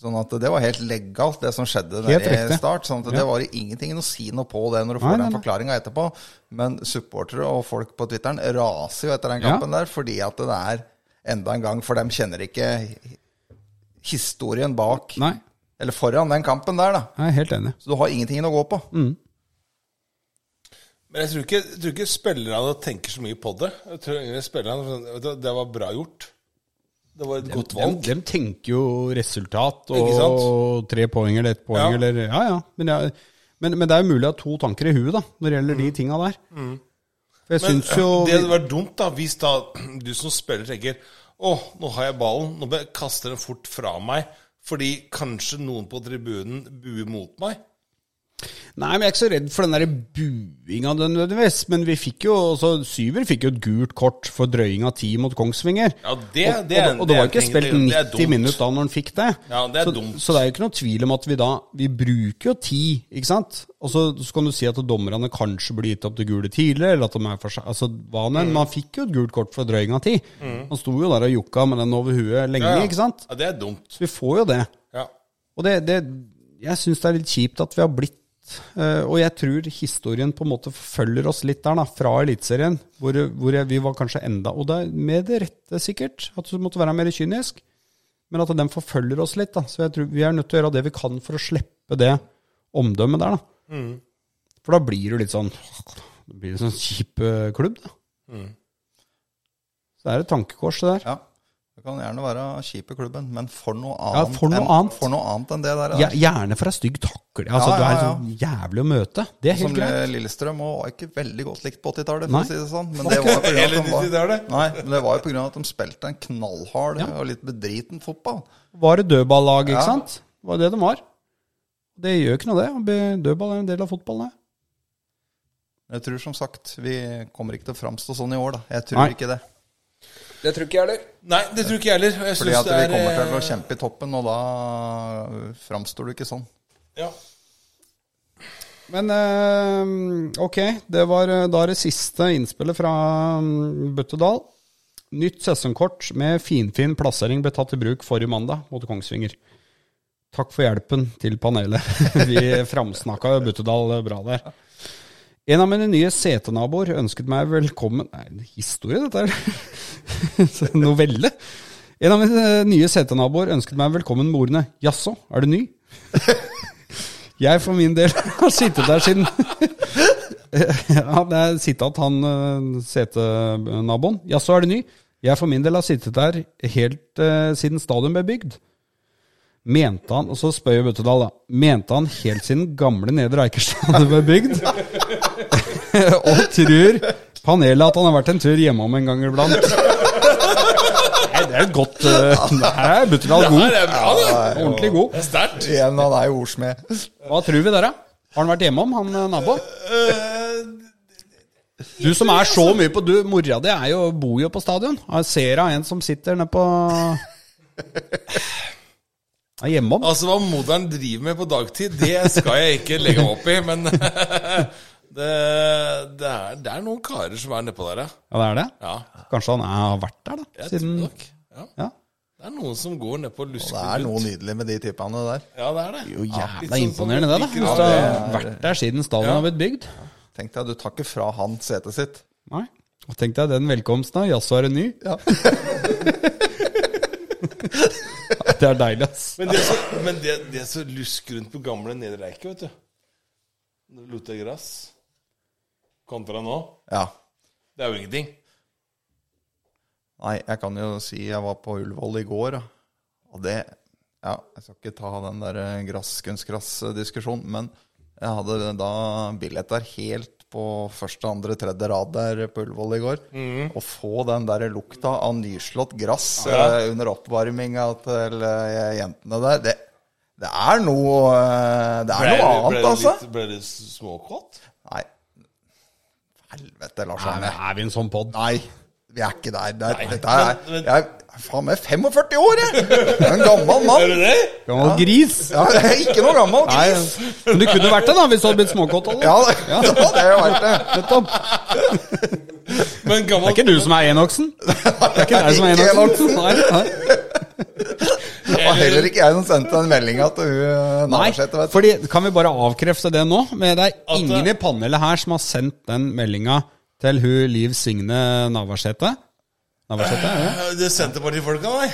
Sånn at det var helt legalt, det som skjedde
Helt
der i
riktig.
start. Sånn at det
Ja.
var ingenting å si noe på det når du får
Nei, nei,
den
nei.
forklaringa etterpå. Men supportere og folk på Twitteren raser jo etter den
Ja.
kampen der, fordi at det er enda en gang For dem kjenner ikke historien bak,
Nei,
eller foran den kampen der, da.
jeg er helt enig.
Så du har ingenting å gå på.
Men jeg tror ikke, jeg tror ikke spillerne tenker så mye på det. Jeg tror egentlig spillerne sånn, vet du hva, Det var bra gjort. Det var et godt
De,
valg.
de tenker jo resultat og
Ikke sant?
tre poeng eller ett poeng
Ja.
eller Ja, ja. Men, jeg, men, men det er jo mulig å ha to tanker i huet da, når det gjelder de tinga der. For jeg
Mm. Men
syns jo
det hadde vært dumt da hvis da du som spiller tenker Å, nå har jeg ballen. Nå bør jeg kaste den fort fra meg. Fordi kanskje noen på tribunen buer mot meg.
Nei, men jeg er ikke så redd for den der buinga den nødvendigvis. Men vi fikk jo altså, Syver fikk jo et gult kort for drøying av ti mot Kongsvinger.
Ja, det-
og,
det er-
og, og det var
det er
ikke
egentlig-
spilt
det er
90
dumt.
minutter da når han fikk det.
Ja, det er
så,
dumt.
Så det er jo ikke noe tvil om at vi da Vi bruker jo ti, ikke sant? Og så, så kan du si at dommerne kanskje blir gitt opp det gule tidligere, eller at de er for seg Altså hva nå enn.
Mm.
Men han fikk jo et gult kort for drøying av ti. Han sto jo der og jokka med den over huet lenge,
Ja, ja.
ikke sant?
Ja, det er dumt.
Så vi får jo det.
Ja.
Og det, det, jeg syns det er litt kjipt at vi har blitt eh, Og jeg tror historien på en måte forfølger oss litt der, da, fra Eliteserien. Hvor, hvor jeg, vi var kanskje enda Og det er med det rette, sikkert, at du måtte være mer kynisk. Men at den forfølger oss litt. da, Så jeg tror vi er nødt til å gjøre det vi kan for å slippe det. omdømmet der, da.
Mm.
For da blir du litt sånn Det blir en sånn kjip eh, klubb, da.
Mm.
Så det er et tankekors, det der.
Ja. Det kan gjerne være kjipe klubben, men for noe
Ja,
annet,
for noe
enn,
annet.
For noe annet enn det der.
Ja, gjerne for ei stygg takling. Altså,
Ja, ja, ja.
Du er så jævlig å møte. Det er
Som
helt
eh,
greit.
Lillestrøm og var ikke veldig godt likt på 80-tallet,
Nei.
for å si det sånn. Men det var jo på grunn av
Eller
at de
90-tallet.
var- Nei, men det var jo pga. at de spilte en knallhard og litt bedriten fotball.
Var et dødballag, ikke
Ja.
sant? Det var det de var. Det gjør ikke noe, det. Dødball er en del av fotballen, det.
Jeg tror som sagt vi kommer ikke til å framstå sånn i år, da. Jeg tror
Nei.
ikke det.
Det tror ikke jeg heller.
Nei, det tror ikke jeg heller. og Jeg
Fordi
synes
at
det
vi
er,
kommer til å
eh,
kjempe i toppen, og da framstår du ikke sånn.
eh, Ja.
Men eh, ok, det var eh, da det siste innspillet fra mm, Bøttedal. Nytt sesongkort med finfin plassering ble tatt i bruk forrige mandag mot Kongsvinger. Takk for hjelpen til panelet. Vi framsnakka Bøttedal bra der. En av mine nye setenaboer ønsket meg velkommen Nei, en historie dette er Så en novelle. En av mine nye setenaboer ønsket meg velkommen med ordene 'Jaså, er du ny?' Jeg for min del har sittet der siden Ja, det er sitat han eh, setenaboen. Ja, så er det ny. Jeg for min del har sittet der helt eh, siden stadion ble bygd. Mente han, og så spør jeg Bøttedal, da. Mente han helt siden gamle Nedre Eikerstad ble bygd? og tror panelet at han har vært en tur hjemom en gang iblant. Nei, det er et godt eh, Her er Bøttedal god.
Det er bra, det.
Ordentlig god.
Det er sterkt.
Igjen, han er jo ordsmed.
Hva tror vi der, da? Har han vært hjemom, han eh, naboen?
Eh,
Du som er så mye på du, Mora di er jo, bor jo på stadion. Jeg ser av en som sitter nede på Er hjemom.
altså, hva moderen driver med på dagtid, det skal jeg ikke legge meg opp i, men det, det, er, det er noen karer som er nedpå der, ja.
Ja, det er det.
ja.
Kanskje han er, har vært der, da?
Jeg
Siden
tror nok. Ja.
Ja.
Det er noen som går nedpå og lusker
Det er noe nydelig med de typene der.
Ja, det er det.
Jo,
Litt
jævla
sånn
imponerende, det, da.
som
Hvis du
liker å-
har vært der siden stadion har blitt bygd.
Tenk deg, du tar ikke fra han setet sitt.
Nei. Og tenk deg den velkomsten, da. Jaså, er det ny?
Ja.
Det er deilig, ass.
Men det som- Men det, det som lusker rundt på gamle Nedre Eike, vet du Når du Loter gress kontra nå,
ja.
det er jo ingenting.
Nei, jeg kan jo si jeg var på Ullevål i går, da. og det Ja, jeg skal ikke ta den der eh, grass, kunstgrass-diskusjonen, men jeg hadde da billett der helt på første, andre, tredje rad der på Ullevål i går.
Mhm.
Å få den der lukta av nyslått grass eh, under oppvarminga til eh, jentene der, det, det er noe eh, Det er
Ble-
noe
ble
annet,
det
altså.
litt- Ble det småkått?
Nei. Helvete, Lars
Er,
Arne.
er vi en sånn pod?
Nei, vi er ikke der. der dette er,
men- men-
jeg er faen meg 45 år, jeg! Jeg er En gammel
Er
mann.
det det?
Gammel gris?
Ja, jeg er ikke noe gammel.
Nei. Men du kunne vært det, da, hvis du hadde blitt småkåt. eller?
Ja, det, det hadde jeg vært det.
Nettopp.
Men
Det
gammel
er ikke du som er Enoksen? Det er ikke deg som er
Ikke
Enoksen? Nei, nei.
Det var heller ikke jeg som sendte den meldinga til hun eh, Navarsete,
Nei,
vet du.
fordi kan vi bare avkrefte det nå? Men det er
At
ingen
det-
i panelet her som har sendt den meldinga til hun Liv Signe Navarsete. Navarsete, ja.
Det er Senterpartifolka, nei.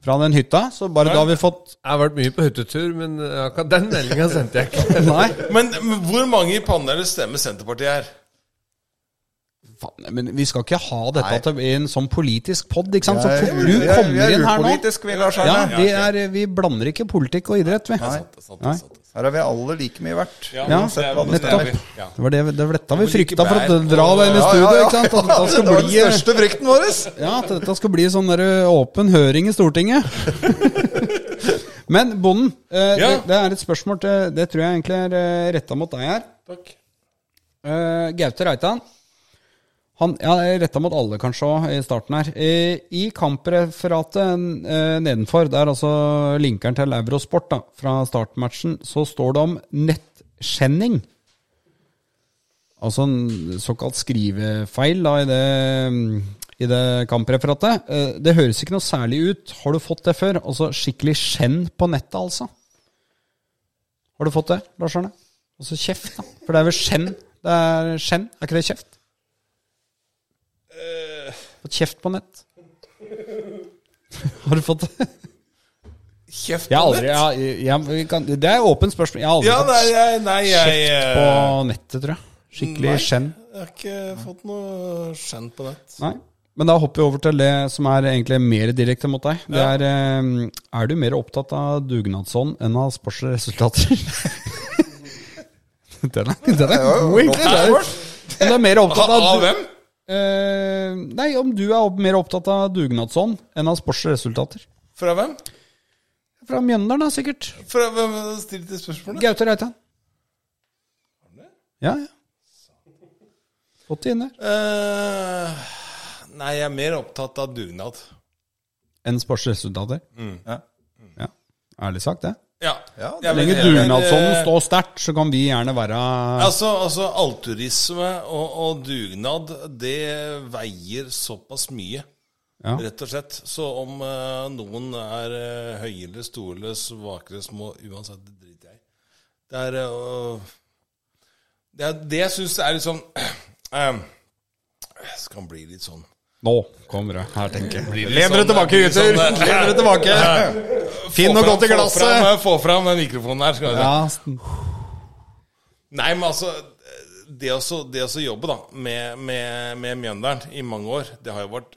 Fra den hytta. Så bare da har vi fått
Jeg har vært mye på hyttetur, men eh, akkurat den meldinga sendte jeg ikke.
Nei.
Men, men hvor mange i panelet stemmer Senterpartiet her?
Faen, men vi skal ikke ha dette
Nei.
til i en sånn politisk pod, ikke sant? Så
Jeg-
for du
jeg- jeg
kommer
er
inn her nå.
upolitisk, vi, Lars
Ja,
Arne.
vi, er, vi blander ikke politikk og idrett, vi.
Det er sant,
Nei.
det er sant.
Her er vi alle like mye verdt.
Ja,
Ja,
det er- det er
nettopp.
vi. Ja.
Det var det, det var dette vi
Men ikke
frykta for å
bær.
dra deg inn i
Ja, ja,
studio.
ja.
ikke sant? At dette
Det
skal
var den
bli eh,
største frykten vår.
Ja, at dette skal bli sånn der ø, åpen høring i Stortinget. Men bonden, eh,
Ja.
det, det er et spørsmål til Det tror jeg egentlig er eh, retta mot deg her.
Takk.
Eh, Gaute Reitan. Han, ja, Retta mot alle, kanskje, også, i starten her. Eh, I kampreferatet eh, nedenfor, det er altså linkeren til Eurosport da, fra startmatchen, så står det om nettskjenning. Altså en såkalt skrivefeil da, i, det, i det kampreferatet. Eh, Det høres ikke noe særlig ut. Har du fått det før? Altså skikkelig skjenn på nettet, altså. Har du fått det, Lars Arne? Altså kjeft, da. For det er vel skjenn. Det er skjenn, er ikke det kjeft? Eh. Fått kjeft på nett. Har du fått det?
Kjeft
Jeg har
på
aldri
nett?
jeg, jeg, vi kan, Det er åpent spørsmål. Jeg har aldri
Ja, nei,
fått
jeg, nei, jeg,
kjeft på
eh,
nettet, tror jeg. Skikkelig
Nei.
skjenn.
jeg har ikke fått noe skjenn på nett.
Nei. Men da hopper vi over til det som er egentlig mer direkte mot deg. Det
Ja.
er eh, Er du mer opptatt av dugnadsånd enn av sportsresultater? den, er, den er god, egentlig. Det er- Men Du er mer opptatt av
Av hvem?
Eh, nei, om du er opp, mer opptatt av dugnadsånd enn av sportsresultater.
Fra hvem?
Fra Mjøndalen, da, sikkert.
Fra hvem stilte de spørsmålet?
Gaute Reitan. Ja, ja. Fått det inn der.
Eh, nei, jeg er mer opptatt av dugnad.
Enn sportsresultater.
Mm.
Ja. Ærlig sagt, det.
Ja.
Ja,
Jeg
Så lenge
vil-
dugnadsånden står sterkt, så kan vi gjerne være
Altså, altså Alturisme og, og dugnad, det veier såpass mye.
Ja.
Rett og slett. Så om eh, noen er eh, høye eller store eller svake eller små, uansett, det driter jeg i. Det er eh, Det, er, det jeg syns er litt sånn eh, Skal bli litt sånn
Nå kommer det her, tenker jeg.
Len dere tilbake, gutter! Len dere tilbake! Finn noe godt i glasset! Få fram den mikrofonen her. Skal vi se.
Ja, st-
Nei, men altså Det å så- det å så jobbe da med, med, med Mjøndalen i mange år, det har jo vært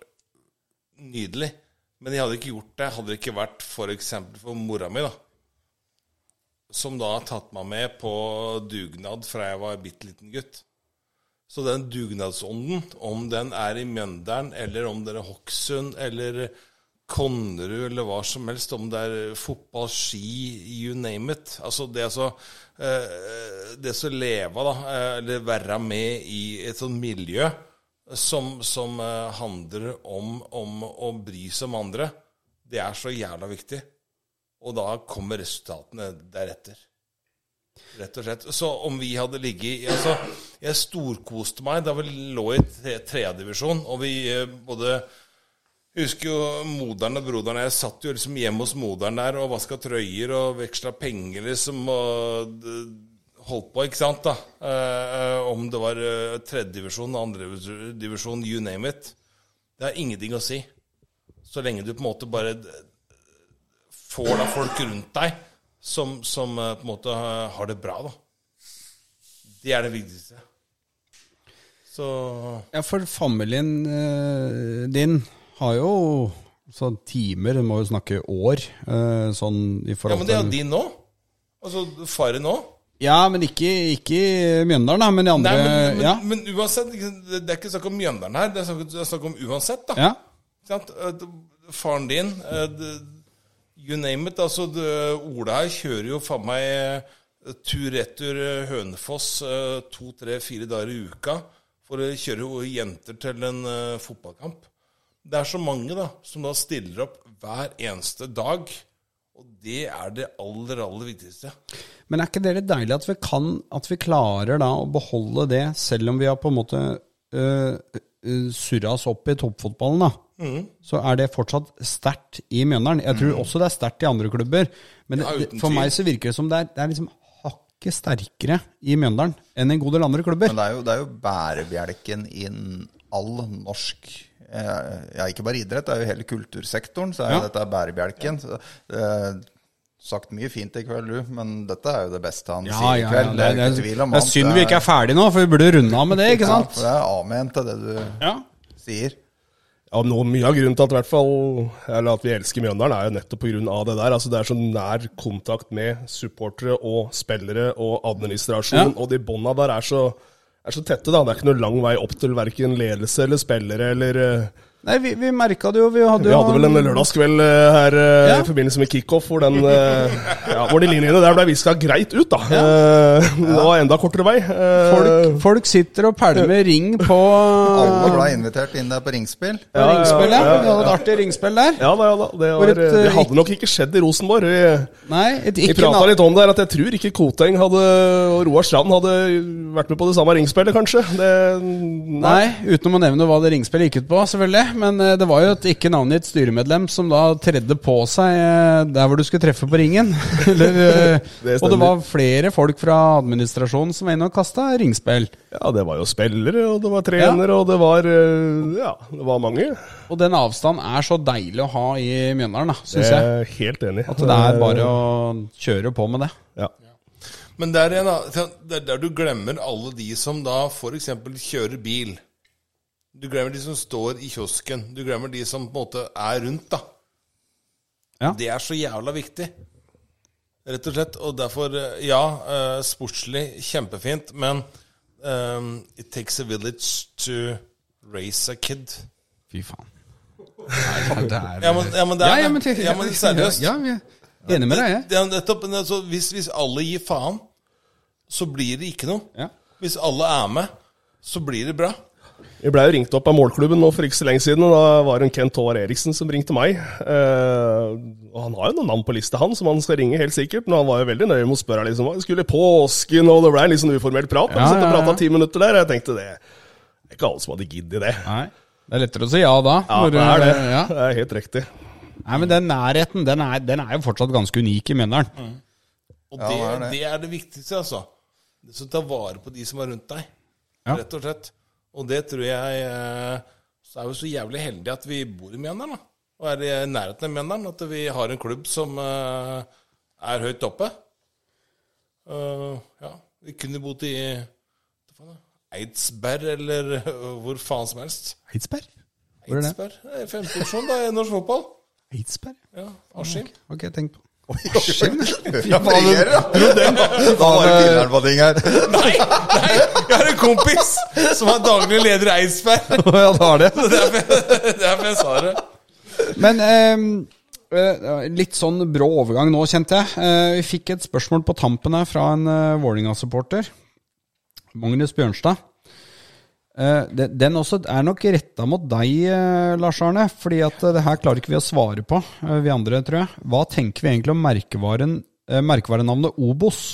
nydelig. Men jeg hadde ikke gjort det hadde det ikke vært for eksempel for mora mi, da. Som da har tatt meg med på dugnad fra jeg var bitte liten gutt. Så den dugnadsånden, om den er i Mjøndalen, eller om det er Hokksund, eller Konnerud, eller hva som helst, om det er fotball, ski, you name it Altså det å så, eh, det så leve, da, eh, eller være med i et sånt miljø som, som eh, handler om, om å bry seg om andre, det er så jævla viktig. Og da kommer resultatene deretter. Rett og slett. Så om vi hadde ligget i altså, Jeg storkoste meg da vi lå i tre- tredjedivisjon, og vi eh, både jeg husker jo moderen og broderen Jeg satt jo liksom hjemme hos moderen der og vaska trøyer og veksla penger, liksom, og d- holdt på, ikke sant, da. Eh, eh, om det var eh, tredjedivisjon, andredivisjon, you name it. Det har ingenting å si. Så lenge du på en måte bare d- får da folk rundt deg som, som eh, på en måte eh, har det bra, da. Det er det viktigste. Så
ja, for familien eh, din har jo sånn timer, vi må jo snakke år, eh, sånn i
Ja,
forhold
men det
til
er din nå. Altså faren nå.
Ja, men ikke, ikke i Mjøndalen, da, men i andre
Nei, men, men,
ja.
men uansett, ikke sant, det det er ikke snakk om Mjøndalen her, det er snakk, det er snakk om uansett, da.
ja.
Ikke sant? Eh, d- Faren din, eh, d- you name it, altså d- Ola her kjører jo faen meg eh, tur-retur eh, Hønefoss eh, to, tre, fire dager i uka for å kjøre jo jenter til en eh, fotballkamp. Det er så mange da, som da stiller opp hver eneste dag, og det er det aller, aller viktigste.
Men er ikke det litt deilig at vi kan, at vi klarer da å beholde det, selv om vi har på en måte øh, øh, surra oss opp i toppfotballen, da?
Mm.
Så er det fortsatt sterkt i Mjøndalen. Jeg tror også det er sterkt i andre klubber, men
Ja,
det-
uten
for
tvil.
meg så virker det som det er, det er liksom hakket sterkere i Mjøndalen enn en god del andre klubber.
Men det er jo, det er jo bærebjelken innen all norsk eh, Ja, ikke bare idrett, det er jo hele kultursektoren. Så er
Ja.
jo dette er bærebjelken. Så, eh, sagt mye fint i kveld, du, men dette er jo det beste han
Ja,
sier i
ja, ja. Det,
kveld.
det,
ikke
det,
tvil om
er
annet.
synd vi ikke er ferdig nå, for vi burde runde av med det, ikke
Ja,
sant?
for det er amen til det du
Ja.
sier.
Ja, men noe, Mye av grunnen til at, i hvert fall, eller at vi elsker Mjøndalen, er jo nettopp pga. det der. Altså, det er så nær kontakt med supportere og spillere og administrasjon. Og de bånda der er så, er så tette. da. Det er ikke noe lang vei opp til verken ledelse eller spillere. eller... eh,
Nei, vi, vi merka det jo. Vi hadde,
Vi
jo
hadde vel en lørdagskveld eh, her eh,
Ja.
i forbindelse med kickoff hvor, den, eh, ja, hvor de linjene der ble viska greit ut, da. Eh, Det var enda kortere vei. eh,
folk, folk sitter og pælmer ring på
Alle ble invitert inn der på ringspill.
Ja, ringspill, ja.
ja, ja,
Vi hadde et artig ringspill der.
Ja da, ja da. Det,
For
var,
et,
eh, det
eh,
hadde nok ikke skjedd i Rosenborg. Vi,
Nei, et,
vi
ikke
prata
na-
litt om det her at jeg tror ikke Koteng hadde, og Roar Strand hadde vært med på det samme ringspillet, kanskje. Det,
Nei, uten å nevne hva det ringspillet gikk ut på, selvfølgelig. men eh, det var jo et ikke navngitt styremedlem som da tredde på seg eh, der hvor du skulle treffe på ringen. Eller, eh,
Det
og
stemmer.
det var flere folk fra administrasjonen som var inne og kasta ringspill.
Ja, det var jo spillere, og det var trenere, og det var eh, Ja, det var mange.
Og den avstanden er så deilig å ha i Mjøndalen, syns jeg.
Jeg er helt enig.
At det er bare å kjøre på med det.
ja.
Men det er, en, annen- det er der du glemmer alle de som da f.eks. kjører bil. Du glemmer de som står i kiosken. Du glemmer de som på en måte er rundt, da.
Ja.
Det er så jævla viktig. Rett og slett. Og derfor, eh, ja, eh, sportslig kjempefint, men ehm, it takes a village to raise a kid.
Fy faen. Nei, det er,
Ja, men, ja, men det er
Ja, ja, men,
det. Ja, men seriøst.
Ja, ja, jeg er enig med deg, jeg.
Det er nettopp, men altså, hvis, hvis alle gir faen, så blir det ikke noe.
Ja.
Hvis alle er med, så blir det bra.
Vi blei jo ringt opp av målklubben nå for ikke så lenge siden, og da var det en Kent Håvard Eriksen som ringte meg. Eh, og han har jo noen navn på lista, han, som han skal ringe, helt sikkert. Men han var jo veldig nøye med å spørre liksom, hva skulle i påsken, og det blei en litt sånn uformell prat.
Ja,
Han satt
ja,
og
ja.
prata ti minutter der, og jeg tenkte det er ikke alle som hadde giddet det.
Nei. Det er lettere å si ja da.
Ja,
når du-
det er det.
Ja.
Det er helt riktig.
Nei, men den nærheten, den er, den er jo fortsatt ganske unik i Mjøndalen.
Og
Ja,
det,
det er
det.
det.
er det viktigste, altså. Det som tar vare på de som er rundt deg.
Ja.
Rett og slett. Og det tror jeg eh, Så er vi så jævlig heldige at vi bor i Mjøndalen, da. Og er i nærheten av Mjøndalen. At vi har en klubb som eh, er høyt oppe. Eh, ja. Vi kunne bodd i hva faen da? Eidsberg eller hvor faen som helst.
Eidsberg? Hvor er det?
Eidsberg? Eh, Femteopsjon, da, i norsk fotball.
Eidsberg?
Ja, Askim.
Ok, tenk på
Ja, faen, du- Da var det killeren på ting her.
Nei, nei! Jeg har en kompis som er daglig leder i Eidsberg.
ja, det var det.
Det er derfor- det er derfor jeg sa det.
Men ehm, eh, litt sånn brå overgang nå, kjente jeg. Eh, vi fikk et spørsmål på tampen her fra en eh, Vålinga-supporter. Magnus Bjørnstad. Eh, de- den også er nok retta mot deg, eh, Lars Arne. Fordi at eh, det her klarer ikke vi å svare på, eh, vi andre, tror jeg. Hva tenker vi egentlig om merkevaren, eh, merkevarenavnet Obos?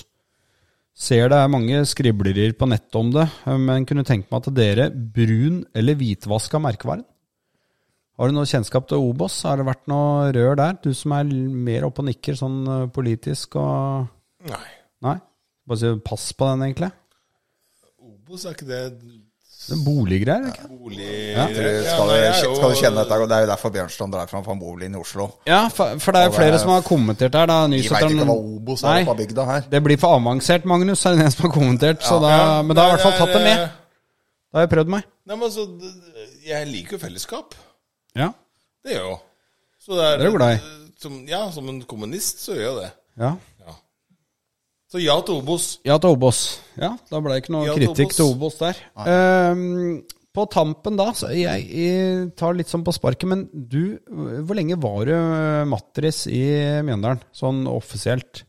Ser det er mange skriblerier på nettet om det, eh, men kunne tenke meg at dere brun- eller hvitvaska merkevaren? Har du noe kjennskap til Obos? Har det vært noe rør der? Du som er l- mer oppe og nikker sånn eh, politisk og
Nei.
Nei? Bare si pass på den, egentlig.
Obos, er ikke det
Det er boliggreier, ikke
bolig...
Tror du- Skal
nei,
du
jeg er
shit,
jo-
skal du kjenne dette? Det er jo derfor Bjørnstrand drar fram fra Moelin i Oslo.
Ja, for, for det er jo
Og det er-
flere som har kommentert her. Da,
Vi veit ikke hva Obos
Nei.
er på bygda her.
Det blir for avansert, Magnus, er det en som har kommentert. Så da,
Ja,
men da har jeg i hvert
nei,
fall tatt det med.
er- eh,
Da har jeg prøvd meg.
Nei, men altså, det- jeg liker jo fellesskap.
Ja.
Det gjør jeg jo. Så det er,
Det er du glad i.
Som, ja, som en kommunist så gjør jeg det.
Ja,
Så ja til Obos.
ja til Obos. Ja, da ble det ikke noe
Ja til
kritikk
Obos.
til Obos der. Ehm, på tampen da, så jeg, jeg tar litt sånn på sparket, men du, hvor lenge var du eh, matris i Mjøndalen, sånn offisielt?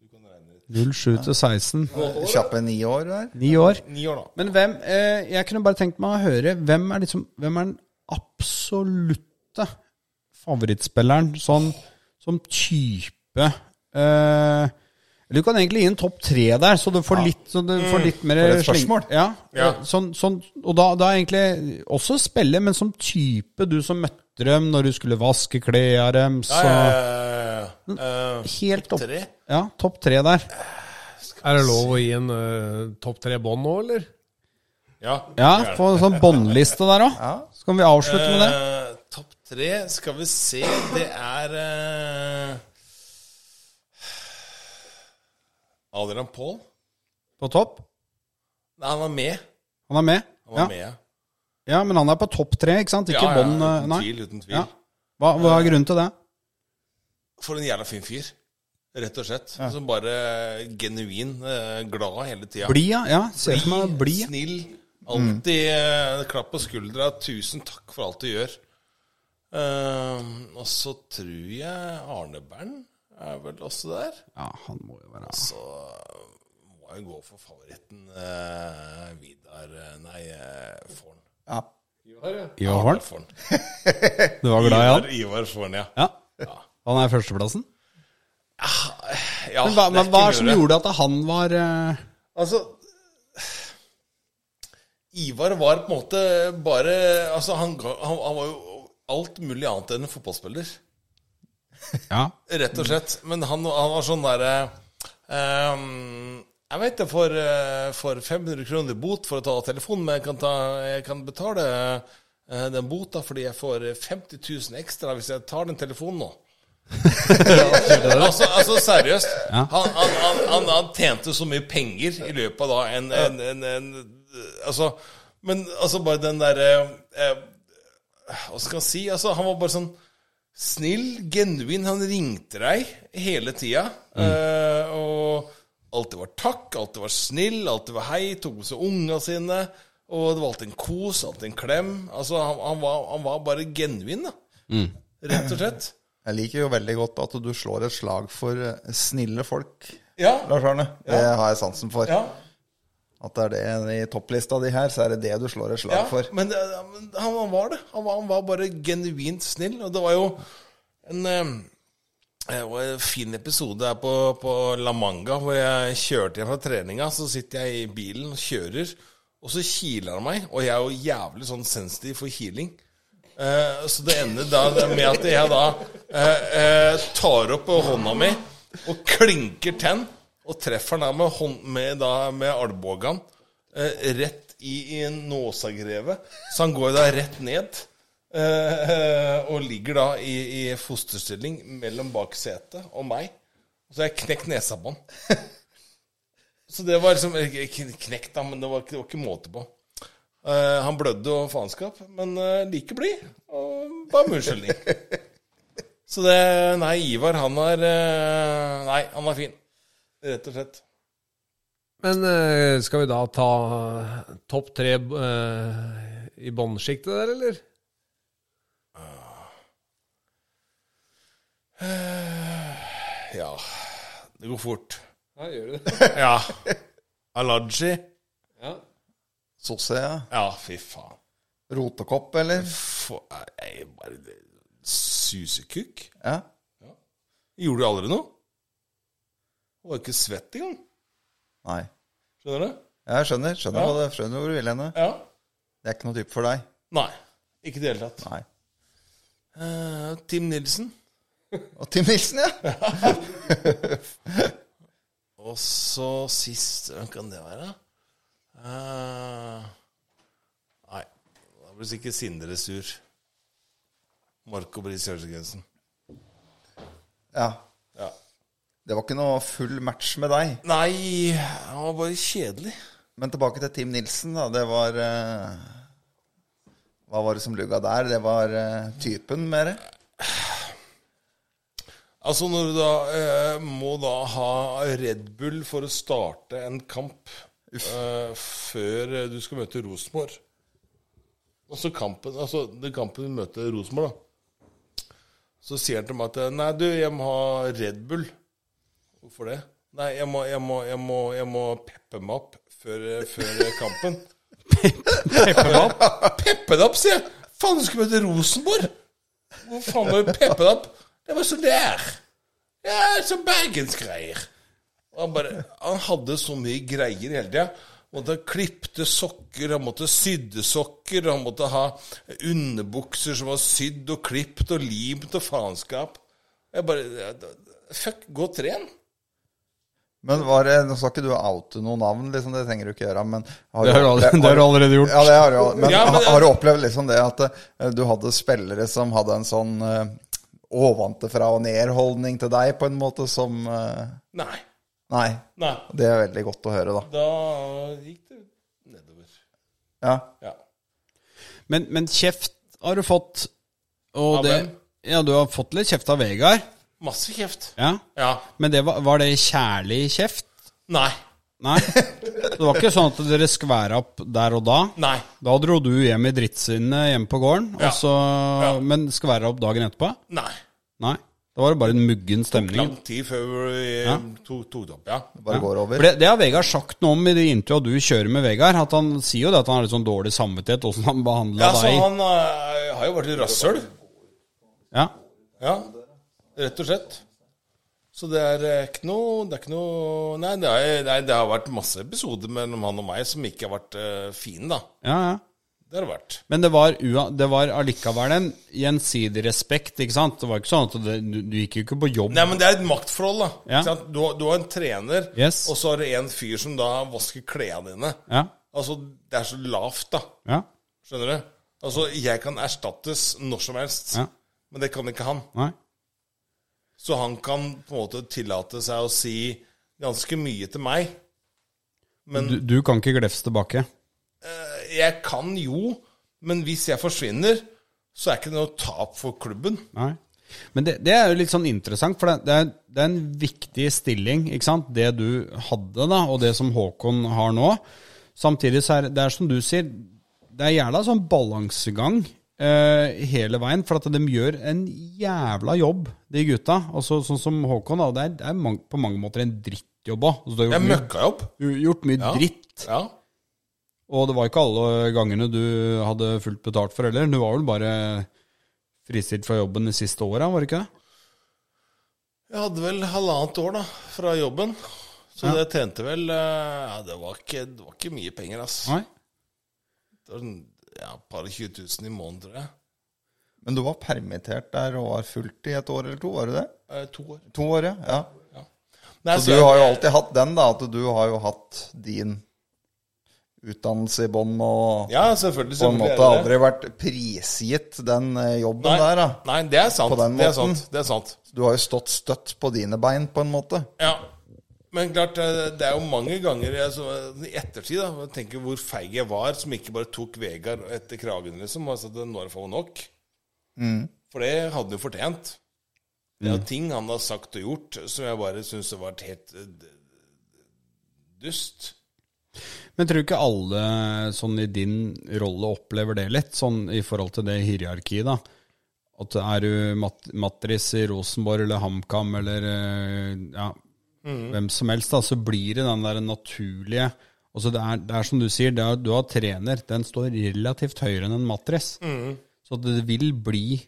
Du kan regne 07 til 16.
Kjappe ni år der.
Ni år.
Ni år, da.
Men hvem eh, Jeg kunne bare tenkt meg å høre Hvem er, liksom, hvem er den absolutte favorittspilleren sånn som type eh, Eller du kan egentlig gi en topp tre der, så du får litt, så du
Mm.
får litt mer
for et
sling-
spørsmål.
Ja,
Ja.
Sånn, sånn, og da, da er egentlig også spille, men som type, du som møtte dem når du skulle vaske klærne deres
Ja,
og
ja, ja, ja. Eh,
Mm. Helt opp.
tre?
Ja, topp tre der.
Er det lov å gi en eh, topp tre bånd nå, eller?
ja.
Ja, Få en sånn båndliste der òg. Så kan vi avslutte med det.
Eh, Topp tre, skal vi se Det er eh, Adrian Paul?
På topp.
Nei, han var med.
Han er med.
Han var
ja.
med, ja.
Ja, men han er på topp tre, ikke sant? Ikke
Ja, ja,
bånd eh,
Uten
Nei.
tvil, uten tvil.
Ja. Hva, hva er grunnen til det?
For en jævla fin fyr. Rett og slett. Som bare genuin eh, glad hele tida.
Blid, ja. ja. Ser ut som han er blid. ja.
Snill. Alltid eh, klapp på skuldra. Tusen takk for alt du gjør. Eh, og så tror jeg Arne Bern er vel også der.
Ja, han må jo være
Så eh, må jeg gå for favoritten eh, Vidar eh, Nei, eh, Forn.
Ja.
Ivar Horn.
Forn.
Du var glad i han?
Ivar Forn, ja.
Ja. Han er førsteplassen?
Ja,
Men hva,
det
men
er
hva
ikke
er det som
mye å gjøre.
gjorde at han var eh,
Altså Ivar var på en måte bare Altså, han, ga- han, han var jo alt mulig annet enn en fotballspiller.
Ja.
Rett og slett. Men han, han var sånn derre ehm, Jeg vet det, for, eh, for 500 kroner bot for å ta telefonen, men jeg kan, ta, jeg kan betale eh, den bota fordi jeg får 50 000 ekstra hvis jeg tar den telefonen nå. altså, altså seriøst. Han, han, han, han, han tjente så mye penger i løpet av da en, en, en, en, Altså Men altså bare den derre eh, Hva skal jeg si? Altså, han var bare sånn snill, genuin. Han ringte deg hele tida. eh, og alltid var takk, alltid var snill, alltid var hei. Tok med seg unga sine. Og det var alltid en kos, alltid en klem. Altså, han, han, var, han var bare genuin, da. Rett og slett.
Jeg liker jo veldig godt at du slår et slag for eh, snille folk,
Ja.
Lars Arne. Det har jeg sansen for.
ja.
At det er det i topplista di her, så er det det du slår et slag
ja.
for.
Men eh, men han, han var det. Han var, han var bare genuint snill. Og det var jo en eh, Det var en fin episode her på, på La Manga, hvor jeg kjørte hjem fra treninga. Så sitter jeg i bilen og kjører, og så kiler han meg. Og jeg er jo jævlig sånn sensitiv for kiling. Eh, så det ender da med at jeg da eh, eh, tar opp hånda mi og klinker tenn, og treffer han da med, hånd, med, da- med albuen eh, rett i, i nåsagrevet. Så han går da rett ned. Eh, eh, og ligger da i, i fosterstilling mellom bak setet og meg. Og så har jeg knekt nesa på han. Så det var liksom ikke- ikke Knekt, da, men det var, ikke- det var ikke måte på. Eh, han blødde og faenskap, men eh, like blid. Og bare med unnskyldning. Så det Nei, Ivar, han er eh, Nei, han er fin. Rett og slett.
Men eh, skal vi da ta topp tre eh, i båndsjiktet der, eller?
Ja. Det går fort.
Ja, gjør du det?
Ja. Alaji.
Ja.
Sosse, ja.
Ja, fy faen.
Rotekopp, eller?
For, jeg bare Susekukk?
Ja.
Gjorde du aldri noe? Du var ikke svett engang.
Nei.
Skjønner du?
Ja, Jeg skjønner skjønner,
Ja.
hva det, skjønner hvor du vil henne.
Ja.
Det er ikke noe type for deg.
Nei. Ikke i det hele tatt.
Nei.
Eh, Tim Nilsen.
Og Tim Nilsen, ja!
Og så sist Hvem kan det være? Eh, nei. Da blir sikkert Sindre sur. Marco Bris Jørgensen.
ja.
Ja.
Det var ikke noe full match med deg.
Nei, han var bare kjedelig.
Men tilbake til Tim Nilsen, da. Det var eh, Hva var det som lugga der? Det var eh, typen, mer?
Altså når du da eh, må da ha Red Bull for å starte en kamp eh, før eh, du skal møte Rosenborg. Altså kampen, altså den kampen du møter Rosenborg, da. Så sier han til meg at eh, nei, du, jeg må ha Red Bull. Hvorfor det? Nei, jeg må, jeg må, jeg må, jeg må peppe meg opp før, eh, før eh, kampen. peppe deg opp? Peppe deg opp, sier jeg! Faen, du skal møte Rosenborg! Hvor faen må du peppe deg opp? Det var sånn der. Ja, sånn bergensgreier. Og Han, bare, han hadde så mye greier hele tida. Måtte ha klipte sokker, han måtte sydde sokker, han måtte ha underbukser som var sydd og klipt og limt og faenskap. Jeg bare Fuck, gå og tren.
Men var det, Nå skal ikke du oute noen navn, liksom, det trenger du ikke gjøre. Men har
Det har du allerede- det har du allerede gjort.
Ja, det har du, men,
Ja, men-
ha- har du opplevd liksom det at eh, du hadde spillere som hadde en sånn uh, ovenfra og ned-holdning til deg, på en måte som eh,
Nei.
Nei.
Nei.
Det er veldig godt å høre, da.
Da gikk det nedover.
Ja.
Ja.
Men, men kjeft har du fått. Og
Av
det,
hvem?
ja, du har fått litt kjeft av Vegard.
Masse kjeft.
Ja.
Ja.
Men det var, var det kjærlig kjeft?
Nei.
Nei. Det var ikke sånn at dere skværa opp der og da?
Nei.
Da dro du hjem i drittsinnet hjemme på gården,
Ja.
og så,
Ja.
men skværa opp dagen etterpå?
Nei.
Nei. Da var det bare en muggen stemning.
Lang tid før vi eh, tok tok det opp, ja.
Det bare går
For
over.
det, det har Vegard sagt noe om i de intervjua du kjører med Vegard. At Han sier jo det at han har litt sånn dårlig samvittighet, åssen han behandla
Ja, så
deg.
han eh, har jo vært litt rasshøl.
Ja.
Ja, rett og slett. Så det er eh, ikke noe Det er ikke noe Nei, det, er, nei, det har vært masse episoder mellom han og meg som ikke har vært eh, fine, da.
Ja, ja.
Det har det vært.
Men det var, ua, det var allikevel en gjensidig respekt, ikke sant? Det var ikke sånn at det, du, du gikk jo ikke på jobb.
Nei, men det er et maktforhold, da.
Ja.
Ikke sant? Du, har- du har en trener,
Yes.
og så har du en fyr som da vasker klærne dine.
Ja,
Altså, det er så lavt, da.
ja,
Skjønner du? Altså, jeg kan erstattes når som helst,
Ja.
men det kan ikke han.
nei.
Så han kan på en måte tillate seg å si ganske mye til meg. Men
Du, du kan ikke glefse tilbake.
jeg kan jo, men hvis jeg forsvinner, så er ikke det noe tap for klubben.
Nei. Men det, det er jo litt sånn interessant, for det, det, er, det er en viktig stilling, ikke sant? Det du hadde da, og det som Håkon har nå. Samtidig så er det- det er som du sier, det er jævla sånn balansegang eh, hele veien, for at de gjør en jævla jobb, de gutta. Altså sånn som Håkon, da, det er, det er mang- på mange måter en drittjobb òg. Altså, du har
Jeg
gjort mye-
møkka jo opp.
du har gjort mye
Ja.
dritt.
Ja.
Og det var ikke alle gangene du hadde fullt betalt for heller. Du var vel bare fristilt fra jobben de siste åra, var det ikke det?
Jeg hadde vel halvannet år da, fra jobben. Så det tjente vel eh, ja, det, var ikke, det var ikke mye penger, ass.
Nei.
Det var sånn, ja, par og 20 000 i måneden, tror jeg.
Men du var permittert der og var fullt i et år eller to, var du det?
Eh, to år.
To år, ja. ja.
Nei,
Så du har jo alltid hatt den, da, at du har jo hatt din utdannelse i bånn og
Ja, selvfølgelig.
på en
selvfølgelig
måte
er det det.
aldri vært prisgitt den eh, jobben
Nei.
der, da.
Nei, det er sant.
På den
Det er
måten.
sant. Det er sant.
Du har jo stått støtt på dine bein, på en måte.
Ja. Men klart, eh, det er jo mange ganger jeg, så, i ettertid da, jeg tenker hvor feig jeg var som ikke bare tok Vegard etter kragen, liksom. Altså, det, nå er det for nok.
Mm.
For det hadde han jo fortjent. Det er jo ting han har sagt og gjort som jeg bare syns har vært helt eh, d- dust.
Men tror du ikke alle sånn i din rolle opplever det litt, sånn i forhold til det hierarkiet, da? At er du mat matris i Rosenborg eller HamKam eller eh, ja, hvem som helst, da, så blir det den der naturlige Altså det er, det er som du sier, det er, du har trener, den står relativt høyere enn en matris. Så det vil bli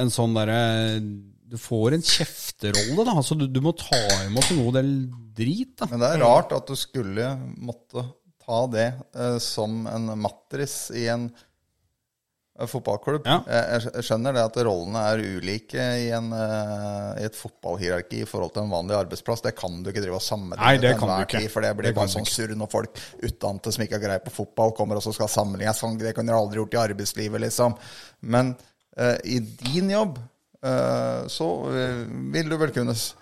en sånn derre Du får en kjefterolle, da. Altså du, du må ta imot en god del drit, da.
Men det er rart at du skulle måtte ta det eh, som en matris i en eh, fotballklubb.
Ja.
Jeg, jeg skj- jeg skjønner det at rollene er ulike i, en, eh, i et fotballhierarki i forhold til en vanlig arbeidsplass. Det kan du ikke drive og sammenligne
Nei, det
til
kan du
enhver
ikke.
tid, for det blir
Det kan du
bare sånn surr når folk utdannede som ikke har greie på fotball, kommer og så skal sammenligne. Sånn, det kunne du aldri gjort i arbeidslivet, liksom. Men eh, i din jobb eh, så eh, vil du vel kunne s-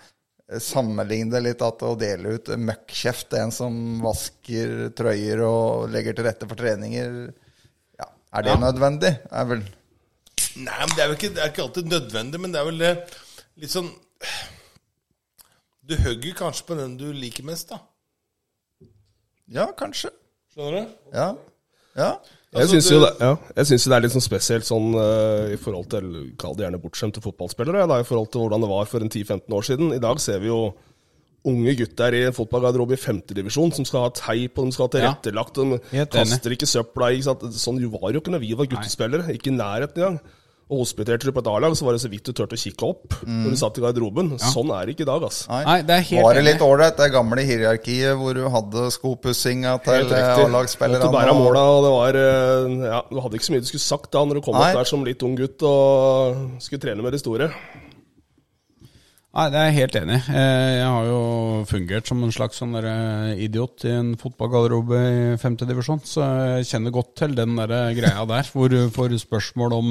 sammenligne det litt at å dele ut møkkkjeft til en som vasker trøyer og legger til rette for treninger ja, Er det nødvendig? Er vel
Nei, men det er jo ikke, det er ikke alltid nødvendig, men det er vel eh, litt sånn Du hugger kanskje på den du liker mest, da.
Ja, kanskje.
Skjønner du?
Ja. ja.
Jeg
Altså,
syns jo
du-
det, ja. Jeg synes jo det er litt sånn spesielt sånn eh, i forhold til Kall det gjerne bortskjemte fotballspillere, da, i forhold til hvordan det var for en 10-15 år siden. I dag ser vi jo unge gutter i en fotballgarderobe i femtedivisjon som skal ha teip, og de skal ha tilrettelagt, og de
Helt enig.
kaster ikke søpla i. ikke sant? Sånn jo var det jo ikke når vi var guttespillere, ikke i nærheten engang. Og hospiterte du på et A-lag, så var det så vidt du turte å kikke opp når du satt i garderoben. Sånn er det ikke i dag, ass.
Mm. Nei, det er helt
Var det
enig.
litt ålreit, det gamle hierarkiet hvor du hadde skopussinga til
Helt riktig.
A-lagsspillerne?
Måtte bære
og-
måla, og det var eh, Ja, du hadde ikke så mye du skulle sagt da når du kom
Nei.
opp der som litt ung gutt og skulle trene med de store.
Nei, det er jeg helt enig i. Eh, Jeg har jo fungert som en slags sånn der eh, idiot i en fotballgarderobe i femtedivisjon, så jeg kjenner godt til den der eh, greia der, hvor du får spørsmål om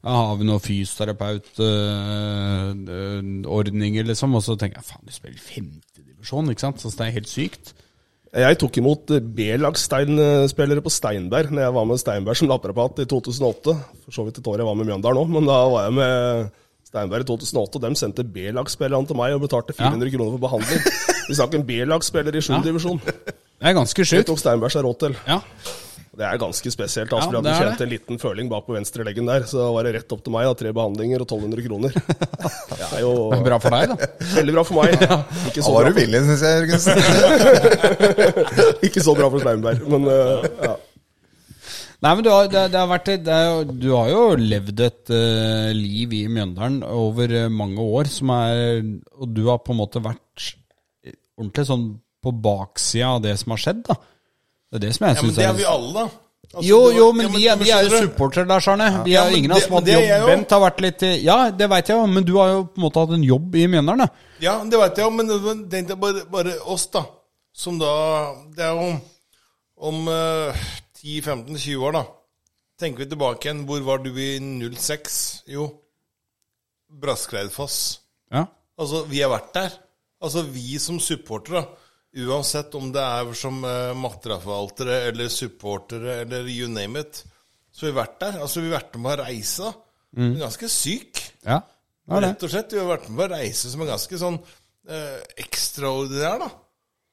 ja, har vi noen fysioterapeutordninger, liksom? Og så tenker jeg faen, du spiller femtedivisjon, ikke sant? Så det er helt sykt.
Jeg tok imot eh, B-lagsspillere på Steinberg Når jeg var med Steinberg som naprapat i 2008. For så vidt et år jeg var med Mjøndalen òg, men da var jeg med Steinberg i 2008. Og dem sendte B-lagsspillerne til meg og betalte 400 kroner for behandling. Vi snakker en B-lagsspiller i 7. divisjon.
Det er ganske
Det
sjukt.
tok Steinberg seg råd til.
Ja.
Det er ganske spesielt. Altså,
Ja,
fordi
det er
at du kjente en liten føling bak på venstre leggen der. Så var det rett opp til meg. da, Tre behandlinger og 1200 kroner. Det er jo
Det er bra for deg, da.
veldig bra for meg. Ikke
Da
så
var
bra
du
for,
villig, syns jeg, Jørgensen.
ikke så bra for Steinberg, men eh, ja.
Nei, men du har, det, det har vært, et- det er, jo- du har jo levd et eh, liv i Mjøndalen over eh, mange år, som er, og du har på en måte vært ordentlig sånn på baksida av det som har skjedd. da. Det er det som jeg
Ja, men
synes
det er
er
vi alle, da. Altså,
jo,
det var-
jo, men
ja,
vi er, vi er jo
skjønner du?
supportere der, Sarne. Vi er
Ja,
jo
men
ingen av oss
det-
som har hatt
det er
jobb.
jeg jo.
Bent har vært litt Ja, det veit jeg jo, men du har jo på en måte hatt en jobb i Mjøndalen. da.
Ja, det vet jeg jo, men det- men tenkte jeg bare, bare oss, da. Som da Det er jo om eh, 10-15-20 år, da. Tenker vi tilbake igjen. Hvor var du i 06? Jo, Braskleidfoss.
Ja.
Altså, vi har vært der. Altså, vi som supportere, uansett om det er som eh, matterforvaltere eller supportere eller you name it, så har vi vært der. Altså, vi har vært med å reise. da. Men Ganske syk,
ja. Det er det.
rett og slett. Vi har vært med å reise som er ganske sånn eh, ekstraordinær, da.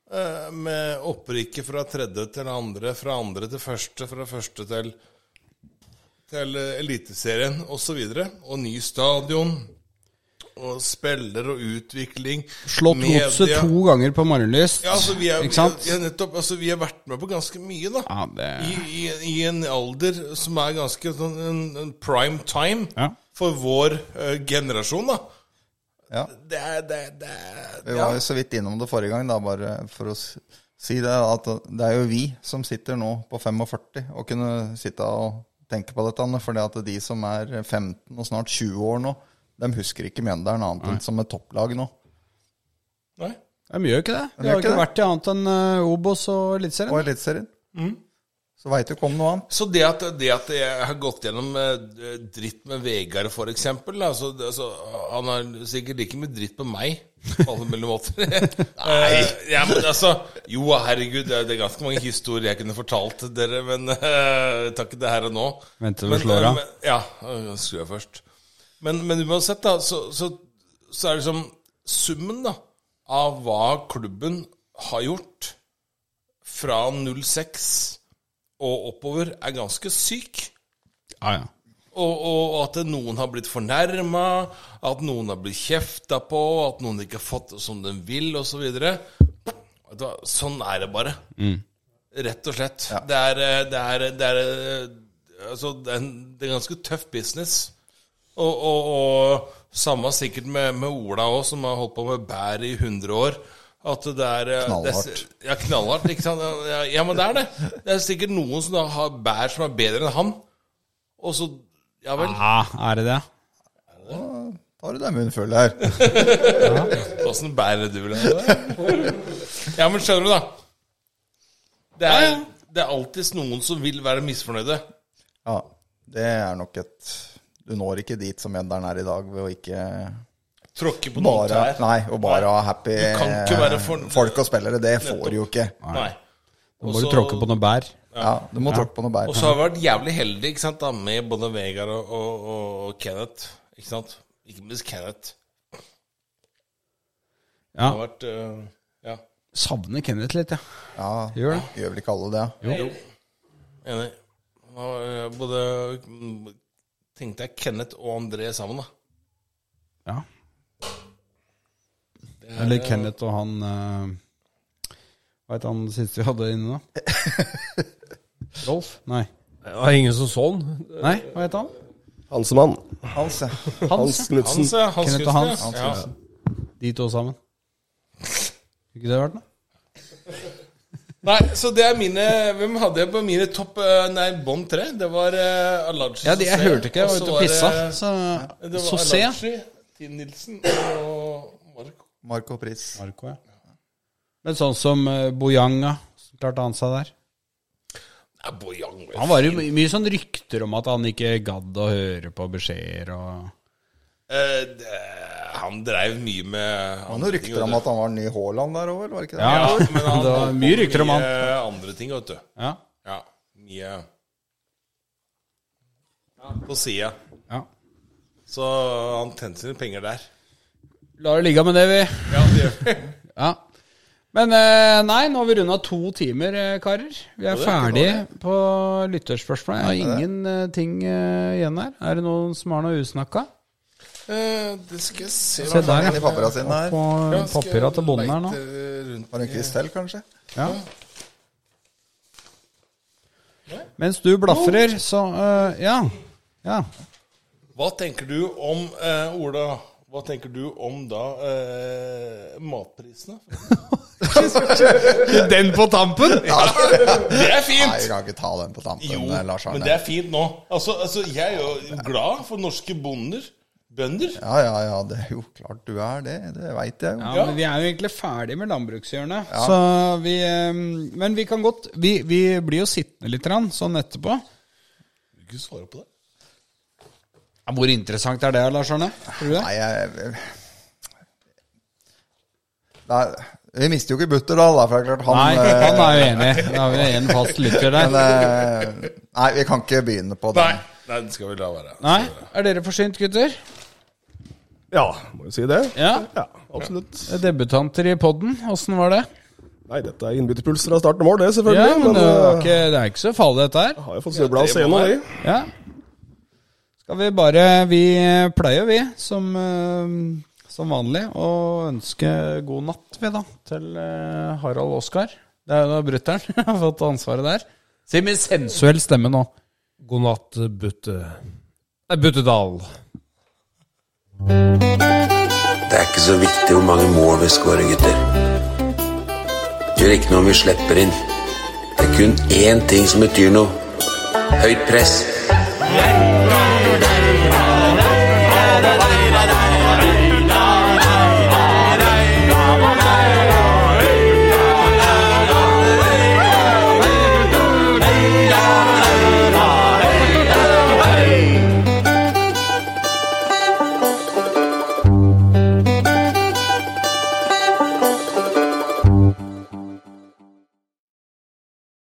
Eh, med opprykket fra tredje til andre, fra andre til første, fra første til til eh, Eliteserien osv. Og, så videre. og ny stadion. Og spiller og utvikling.
Slått godset
media.
to ganger på Marienlyst.
Ja, altså, vi er,
ikke sant?
Vi er, nettopp, altså, vi har vært med på ganske mye, da.
Ja, det-
I, i, I en alder som er ganske sånn en, en prime time
Ja.
for vår eh, generasjon, da.
Ja.
Det er, det, er- det er
Vi var jo så vidt innom det forrige gang, da, bare for å s- si det. At det er jo vi som sitter nå på 45 og kunne sitte og tenke på dette. Anne, Fordi at de som er 15 og snart 20 år nå, de husker ikke Mjøndalen annet enn som et topplag nå.
Nei.
Ja, men gjør ikke det. Vi
gjør
har
ikke
ikke
det.
vært i annet enn eh, Obos og Eliteserien.
Og Eliteserien.
Mm.
Så veit du ikke om noe annet.
Så det at, det at jeg har gått gjennom eh, dritt med Vegard, for eksempel da, så, altså, Han har sikkert like mye dritt med meg, på alle mulige måter. Nei! ja, men altså, jo, herregud, det er, det er ganske mange historier jeg kunne fortalt dere, men eh, takk det her og nå.
Vent til du
Men,
slår
eh,
av.
men- Ja, øh, skru av først. Men, men uansett, da, så, så, så er det liksom summen da, av hva klubben har gjort fra 06 og oppover er ganske syk.
Ja, ja.
Og, og at noen har blitt fornærma, at noen har blitt kjefta på, at noen ikke har fått det som de vil, osv. Så sånn er det bare. Rett og slett. Det er, eh, det er, det er eh, Altså, det er, en, det er ganske tøff business. Og, og, og samme sikkert med, med Ola òg, som har holdt på med bær i 100 år. At det er eh,
Knallhardt.
Det er, ja, knallhardt. Ikke sant? Ja, ja, men det er det. Det er sikkert noen som da har bær som er bedre enn han. Og så Ja vel.
Ah, er det det?
Da har du deg munnfull her.
Åssen bærer du vil ha det? Ja, men skjønner du, da. Det er, det er alltid noen som vil være misfornøyde.
Ja, det er nok et Du når ikke dit som Mjøndalen er i dag ved å ikke
Tråkke på noen
bare,
tær.
nei, og bare ha happy eh,
Du kan ikke være for-
folk og spillere. Det får du jo ikke.
Nei.
Da må
Også-
du tråkke på noen bær.
Ja, Du må tråkke på noe
Og
bær.
så har vi vært jævlig heldige ikke sant, da, med både Vegard og, og, og Kenneth. Ikke sant? Ikke minst Kenneth.
Ja.
Det har vært øh, Ja.
Savner Kenneth litt, ja.
Ja,
Gjør det.
Gjør vel ikke alle det? ja?
Enig. Han har, øh, Både mm, Tenkte jeg Kenneth og André sammen, da.
ja. Eller Kenneth og han eh, Hva het han siste vi hadde inne, da? Rolf? Nei.
Det var ingen som så den.
Nei, hva het han?
Hansemann.
Hans, ja.
Hans.
Hans
ja.
Knutsen.
Hans, ja. Hans
Kenneth og Hans.
Knudsen,
Hans
Ja.
De to sammen. Skulle ikke det vært noe?
Nei, så det er mine Hvem hadde jeg på mine topp øh, Nei, bånd tre? Det var uh, Alaji
Ja, de, jeg hørte ikke, jeg var ute og pissa. Så,
Det var
så se.
Alaji, Tim Nilsen og Marco.
Marco Pris.
Marco, ja. Men sånn som eh, Bojanga, som klarte han seg der.
Nei, Bojang var jo
Han var jo my- mye sånn rykter om at han ikke gadd å høre på beskjeder og
Eh, det- han dreiv mye med
Det var noen rykter om at han var den nye Haaland der òg, eller var det ikke det?
Ja,
men han
det var
holdt på
mye rykter om han.
Mye andre ting, vet du.
Ja.
Ja, mye På sida.
ja.
Så han tjente sine penger der.
La det ligge med det, vi.
Ja, det gjør vi.
Ja. Men eh, nei, nå har vi runda to timer, eh, karer. Vi er ferdige på lytterspørsmål. Jeg har ingenting eh, igjen her. Er det noen som har noe usnakka?
Eh, det skal jeg se
Se der,
I
ja.
pappera sine her.
På
Skal jeg
papira til bonden
eh,
her nå.
leite rundt.
Var det en kvist til, kanskje?
Ja. Mens du blafrer,
Oh.
så eh, Ja. ja.
Hva tenker du om, eh, Ola, hva tenker du om da eh, matprisene?
Den på tampen!
Det er
Nei,
fint!
vi kan ikke ta den på tampen,
Jo,
eh, Lars Arne.
men det er fint nå. Altså, altså, jeg er jo glad for norske bonder. Bønder.
Ja, ja, ja. Det er jo klart du er det. Det veit jeg jo.
Ja, men Vi er jo egentlig ferdig med landbrukshjørnet. Så vi, eh, men vi kan godt Vi, vi blir jo sittende litt grann, sånn etterpå.
Du kan ikke svare på det.
Ja, Hvor interessant er det, Lars Arne? Tror du det?
Nei, jeg Nei, Vi mister jo ikke Butterdal, da, for det er klart han
Nei,
eh,
han er jo enig. Da har vi en fast lytter der.
men, eh, Nei, vi kan ikke begynne på
Nei,
den.
nei, det skal vi la være.
Nei, er dere forsynt, gutter?
Ja, må jo si det.
Ja.
absolutt.
Debutanter i podden, åssen var det?
Nei, dette er innbytterpulser av starten og mål, det, selvfølgelig.
Ja, men det, var
eh,
ikke, det er ikke så farlig, dette her.
har jo fått snubla av scenen, vi.
Ja. Skal vi bare Vi pleier, vi, som, eh, som vanlig, å ønske god natt, vi, da, til eh, Harald Oskar. Det er jo da brutter'n har fått ansvaret der. Si med sensuell stemme nå.
God natt, Butte... Nei, Buttedal.
Det er ikke så viktig hvor mange mål vi skårer, gutter. Det gjør ikke noe om vi slipper inn. Det er kun én ting som betyr noe. Høyt press.
Hjertet